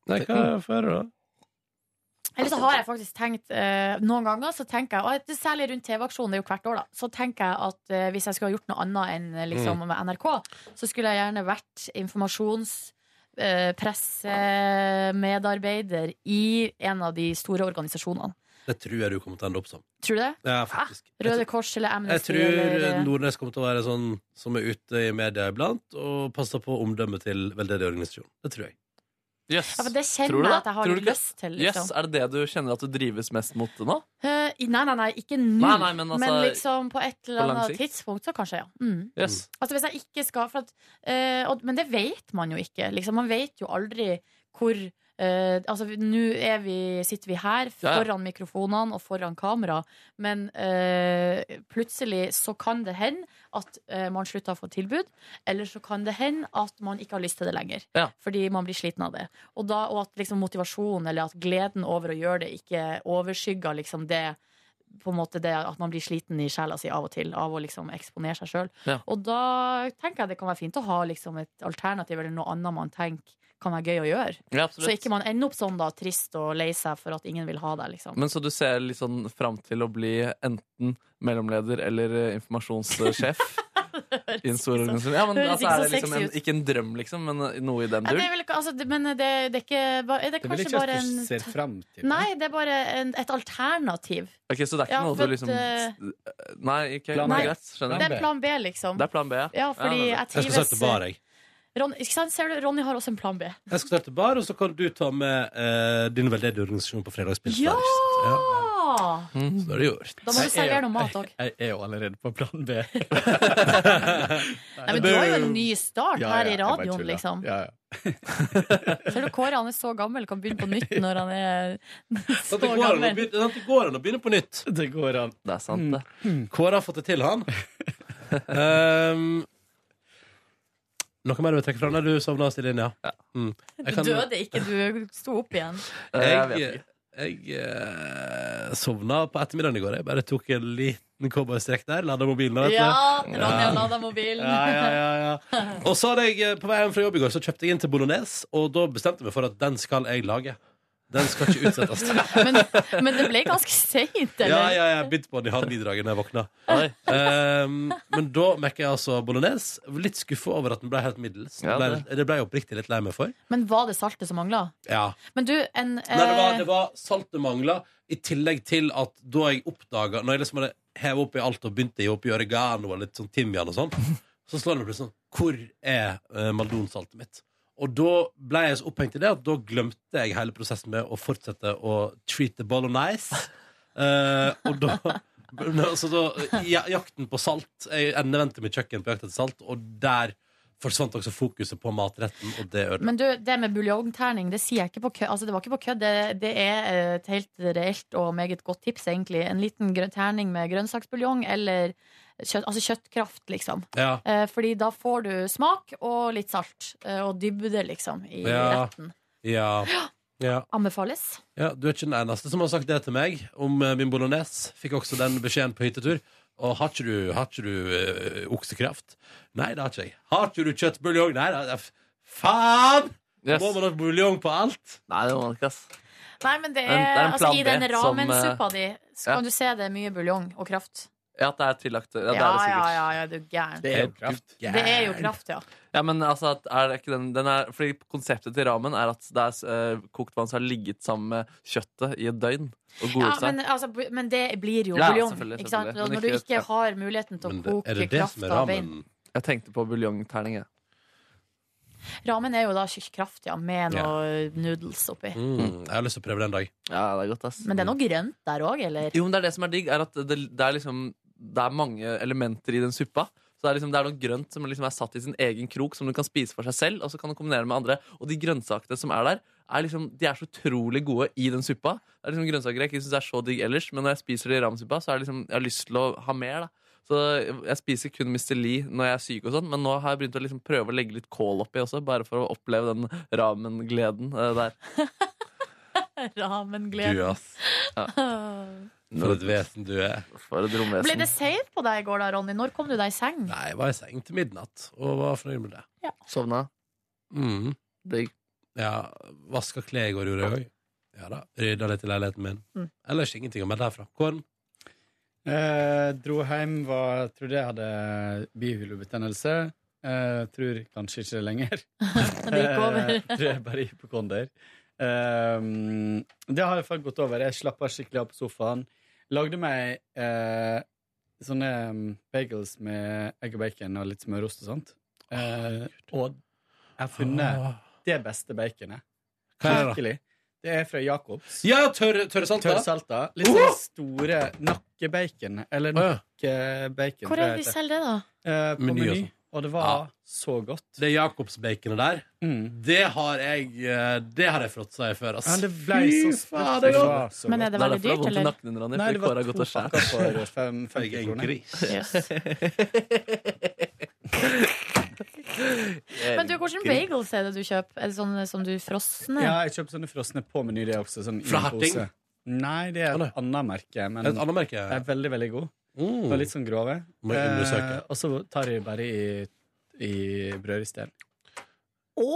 D: Mm.
B: Nei, hva får jeg høre, da?
C: Eller så har jeg faktisk tenkt eh, Noen ganger så tenker jeg og det er Særlig rundt TV-aksjonen, det er jo hvert år da Så tenker jeg at eh, hvis jeg skulle ha gjort noe annet enn eh, liksom,
K: Mm.
C: med NRK Så skulle jeg gjerne vært informasjons eh, pressemedarbeider I en av de store organisasjonene
B: Det tror jeg du kommer til å ende opp som.
C: Tror du det?
B: Ja, faktisk.
C: Røde Kors eller
B: Jeg
C: Amnesty
D: eh,
B: tror eh,
C: eller,
B: Nordnes kommer til å være sånn som er ute i media iblant, og passer på omdømmet til veldedig organisasjon. Det tror jeg.
D: Yes.
C: Ja, for det kjenner
D: Tror du
C: jeg
D: det?
C: at jeg har
D: Tror du
C: litt
D: ikke?
C: lyst til, liksom.
D: Yes, Er det det du kjenner at du drives mest mot nå?
C: Eh, i- Nei, nei, nei, ikke nå
D: Nei, nei, men altså,
C: liksom på et
D: på
C: eller
D: lang
C: annet
D: sikt?
C: tidspunkt Så kanskje, ja mm.
D: Yes.
C: Altså hvis jeg ikke skal for at, eh, og, Men det vet man jo ikke liksom. Man vet jo aldri hvor eh, Altså nå er vi- sitter vi her
K: Ja, ja.
C: Foran mikrofonene og foran kamera Men eh, plutselig så kan det hende At eh, man slutter å få tilbud Eller så kan det hende at man ikke har lyst til det lenger
D: Ja.
C: Fordi man blir sliten av det Og, da, og at liksom, motivasjonen eller at gleden over å gjøre det Ikke overskygger liksom, det på en måte det at man blir sliten i sjela si av og til av å liksom eksponere seg sjøl.
K: Ja.
C: Og da tenker jeg det kan være fint å ha liksom et alternativ eller noe annet man tenker kan være gøy å gjøre.
D: Mm. Ja, absolutt.
C: så ikke man ender opp sånn da trist og lei seg for at ingen vil ha deg. liksom
D: Men så du ser litt sånn fram til å bli enten mellomleder eller eh, informasjonssjef? I en stor organisasjon. Ja, men
C: høres
D: altså, er
C: ikke så
D: det liksom en,
C: sexy ut.
D: ikke en drøm, liksom, men eh, noe i den
C: Ja, det
D: duren?
C: er vel, ikke- altså, det- men det, det er ikke ba- er det
D: Det er vel
C: kanskje
D: ikke at
C: bare
D: du
C: en
D: ser frem til det?
C: Nei, det er bare en, et alternativ.
D: Ok, Så det er ikke
C: Ja,
D: noe
C: for
D: du liksom
C: at, eh,
D: Nei, ikke
C: Plan
D: Nei,
C: B.
D: greit. Skjønner.
C: Det er plan B, liksom.
D: Det er plan B, ja.
C: Ja, fordi
D: Ja,
C: jeg
B: Jeg skal
C: trives
B: starte bar, jeg.
C: Ronny, ikke sant? Ser du, Ronny har også en plan B.
B: Jeg skal starte bar, og så kan du ta med eh, din veldedige organisasjon på fredagspils.
C: Ja!
B: Så da er det gjort.
C: Da må du servere noe mat òg.
J: Jeg er jo allerede på plan B.
C: Nei, men du har jo en ny start
J: Ja,
C: her i
J: ja, jeg bare
C: radioen,
J: tuller.
C: liksom.
J: Ja, ja.
C: Ser du Kåre, han er så gammel, kan begynne på nytt når han er så
B: Det går an å
C: gammel.
B: begynne- sant, Sånn det går an å begynne på nytt.
J: Det går an.
D: Det er
C: Mm.
D: sant, det.
B: Kåre har fått det til, han. Ehm, noe mer du vil trekke fram? Nei, du sovna stille inn, ja. Mm.
C: Du døde ikke, du sto opp igjen.
D: Eh,
B: Jeg, jeg eh, sovna på ettermiddagen i går. Jeg bare tok en liten cowboystrekk der, lada mobilen. vet du.
C: Ja, Ronny har lada mobilen.
B: Ja, ja, ja, ja. Og så hadde jeg eh, på vei hjem fra jobb i går, så kjøpte jeg inn til bolognese, og da bestemte jeg meg for at den skal jeg lage. Den skal ikke utsettes.
C: Men det ble ganske seint,
B: Ja,
C: eller?
B: ja, jeg begynte på den i halv ni-draget da jeg våkna. Ehm, men da mekka jeg altså bolognese. Litt skuffa over at den ble helt middels.
D: Ja,
B: ble,
D: det.
B: det ble jeg oppriktig litt lei meg for.
C: Men var det saltet som mangla?
B: Ja.
C: Men du, en eh,
B: Nei, det var, det var saltet mangla, i tillegg til at da jeg oppdaga Når jeg liksom hadde hevet opp i alt og begynte å gi opp i oregano og litt sånn timian og sånn, så slår det meg plutselig sånn Hvor er eh, maldonsaltet mitt? Og da ble jeg så opphengt i det at da glemte jeg hele prosessen med å fortsette å treat the bolognese. Eh, og da men altså da, ja, jakten på salt Jeg endevendte mitt kjøkken på jakt etter salt, og der forsvant også fokuset på matretten, og det ødela.
C: eh, Men du, det med buljongterning, det sier jeg ikke på kødd. Altså, det var ikke på kødd. Det, det er eh, et helt reelt og meget godt tips, egentlig. En liten grønn terning med grønnsaksbuljong eller kjøtt, altså kjøttkraft, liksom.
B: Ja.
C: Eh, fordi da får du smak og litt salt, eh, og dybde, liksom, i
B: Ja.
C: retten.
B: Ja. ja.
C: Anbefales.
B: Ja, Du er ikke den eneste som har sagt det til meg om eh, min bolognese. Fikk også den beskjeden på hyttetur. Og har ikke du, har ikke du eh, oksekraft? Nei, det har ikke jeg. Har ikke du kjøttbuljong? Nei, det er f- Faen! Må man ha buljong på alt?
D: Nei, det må man ikke, ass.
C: Nei, men det
D: Det er
C: er,
D: en- det er en
C: altså,
D: plan
C: I
D: B
C: den
D: som, eh,
C: ramensuppa di så
D: ja.
C: kan du se det er mye buljong og kraft.
D: Ja, at det er tillagt Ja,
C: Ja,
D: det
C: ja,
D: er det sikkert.
C: ja, ja, du er gæren.
D: Det er jo kraft.
C: Det er jo kraft, ja.
D: Ja, men altså, at er det ikke den, den er, fordi Konseptet til ramen er at det er eh, kokt vann som har ligget sammen med kjøttet i et døgn. Og
C: ja
D: godgjort seg.
C: men, altså, bu- men det blir jo
D: Ja,
C: buljong.
D: selvfølgelig,
C: Ikke sant?
D: selvfølgelig. Men
C: Når du
D: ikke-
C: ikke har muligheten til å koke kraft av bein.
D: Jeg tenkte på buljongterning. jeg.
C: Ramen er jo da kjø- kraft, ja, med
B: Ja.
C: noe noodles oppi.
B: Mm, jeg har lyst til å prøve det en dag.
D: Ja, det er godt, ass.
C: Men det er noe grønt der òg, eller?
D: Jo, men det er det som er digg, er at det, det er liksom Det er mange elementer i den suppa. Så det er, liksom, det er noe grønt som liksom er satt i sin egen krok, som du kan spise for seg selv. Og så kan du kombinere med andre Og de grønnsakene som er der, er liksom, de er så utrolig gode i den suppa. Det er liksom grønnsaker jeg ikke syns er så digg ellers, men når jeg spiser det i ramsuppa, så er det liksom, jeg har lyst til å ha mer. da Så jeg spiser kun Mr. Lee når jeg er syk, og sånn men nå har jeg begynt å liksom prøve å legge litt kål oppi også, bare for å oppleve den ramen-gleden eh, der.
C: Ramengleden.
D: Ja.
B: For et vesen du er.
D: For et romvesen.
C: Ble det seint på deg i går da, Ronny? Når kom du deg i seng?
B: Nei, jeg var i seng til midnatt og var fornøyd med det.
C: Ja.
D: Sovna?
B: Mm.
D: Digg.
B: Ja, vaska klær i går gjorde jeg òg. Ja da, Rydda litt i leiligheten min.
J: Mm.
B: Ellers ingenting å melde herfra. Kåren?
J: Eh, dro hjem, var, trodde jeg hadde bihulebetennelse. Eh, tror kanskje ikke det lenger.
C: Det gikk over.
J: Eh, tror jeg bare er hypokonder. Eh, det har i hvert fall gått over. Jeg slappa skikkelig av på sofaen. Lagde meg eh, sånne mm, bagels med egg og bacon og litt smørost og sånt. Eh, og jeg har
C: Ah.
J: funnet
B: Åh.
J: det beste baconet.
B: Hva er det da?
J: Virkelig. Det er fra Jacobs.
B: Ja, tørre, tørre salta.
J: Tørrsalta. Litt sånn store nakkebacon. Eller nakkebacon.
C: Hvor er det de selger det, da?
J: Eh, på
B: Meny
J: Meny.
B: og sånn.
J: Og det var så godt.
B: Det Jacobsbaconet der, det har jeg eh, Det har jeg fråtsa i før, ass.
J: Ja, det ble så
B: Fy
J: spurt.
B: faen,
J: Det
B: er godt.
J: var så
C: Men er det veldig
D: derfor det
C: dyrt,
D: er vondt i
C: eller?
D: nakken under han.
J: Nei, det
D: Fordi
J: var
D: kåra har gått
J: to
D: og skjært.
J: pakker for fem-
B: Jeg er
J: 50
B: en
J: kroner.
B: gris.
C: Men du, hvilke bagels er det du kjøper? Er det sånne som du frosne?
J: Ja, jeg kjøper sånne frosne på Meny, det også. Sånn i
B: Fra
J: en pose.
B: Herting?
J: Nei, det er
B: Å, nei.
J: et annet merke. Men
B: Det er Et annet merke.
J: det er veldig, veldig god.
B: Mm.
J: Og litt sånn grove. Eh,
B: Må jeg undersøke.
J: og så tar jeg bare i, i brødristeren.
C: Å,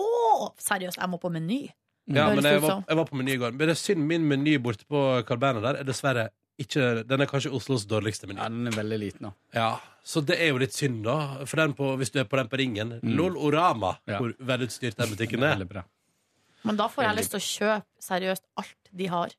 C: seriøst, jeg må på Meny.
B: Ja,
C: Høres
B: men jeg
C: ut
B: var,
C: som.
B: jeg var på Meny i går. Men det er synd min meny borte på Carl Berner der er dessverre ikke Den er kanskje Oslos dårligste meny.
J: Ja, den er veldig liten nå.
B: Ja, så det er jo litt synd, da. For den på, hvis du er på den på Ringen. Lol Orama,
J: Ja.
B: hvor velutstyrt den butikken er.
J: Veldig bra.
C: Men da får jeg lyst til å kjøpe seriøst alt de har.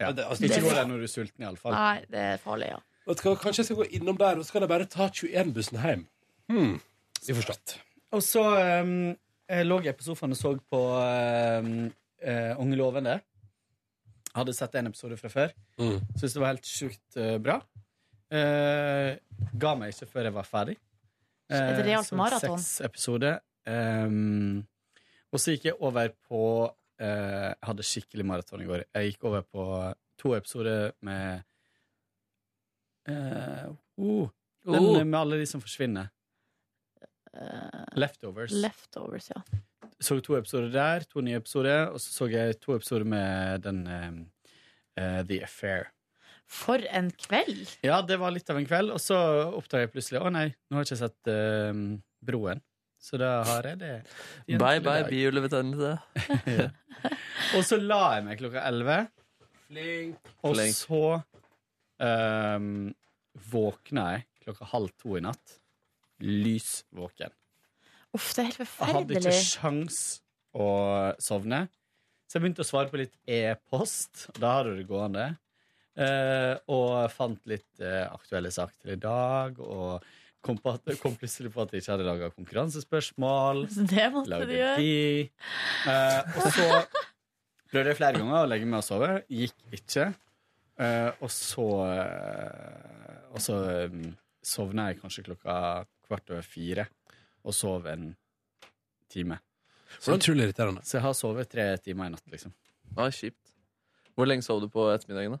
J: Ja.
B: det- altså,
J: Ikke
B: det-
J: gå der når du er sulten, iallfall.
C: Nei, det er farlig, ja.
B: Vet du hva, Kanskje jeg skal gå innom der, og så kan jeg bare ta 21-bussen hjem. Hmm. Vi forstått.
J: Og så um, eh, lå jeg på sofaen og så på um, eh, Unge lovende. Hadde sett en episode fra før.
B: Mm.
J: Syntes det var helt sjukt eh, bra. Eh, ga meg ikke før jeg var ferdig.
C: Et
J: Eh,
C: realt
J: så
C: maraton.
J: Seks episoder. Um, og så gikk jeg over på eh, Jeg hadde skikkelig maraton i går. Jeg gikk over på to episoder med eh, oh, Den
D: eh,
B: Oh.
J: med alle de som forsvinner.
C: Eh,
J: Leftovers.
C: leftovers, ja.
J: så to episoder der, to nye episoder, og så så jeg to episoder med den eh, eh, The Affair.
C: For en kveld!
J: Ja, det var litt av en kveld, og så oppdaga jeg plutselig å nei, nå har jeg ikke sett eh, Broen. Så da har jeg det. igjen
D: Bye
J: til i
D: bye,
J: dag.
D: bihulebetennelse.
J: Og så la jeg meg klokka elleve, og
D: Flink.
J: så eh, våkna jeg klokka halv to i natt. Lys våken.
C: Uff, det er helt
J: Jeg hadde
C: forferdelig.
J: ikke sjans å sovne. Så jeg begynte å svare på litt e-post. og Da hadde det gående. Eh, og fant litt eh, aktuelle saker til i dag. Og kom, på at, kom plutselig på at jeg ikke hadde laga konkurransespørsmål.
C: Det måtte du
J: Lagde
C: gjøre.
J: de. Eh, og så prøvde jeg flere ganger å legge meg og sove. Gikk ikke. Eh, og så eh, Og så mm, sovna jeg kanskje klokka kvart over fire. Og sov en time.
B: Så utrolig irriterende.
J: Så jeg har sovet tre timer i natt, liksom.
D: Ah, kjipt. Hvor lenge sov du på ettermiddagen, da?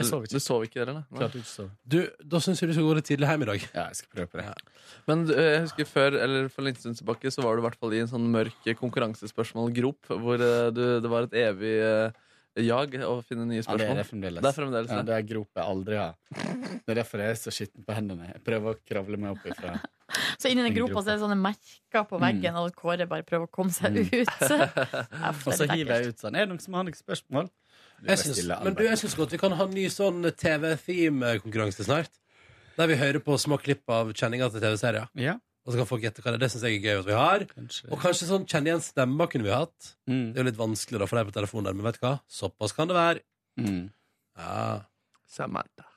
J: Jeg sov
D: Du
J: ikke.
D: sov ikke heller, nei?
J: Klarte ikke å sove.
B: Du, Da syns jeg du skal gå litt tidlig hjem i dag.
J: Ja, jeg skal prøve på det.
D: Men øh, jeg husker før, eller for lenge stund tilbake, så var du i hvert fall i en sånn mørk konkurransespørsmålgrop, hvor øh, du, det var et evig øh, jag å finne nye
J: Ja, det er
D: spørsmål.
J: det fremdeles.
D: det er fremdeles
J: ja,
D: det.
J: det er grop jeg aldri har. Det er derfor jeg er så skitten på hendene. Jeg prøver å kravle meg opp ifra
C: Så inni den gropa så er det sånne merker på veggen, og Kåre bare prøver å komme seg ut.
J: Mm. Og så hiver jeg ut sånn. Er det noen som har noen spørsmål? Blir
B: Jeg
J: bare
B: syns,
J: stille,
B: men du,
J: Albert.
B: jeg syns godt vi kan ha en ny sånn TV-theme-konkurranse snart. Der vi hører på små klipp av kjenninga til TV-serier.
J: Ja,
B: Og så kan folk gjette hva det er. Det syns jeg er gøy at vi har.
J: kanskje.
B: Og kanskje sånn kjenn igjen stemmer kunne vi hatt.
J: Mm.
B: Det er jo litt vanskelig da for deg på telefonen, der, men vet du hva? Såpass kan det være.
J: Mm.
B: Ja.
D: Samantha.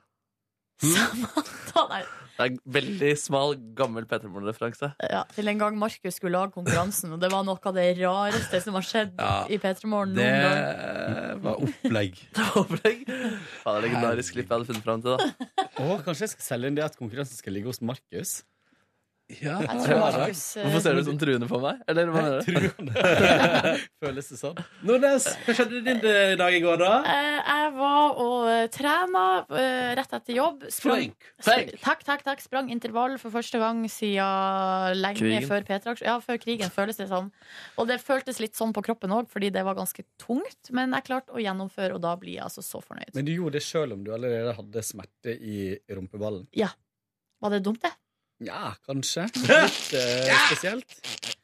C: Samantha, nei.
D: Det er en veldig smal, gammel Petter Moren-referanse.
C: Ja, til en gang Markus skulle lage konkurransen, og det var noe av det rareste som har skjedd
B: Ja,
C: i P3 Morgen noen gang.
J: Eh,
B: Det var opplegg.
D: Det var opplegg. Faen, det er legendarisk klipp jeg hadde funnet fram til, da.
J: Å, kanskje jeg skal selge inn det at konkurransen skal ligge hos Markus?
B: Ja,
C: Jeg tror Markus eh,
D: Hvorfor ser du sånn truende på meg? Eller hva mener du?
J: Føles det sånn?
B: Nordnes, hva skjedde din eh, dag i går, da?
C: eh, Jeg var og eh, trena eh, rett etter jobb. Sprang,
B: Flink.
C: Sp- takk, takk, takk. Sprang intervall for første gang siden lenge
D: Krigen.
C: før P3-aksjon. Ja, før krigen, føles det som. Og det føltes litt sånn på kroppen òg, fordi det var ganske tungt. Men jeg klarte å gjennomføre, og da blir jeg altså så fornøyd.
J: Men du gjorde det sjøl om du allerede hadde smerte i rumpeballen?
C: Var det dumt, det?
J: Ja, kanskje. Litt eh, spesielt.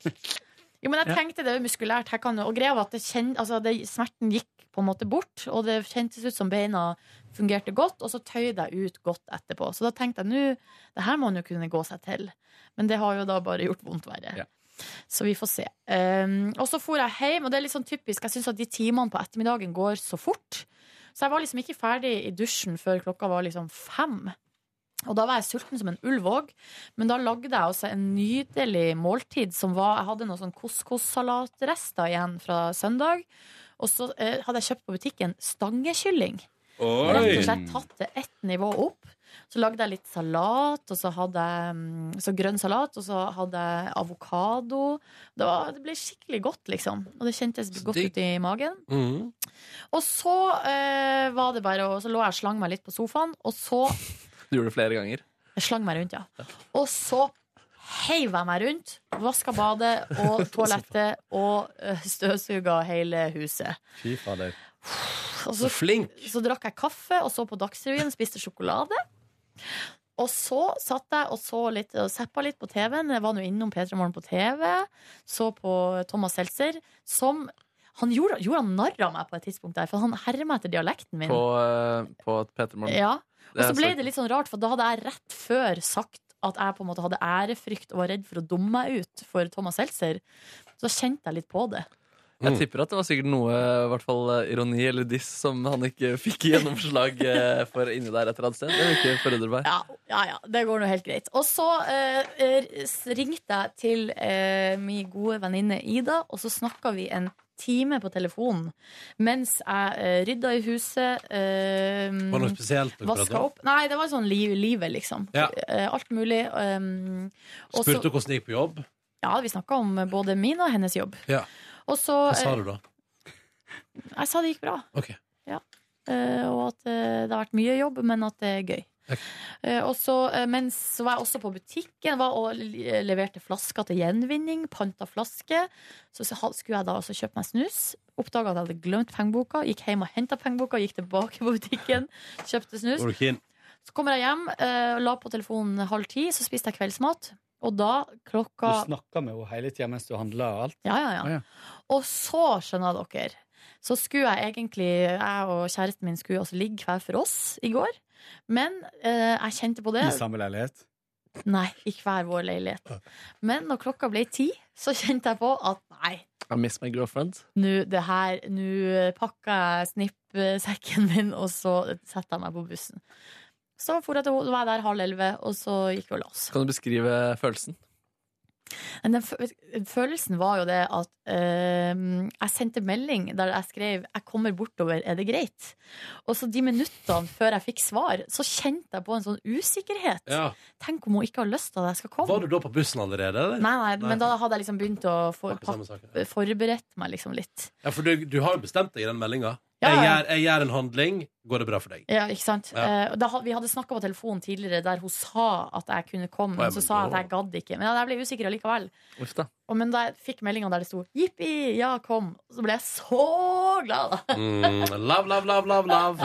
C: Jo, men jeg tenkte det er jo muskulært. Her kan, jo- og greia var at det kjen, altså, det, smerten gikk på en måte bort, og det kjentes ut som beina fungerte godt, og så tøyde jeg ut godt etterpå. Så da tenkte jeg nå, det her må han jo kunne gå seg til. Men det har jo da bare gjort vondt verre. Så vi får se. Um, og så for jeg hjem, og det er litt sånn typisk, jeg syns at de timene på ettermiddagen går så fort. Så jeg var liksom ikke ferdig i dusjen før klokka var liksom fem. Og da var jeg sulten som en ulv òg, men da lagde jeg også en nydelig måltid som var Jeg hadde noen sånn couscous-salatrester igjen fra søndag, og så eh, hadde jeg kjøpt på butikken stangekylling.
K: Oi!
C: Rett og slett tatt det ett nivå opp. Så lagde jeg litt salat, og så hadde jeg mm, så grønn salat, og så hadde jeg avokado. Det, var, det ble skikkelig godt, liksom. Og det kjentes godt ut i magen.
B: Mm.
C: Og så eh, var det bare å- Så lå jeg og slang meg litt på sofaen, og så
D: Du gjorde det flere ganger.
C: Jeg slang meg rundt, ja. Og så heiv jeg meg rundt, vaska badet og toalettet og eh, støvsuga hele huset.
J: Fy fader.
C: Og
J: Så flink.
C: Så drakk jeg kaffe og så på Dagsrevyen, spiste sjokolade. Og så satt jeg og så litt og zappa litt på TV-en. Jeg var nå innom P3 Morgen på TV. Så på Thomas Seltzer, som han gjorde, gjorde han narr av meg på et tidspunkt der, for han hermer etter dialekten min.
D: På, eh, på P3 Morgen.
C: Ja. Og så ble det litt sånn rart, for da hadde jeg rett før sagt at jeg på en måte hadde ærefrykt og var redd for å dumme meg ut for Thomas Seltzer. Så da kjente jeg litt på det.
D: Jeg tipper at det var sikkert noe i hvert fall eh, ironi eller diss som han ikke fikk gjennomslag eh, for inni der et eller annet sted. Det vil ikke forundre meg.
C: Ja, ja, det går nå helt greit. Og så eh, eh, ringte jeg til eh, min gode venninne Ida, og så snakka vi en time på telefonen mens jeg eh, rydda i huset. Eh,
B: Var det noe spesielt dere pratet
C: Vaska
B: om?
C: opp. Nei, det var sånn liv, livet, liksom.
B: Ja.
C: Eh, alt mulig. eh, og så-
B: Spurte du hvordan det gikk på jobb?
C: Ja, vi snakka om både min og hennes jobb.
B: Ja.
C: Og så, eh,
B: Hva
J: eh,
B: sa du da?
C: Jeg sa det gikk bra. Ja. Eh, og at eh, det har vært mye jobb, men at det er gøy. Eh, og så, eh, men så var jeg også på butikken var og li- leverte flasker til gjenvinning. Panta flasker. Så s- ha- skulle jeg da også kjøpe meg snus. Oppdaga at jeg hadde glemt pengeboka. Gikk hjem og henta pengeboka, gikk tilbake på butikken, kjøpte snus.
B: Går du ikke inn?
C: Så kommer jeg hjem, eh, la på telefonen halv ti, så spiste jeg kveldsmat. Og da
J: Du
C: klokka
J: snakka med henne hele tida mens du handla og alt?
C: Ja, ja, ja.
J: Å,
C: Og så, skjønner dere, så skulle jeg egentlig, jeg og kjæresten min skulle også ligge hver for oss i går. Men eh, jeg kjente på det.
J: I samme leilighet?
C: Nei, i hver vår leilighet. Men når klokka ble ti, så kjente jeg på at nei,
D: I miss my girlfriend.
C: nå det her, nå pakker jeg snippsekken min, og så setter jeg meg på bussen. Så for jeg til, ho- var jeg der halv elleve, og så gikk vi og la oss.
D: Kan du beskrive følelsen?
C: Men den fø- følelsen var jo det at ehm, jeg sendte melding der jeg skrev 'jeg kommer bortover, er det greit?' Og så de minuttene før jeg fikk svar, så kjente jeg på en sånn usikkerhet.
B: Ja.
C: Tenk om hun ikke har lyst til at jeg skal komme?
B: Var du da på bussen allerede? Eller?
C: Nei, nei, men da hadde jeg liksom begynt å for,
B: Akkurat samme sak,
C: forberede meg liksom litt.
B: Ja, for du, du har jo bestemt deg i den meldinga.
C: Ja,
B: Jeg,
C: ja.
B: gjør- jeg gjør en handling, går det bra for deg?
C: Ja, ikke sant?
B: Ja.
C: Eh, og da, ha- vi hadde snakka på telefonen tidligere der hun sa at jeg kunne komme,
B: Nei,
C: men
B: men
C: så sa
B: da-
C: jeg at jeg gadd ikke. Men ja, jeg ble usikker allikevel.
D: Uff da.
C: Og, men da jeg fikk meldinga der det sto 'jippi, ja, kom', så ble jeg så glad. da.
B: Mm, love, love, love, love, love.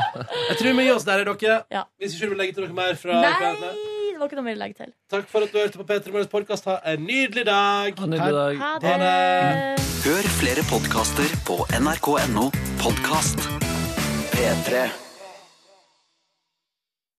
B: Jeg tror vi gir oss der, er dere. Hvis ikke du vil legge til noe mer fra
C: Nei!
B: kveldene.
C: Det var ikke noe mer å legge til.
B: Takk for at du hørte på P3 Morgens podkast. Ha en nydelig dag.
A: Ha det. Hør flere podkaster på nrk.no podkast. P3.